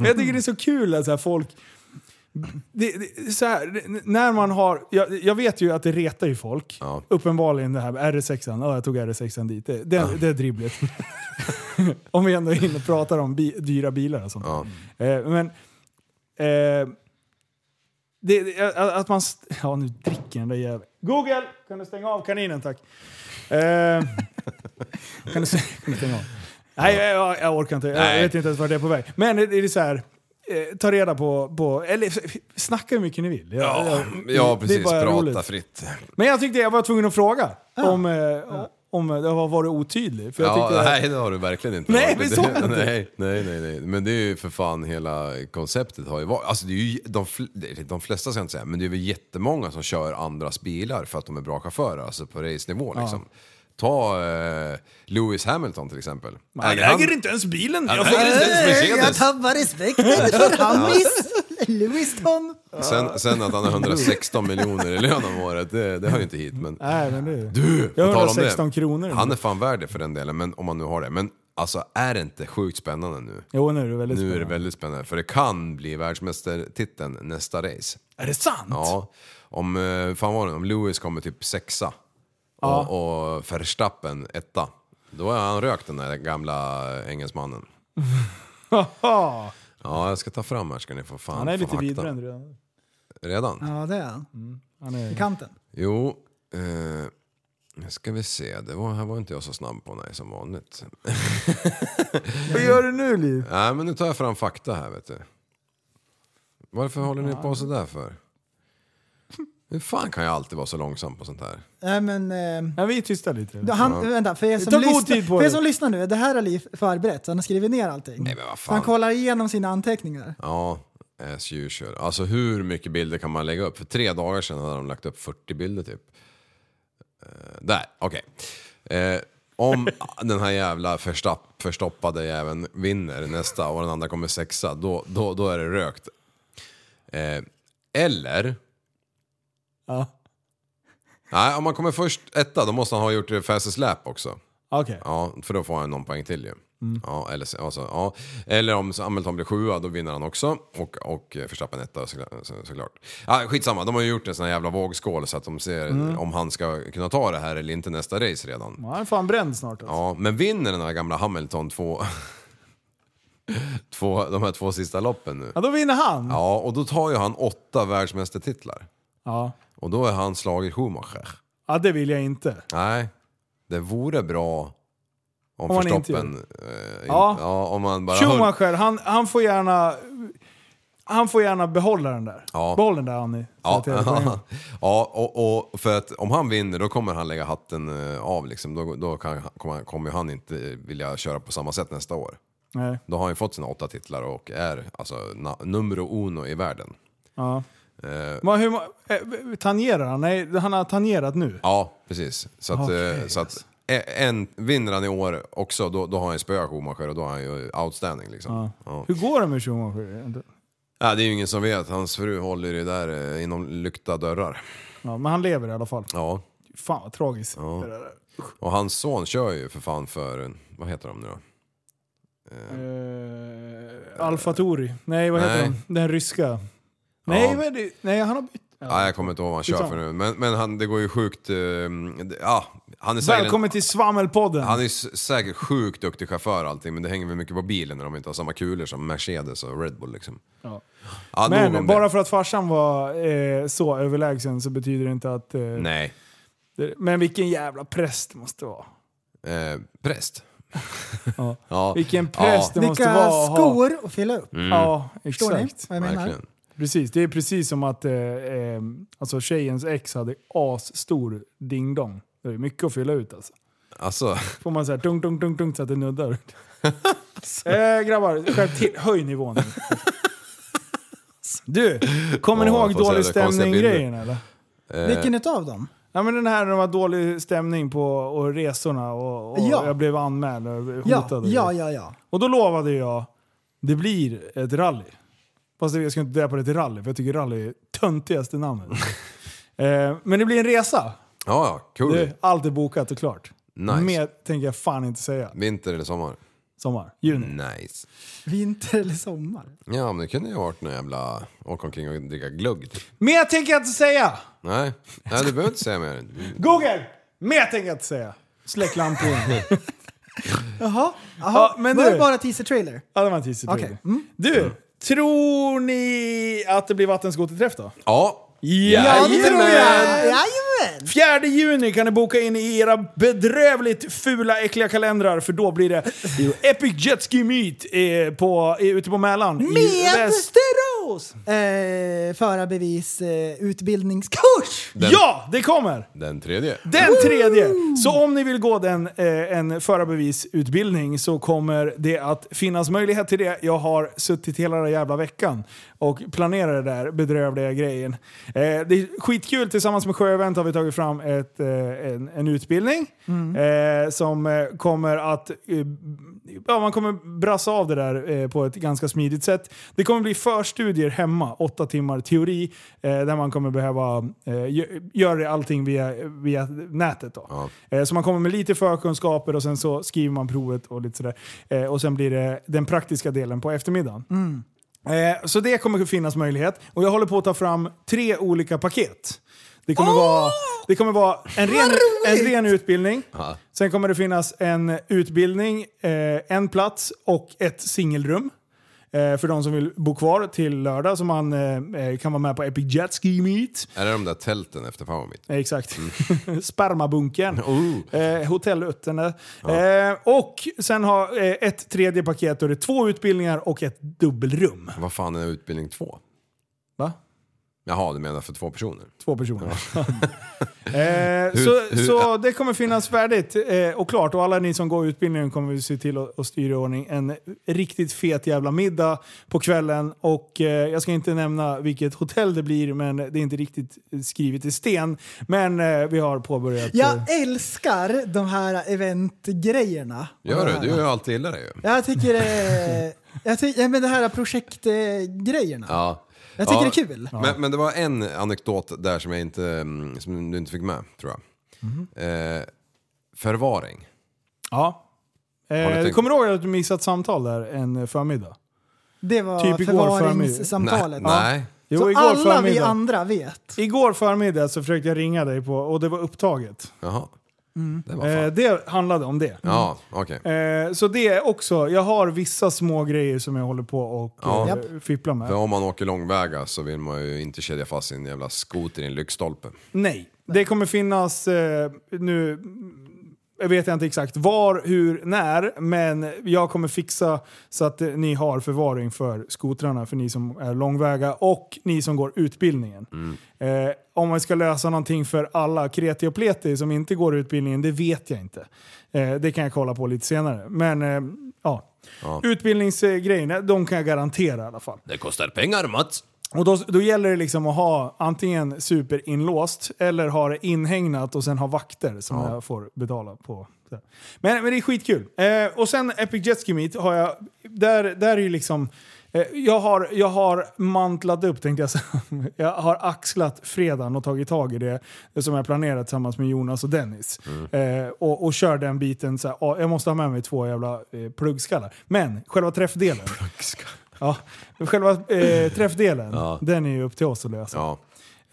A: jag tycker det är så kul att så här, folk... Det, det, så här, det- när man har, jag, jag vet ju att det retar ju folk.
C: Ja.
A: Uppenbarligen det här med R6an. Ja, jag tog R6an dit. Det, det, det är dribbligt. om vi ändå är inne och pratar om bi, dyra bilar och sånt.
C: Ja.
A: Eh, men... Eh, det, det, att man... st- Ja, nu dricker den där jäveln. Google! Kan du stänga av kaninen, tack? Eh, kan, du, st- kan du stänga av? Nej, jag, jag, jag orkar inte. Jag
C: Nej.
A: vet inte ens vart det är på väg. Men det, det är så här... Eh, ta reda på, på... Eller f- snacka hur mycket ni vill. Jag-
C: Ja,
A: jag-
C: ja,
A: det är
C: precis.
A: bara
C: Prata
A: roligt.
C: fritt.
A: Men jag tyckte jag var tvungen att fråga om, eh, om det har varit otydlig. För jag
C: Ja,
A: tyckte,
C: nej, det har du verkligen inte
A: Nej,
C: varit.
A: visst har jag inte.
C: nej, nej, nej, nej. Men det är ju för fan hela konceptet har ju varit. Alltså det är ju de, fl- det är- de flesta ska jag inte säga, men det är väl jättemånga som kör andras bilar för att de är bra chaufförer, alltså på racenivå liksom. Ta eh, Lewis Hamilton till exempel.
A: Han
C: Äger han-
A: äger inte ens bilen.
C: Han
A: Jag får-
C: äger inte ens
B: Jag
C: Mercedes.
B: tappar respekten för Hammis Lewiston.
C: Sen, sen att han har 116 miljoner i lön om året, det, det hör ju inte hit. Men...
A: Nej, men det...
C: Du, på tal om det.
A: 116 kronor.
C: Han är fan värd det för den delen, men om man nu har det. Men alltså är det inte sjukt spännande nu?
A: Jo, nu är det väldigt
C: Nu är det
A: spännande.
C: väldigt spännande, för det kan bli världsmästartiteln nästa race.
A: Är det sant?
C: Ja, om, eh, fan var det, om Lewis kommer typ sexa och, och Verstappen etta. Då har han rökt den där gamla engelsmannen.
A: Haha.
C: Ja, jag ska ta fram här ska ni få fan
A: Han är
C: få
A: lite
C: akta.
A: vidbränd redan.
C: Redan?
B: Ja, det är han.
A: Mm. Han är...
B: I kanten.
C: Jo, eh, nu ska vi se. Det var, här var inte jag så snabb på, nej som vanligt.
A: Vad gör du nu Liv?
C: Nej, men nu tar jag fram fakta här, vet du. Varför håller ni på sådär för? Hur fan kan jag alltid vara så långsam på sånt här?
B: Nej, men... ehm,
A: Ja, vi är tysta lite.
B: Han, Vänta, för er, som
A: Ta god tid på
B: lyssnar, för er
A: dig.
B: som lyssnar nu, det här har Liv förberett så han har skrivit ner allting.
C: Nej, men vad
B: Så han
C: fan.
B: kollar igenom sina anteckningar.
C: Ja, as usual. Alltså hur mycket bilder kan man lägga upp? För tre dagar sedan hade de lagt upp 40 bilder typ. Eh, där, okej. Eh, om den här jävla förstapp, förstoppade jäveln vinner nästa och den andra kommer sexa, då, då, då är det rökt. Eh, eller...
A: Ja.
C: Nej, om man kommer först etta, då måste han ha gjort det fastest lap också.
A: Okej.
C: Ja, för då får han någon poäng till ju. Ja, eller, alltså, ja. eller om Hamilton blir sjua, då vinner han också. Och, och Verstappen etta så, så, såklart. Ja, skitsamma, de har ju gjort en sån här jävla vågskål så att de ser om han ska kunna ta det här eller inte nästa race redan.
A: Ja, Han är fan bränd snart. Alltså.
C: Ja, men vinner den här gamla Hamilton två, två, de här två sista loppen nu.
A: Ja, då vinner han.
C: Ja, och då tar ju han åtta världsmästertitlar.
A: Ja.
C: Och då är han slagit Schumacher.
A: ja, det vill jag inte.
C: Nej, det vore bra om,
A: Om man inte
C: Verstappen... eh,
A: Ja.
C: ja, om man bara... höll-
A: Schumacher, han, han får gärna... Han får gärna behålla den där.
C: Ja.
A: Behåll den där Annie. Så
C: Ja,
A: att jag-
C: ja, och, och för att om han vinner då kommer han lägga hatten eh, av liksom. Då, då kan, kommer, han- kommer han inte vilja köra på samma sätt nästa år.
A: Nej.
C: Då har han ju fått sina åtta titlar och är alltså na, numero uno i världen.
A: Ja.
C: Eh,
A: Men hur, ma- eh, tangerar han? Nej, han har tangerat nu.
C: Ja, precis. Så att,
A: Okej,
C: eh, så att e- en, vinner han i år också, då, då har han ju spöat Schumacher och då är han ju outstanding liksom. Ja.
A: Hur går det med Schumacher?
C: Ja, det är ju ingen som vet. Hans fru håller det där eh, inom lyckta dörrar.
A: Ja, men han lever i alla fall.
C: Ja.
A: Fan vad tragiskt. Det där är.
C: Och hans son kör ju för fan för, en- vad heter de nu då?
A: Eh, Alfa Tori. Nej, vad heter
C: Nej.
A: han? Den ryska. Nej, vad är det? Nej, han har bytt.
C: Ja, jag kommer inte ihåg vad han kör för nu. Men, men han, det går ju sjukt... eh, det- ja, han är säkert,
A: Välkommen till Svammelpodden!
C: han är s- säkert sjukt duktig chaufför och allting, men det hänger väl mycket på bilen när de inte har samma kulor som Mercedes och Red Bull liksom.
A: Ja.
C: Ja, nog
A: Men
C: om
A: bara
C: det.
A: för att farsan var eh, så överlägsen så betyder det inte att... Eh,
C: Nej.
A: det, men vilken jävla präst det måste vara.
C: Eh, präst.
A: Ja.
C: Ja. Mm.
A: Vilken präst det måste
B: Vilka
A: vara att ha.
B: skor att fylla upp.
A: Ja,
B: Förstår ni
A: exakt.
B: vad jag menar?
C: Verkligen.
A: Precis. Det är precis som att eh, eh, alltså tjejens ex hade asstor ding-dong. Det är mycket att fylla ut alltså.
C: Alltså,
A: Får man såhär dunk, dunk, dunk, dunk så att det nuddar. eh, grabbar, skärp till. Höj nivån nu. Du, kommer ni
C: Ja,
A: ihåg
C: jag får
A: dålig
C: se det, konstiga
A: stämning-grejen eller? Eh,
B: Vilken utav dem?
A: Ja men den här när det var dålig stämning på och resorna och, och
B: Ja.
A: jag blev anmäld och
B: Ja,
A: hotad.
B: ja, ja, ja.
A: Och då lovade jag, det blir ett rally. Fast jag ska inte döpa det till rally, för jag tycker rally är töntigaste namnet. eh, men det blir en resa.
C: ja ja, kul.
A: Du, allt är bokat och klart.
C: Nice.
A: Mer tänker jag fan inte säga.
C: Vinter eller sommar?
A: Sommar, juni.
B: Mm.
C: Nice.
B: Vinter eller sommar?
C: Ja, men det kunde ju ha varit någon jävla... Åka omkring och dricka glögg. typ.
A: Mer tänker jag inte säga!
C: Nej, Nej du behöver inte säga mer.
A: Google! Mer tänker jag inte säga. Släck lamporna.
B: Jaha, Jaha.
A: Ja, men
B: var
A: du-
B: det bara teaser trailer?
A: ja, det var en teaser.
B: Okej. Mm.
A: Du, tror ni att det blir vattenskoterträff då?
C: Ja.
A: Ja, det tror jag!
B: Jajamän!
A: 4 juni kan ni boka in i era bedrövligt fula, äckliga kalendrar för då blir det Epic Jetski Meet eh, på, eh, ute på Mälaren. I
B: Med
A: väst.
B: Västerås! Eh, förarbevis, eh, utbildningskurs!
C: Den,
A: Ja, det kommer!
C: den tredje.
A: Den tredje! Så om ni vill gå den, eh, en förarbevisutbildning så kommer det att finnas möjlighet till det. Jag har suttit hela den jävla veckan och planerat det där bedrövliga grejen. Eh, det är skitkul, tillsammans med Sjöevent har vi tagit fram ett, eh, en, en utbildning eh, som eh, kommer att... Eh, ja, man kommer brassa av det där eh, på ett ganska smidigt sätt. Det kommer bli förstudier hemma, åtta timmar teori, eh, där man kommer behöva eh, gö- göra allting via, via nätet. Då. Eh, Så man kommer med lite förkunskaper och sen så skriver man provet och lite sådär. Eh, Och sen blir det den praktiska delen på eftermiddagen. Eh, Så det kommer finnas möjlighet. Och jag håller på att ta fram tre olika paket. Det kommer, vara, det kommer vara en ren, en ren utbildning. Sen kommer det finnas en utbildning, eh, en plats och ett singelrum. Eh, för de som vill bo kvar till lördag så man eh, eh, kan vara med på Epic Jet Ski Meet.
C: Är det de där tälten efter Power Meet?
A: Eh, Exakt. Spermabunkern.
C: Oh.
A: Eh, Hotell Uttene. Eh, och sen har eh, ett tredje paket och det är två utbildningar och ett dubbelrum.
C: Vad fan är utbildning två?
A: Va?
C: Jaha, du menar för två personer?
A: Två personer. eh, så, så det kommer finnas färdigt eh, och klart. Och alla ni som går utbildningen kommer vi se till att, att styra i ordning en riktigt fet jävla middag på kvällen. Och eh, jag ska inte nämna vilket hotell det blir, men det är inte riktigt skrivet i sten. Men eh, vi har påbörjat... eh,
B: Jag älskar de här eventgrejerna.
C: Gör du? Du gör ju alltid illa det ju.
B: Jag tycker det är- jag ty- ja, men det här projektgrejerna.
C: Ja.
B: Jag tycker
C: Ja.
B: det är kul.
C: Men, men det var en anekdot där som, jag inte, mm, som du inte fick med, tror jag. Eh, förvaring.
A: Ja.
C: Har du
A: Eh,
C: tänkt-
A: kommer du ihåg att du missat samtal där en förmiddag?
B: Det var
A: Typ igår
B: förvaringssamtalet.
C: Nej. Nej.
A: Jo,
B: Så
A: igår
B: alla vi
A: förmiddag.
B: andra vet.
A: Igår förmiddag så försökte jag ringa dig på, och det var upptaget.
C: Jaha. Det var fan.
A: Eh, det handlade om det.
C: ja, okej.
A: Eh, så det är också, jag har vissa små grejer som jag håller på och
C: Ja.
A: eh, fipplar med.
C: För om man åker långväga så vill man ju inte kedja fast sin jävla skoter i en lyktstolpe.
A: Nej. Det kommer finnas, eh, nu jag vet jag inte exakt var, hur, när, men jag kommer fixa så att eh, ni har förvaring för skotrarna för ni som är långväga och ni som går utbildningen. Eh, om man ska lösa någonting för alla kreti och pleti som inte går utbildningen, det vet jag inte. Eh, det kan jag kolla på lite senare. Men eh, ja. Utbildningsgrejerna, de kan jag garantera i alla fall.
C: Det kostar pengar Mats!
A: Och då, då gäller det liksom att ha antingen superinlåst eller ha det inhägnat och sen ha vakter som jag får betala på. Så här. Men, men det är skitkul. Eh, och sen Epic Jet Ski Meet har jag, där, där är ju liksom Eh, Jag har, jag har mantlat upp tänkte jag säga. Jag har axlat fredagen och tagit tag i det som jag planerat tillsammans med Jonas och Dennis. Eh, och, och kör den biten så här, ja, jag måste ha med mig två jävla eh, pluggskallar. Men själva träffdelen. Ja, själva eh, träffdelen, den är ju upp till oss att lösa.
C: Ja.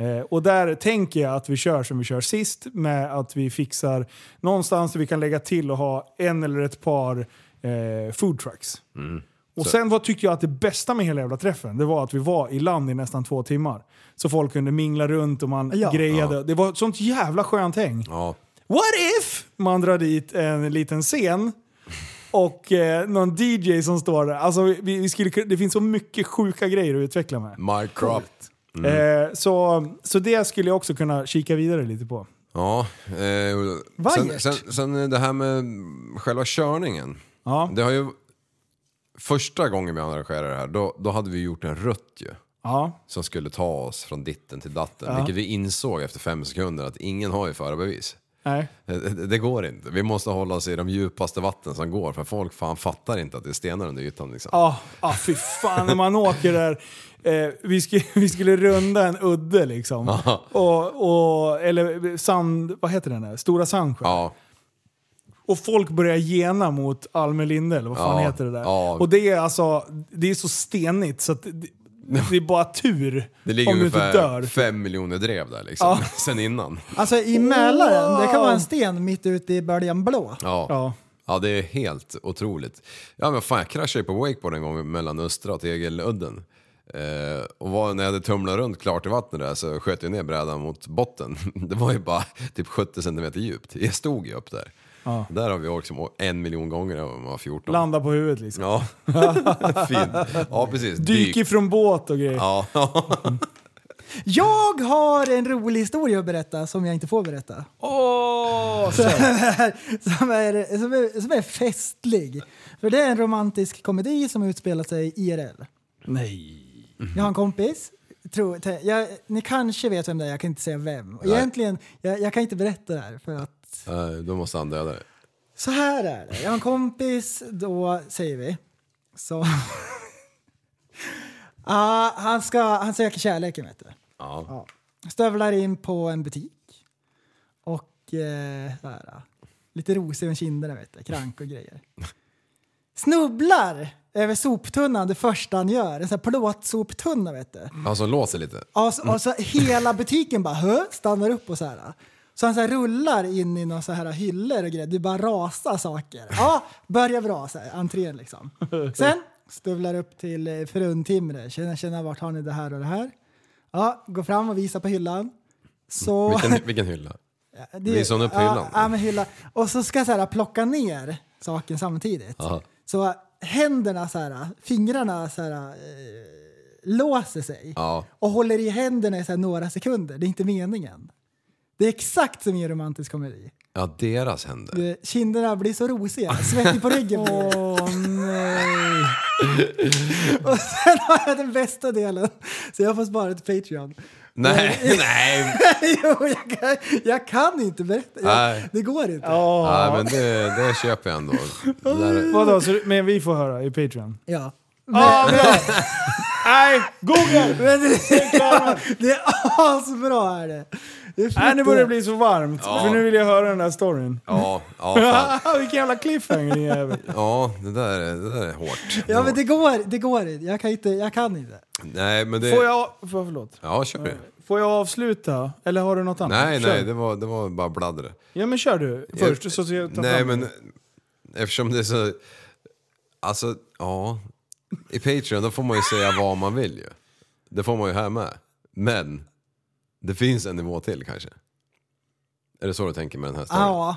A: Eh, och där tänker jag att vi kör som vi kör sist med att vi fixar någonstans där vi kan lägga till och ha en eller ett par eh, food trucks.
B: Mm.
A: Och sen vad tyckte jag att det bästa med hela jävla träffen, det var att vi var i land i nästan två timmar. Så folk kunde mingla runt och man
B: Ja.
A: grejade. Det var ett sånt jävla skönt häng.
C: Ja.
A: What if man drar dit en liten scen och eh, någon DJ som står där. Alltså, vi, vi skulle, kun- det finns så mycket sjuka grejer att utveckla med.
C: My crop.
A: Eh, så, så det skulle jag också kunna kika vidare lite på.
C: Ja. Eh, sen,
B: Vajert.
C: sen, sen det här med själva körningen.
A: Ja.
C: Det har ju... Första gången vi arrangerade det här, då, då hade vi gjort en rutt ju.
A: Ja.
C: Som skulle ta oss från ditten till datten. Vilket vi insåg efter fem sekunder att ingen har ju förarbevis. Eh,
A: Nej.
C: Det, det går inte. Vi måste hålla oss i de djupaste vatten som går. För folk fan fattar inte att det är stenar under ytan liksom.
A: Ja, ah, fy fan när man åker där. Eh, vi, skulle, vi skulle runda en udde liksom. Och, och, eller sand, vad heter den där? Stora Sandsjön.
C: Ja.
A: Och folk börjar gena mot Almelinde eller vad fan
C: Ja,
A: heter det där.
C: ja.
A: Och det är alltså, det är så stenigt så att det, det är bara tur
C: Det ligger
A: om du inte
C: ungefär
A: dör.
C: fem miljoner drev där liksom.
A: Ja.
C: Sen innan.
B: Alltså i Mälaren, det kan vara en sten mitt ute i böljan blå.
C: Ja.
A: Ja.
C: ja. det är helt otroligt. Ja men fan jag kraschade ju på wakeboard en gång mellan Östra och Tegeludden. Eh, och var, när jag hade tumlat runt klart i vattnet där så sköt jag ner brädan mot botten. Det var ju bara typ 70 centimeter djupt. Jag stod ju upp där. Där har vi åkt som en miljon gånger när man var 14.
A: Landa på huvudet liksom.
C: Ja, fint. Ja precis.
A: Dyk ifrån båt och grejer.
C: Ja.
B: Jag har en rolig historia att berätta som jag inte får berätta.
A: Åh!
B: Som är, som, är, som, är, som är festlig. För det är en romantisk komedi som utspelar sig IRL.
A: Nej.
B: Jag har en kompis. Tror, te- jag, ni kanske vet vem det är, jag kan inte säga vem. Och Egentligen, jag, jag kan inte berätta det här för att
C: Eh, Då måste han döda dig.
B: så här är det. Jag har en kompis, då säger vi. Så. Ah, han, ska, han söker kärleken vet du.
C: Ja.
B: Stövlar in på en butik. Och eh, så här, lite rosig om kinderna vet du, krank och grejer. Snubblar över soptunnan det första han gör. En sån här plåtsoptunna vet du.
C: Han som låser lite.
B: Och så, och så hela butiken bara hö, stannar upp och så här. Så han så här rullar in i några så här hyllor och grejer. Det bara rasar saker. Ja, börjar bra så här, entrén liksom. Sen stövlar upp till eh, fruntimmer. Känner, känner vart har ni det här och det här? Ja, går fram och visar på hyllan. Så...
C: Vilken, vilken hylla?
B: Det-
C: Visa honom upp hyllan.
B: Ja, ja, men hylla. Och så ska jag så här, plocka ner saken samtidigt.
C: Aha.
B: Så händerna, så här, fingrarna så här, eh, låser sig
C: Ja.
B: och håller i händerna i så här, några sekunder. Det är inte meningen. Det är exakt som i en romantisk komedi.
C: Ja, deras händer.
B: Eh, Kinderna blir så rosiga, svettig på ryggen blir det. nej! och sen har jag den bästa delen, så jag får spara till Patreon.
C: Nej, nej.
B: jo, jag kan, jag kan inte berätta.
C: Nej.
B: Jag, det går inte.
C: Nej, men det, det köper jag ändå. Det där,
A: Vadå, så, men vi får höra i Patreon?
B: Ja.
A: Ja, bra! Nej, Google!
B: Men det, det är asbra är det. det är
A: Nej, nu börjar det bli så varmt. För nu vill jag höra den där storyn. Ah,
C: ja, ja, fan.
A: Vilken jävla cliffhanger din jävel.
C: ja det, där, är- det där är hårt.
B: Ja men det går, det går inte. Jag kan inte. Jag kan inte.
C: Nej, men det...
A: Får jag, för, förlåt.
C: Ja, kör du.
A: Får jag avsluta? Eller har du något annat?
C: Nej,
A: Kör.
C: nej, det var, det var bara bladdre.
A: Ja men kör du först så ska jag ta
C: Nej,
A: fram
C: men
A: det.
C: eftersom det är så... Alltså, ja. I Patreon då får man ju säga vad man vill ju. Det får man ju här med. Men det finns en nivå till kanske. Är det så du tänker med den här storyn?
B: Ja.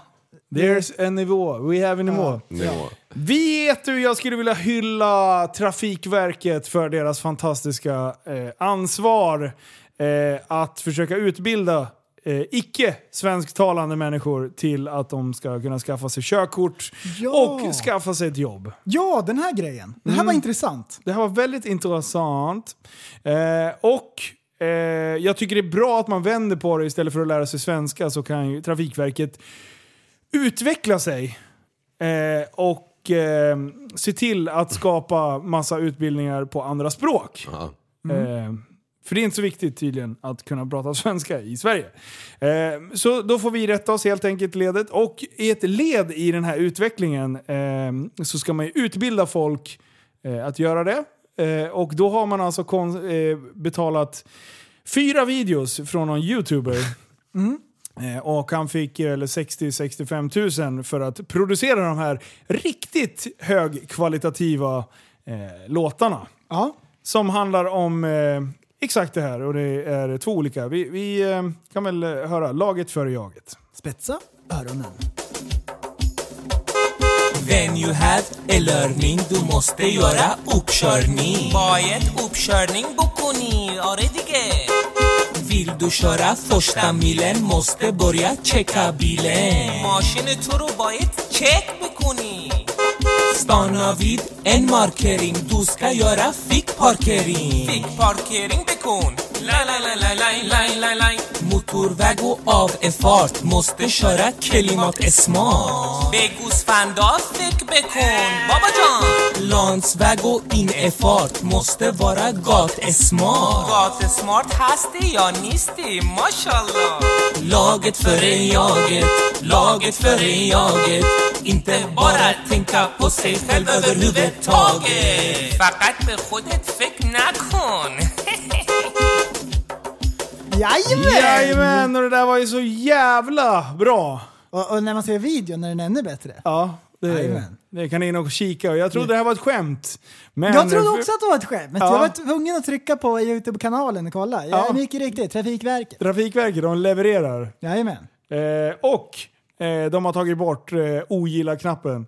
A: There's a nivå, we have a nivå.
C: Nivå.
A: Vet du, jag skulle vilja hylla Trafikverket för deras fantastiska eh, ansvar eh, att försöka utbilda eh, icke svensktalande människor till att de ska kunna skaffa sig körkort
B: Ja.
A: och skaffa sig ett jobb.
B: ja, den här grejen. Det här
A: Mm.
B: var intressant.
A: Det här var väldigt intressant. Eh, och eh, jag tycker det är bra att man vänder på det istället för att lära sig svenska så kan ju Trafikverket utveckla sig. Eh, och och eh, se till att skapa massa utbildningar på andra språk.
C: Ja.
A: Eh, för det är inte så viktigt tydligen att kunna prata svenska i Sverige. Eh, så då får vi rätta oss helt enkelt i ledet. Och i ett led i den här utvecklingen eh, så ska man ju utbilda folk eh, att göra det. Eh, och då har man alltså kon- eh, betalat fyra videos från någon youtuber. Eh, Och han fick eh, eller 60-65 000 för att producera de här riktigt högkvalitativa eh, låtarna.
B: Ja.
A: Som handlar om eh, exakt det här och det är två olika. Vi, vi eh, kan väl eh, höra laget före jaget.
B: Spetsa öronen.
G: When you have a learning, du måste göra uppkörning. Bajet uppkörning er bokuni, oridige. Vill du köra första milen måste börja checka bilen. Maskinen tror bajet check bokuni. Stanna vid en markering, du ska göra fickparkering. Fickparkering bekon. La la la la la la la la. Motorväg och av är fart, måste köra klimat är smart. Begus fandar fick bekon, baba John. Landsväg och in är fart, måste vara gat är smart. Gat är smart, hasti ja nisti, mashallah. Laget före jaget, laget före jaget. Inte bara tänka på sig själv överhuvudtaget. Fakat med skjutet fick nakon.
B: Jajamän!
A: Jajamän, och det där var ju så jävla bra!
B: Och, och när man ser videon är den ännu bättre.
A: Ja, det,
B: Jajamän.
A: det kan in och kika. Och Jag trodde det här var ett skämt. Men
B: Jag trodde också att det var ett skämt.
A: Ja.
B: Jag var tvungen att trycka på Youtube-kanalen och kolla. Ja,
A: Ja.
B: Det gick ju riktigt. Trafikverket.
A: Trafikverket, de levererar.
B: Jajamän.
A: Eh, och eh, de har tagit bort eh, ogilla-knappen.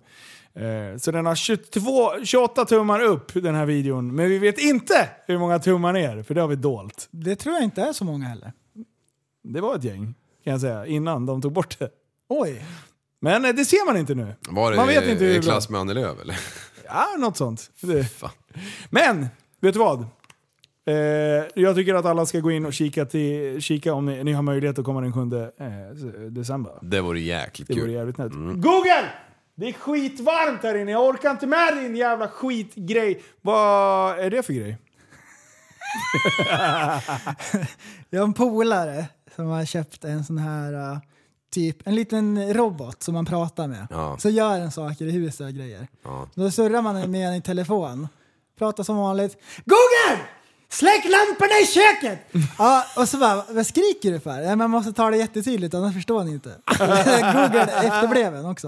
A: Eh, så den har 22, 28 tummar upp den här videon. Men vi vet inte hur många tummar ner, för det har vi dolt.
B: Det tror jag inte är så många heller.
A: Det var ett gäng, kan jag säga, innan de tog bort det.
B: Oj.
A: Men eh, det ser man inte nu.
C: Var det
A: man vet inte hur
C: i
A: det
C: klass med Annie Lööf eller?
A: Ja, något sånt. Det.
C: Fan.
A: Men, vet du vad? Eh, jag tycker att alla ska gå in och kika, till, kika om ni, ni har möjlighet att komma den 7 eh, december.
C: Det vore jäkligt
A: Det
C: kul.
A: vore jävligt nätt. Google! Det är skitvarmt här inne. Jag orkar inte med din jävla skitgrej. Vad är det för grej?
B: Jag har en polare som har köpt en sån här eh, typ en liten robot som man pratar med.
C: Ja.
B: Så gör den saker i huset och grejer. Då surrar man med den i telefon. Pratar som vanligt. Google! Släck lamporna i köket! ja, och så bara, vad skriker du för? Ja, man måste ta det jättetydligt annars förstår ni inte. Google efterblev en också.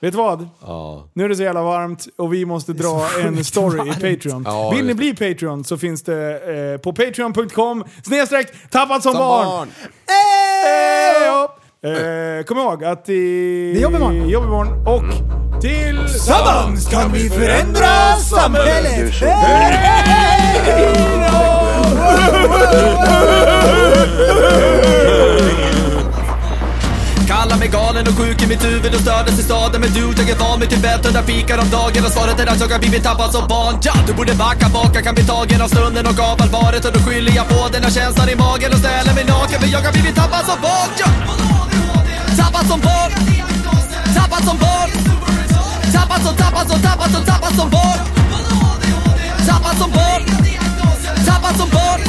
A: Vet du vad?
C: Ja.
A: Nu är det så jävla varmt och vi måste dra en story i Patreon.
C: Ja,
A: Vill ni
C: just
A: bli Patreon så finns det eh, på patreon.com snedstreck tappat som,
C: Som
A: barn.
C: barn.
A: Hej då! Eh, kom ihåg att i...
B: Det är jobb imorgon.
A: jobb imorgon. Och tillsammans kan vi
B: förändra samhället.
H: Du såg
I: Kallar mig galen och sjuk i mitt huvud och stördes i staden Men du, jag är van vid Tibet och där fikar om dagen Och svaret är att jag har blivit tappad som barn ja, Du borde backa bak, jag kan bli tagen av stunden och av allvaret Och då skyller jag på den här känslan i magen och ställer mig naken För jag har blivit tappad som barn ja. Tappad som barn Tappad som barn Tappad som, tappad som, tappad som, tappad som barn Tappad som barn Tappad som barn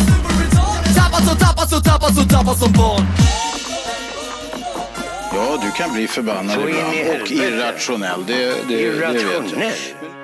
I: Tappad som, tappad som, tappad som, tappad som barn
J: Ja, du kan bli förbannad
H: Så in i
J: ibland och
H: helvete.
J: irrationell. Det, det, det vet jag.
H: irrationell.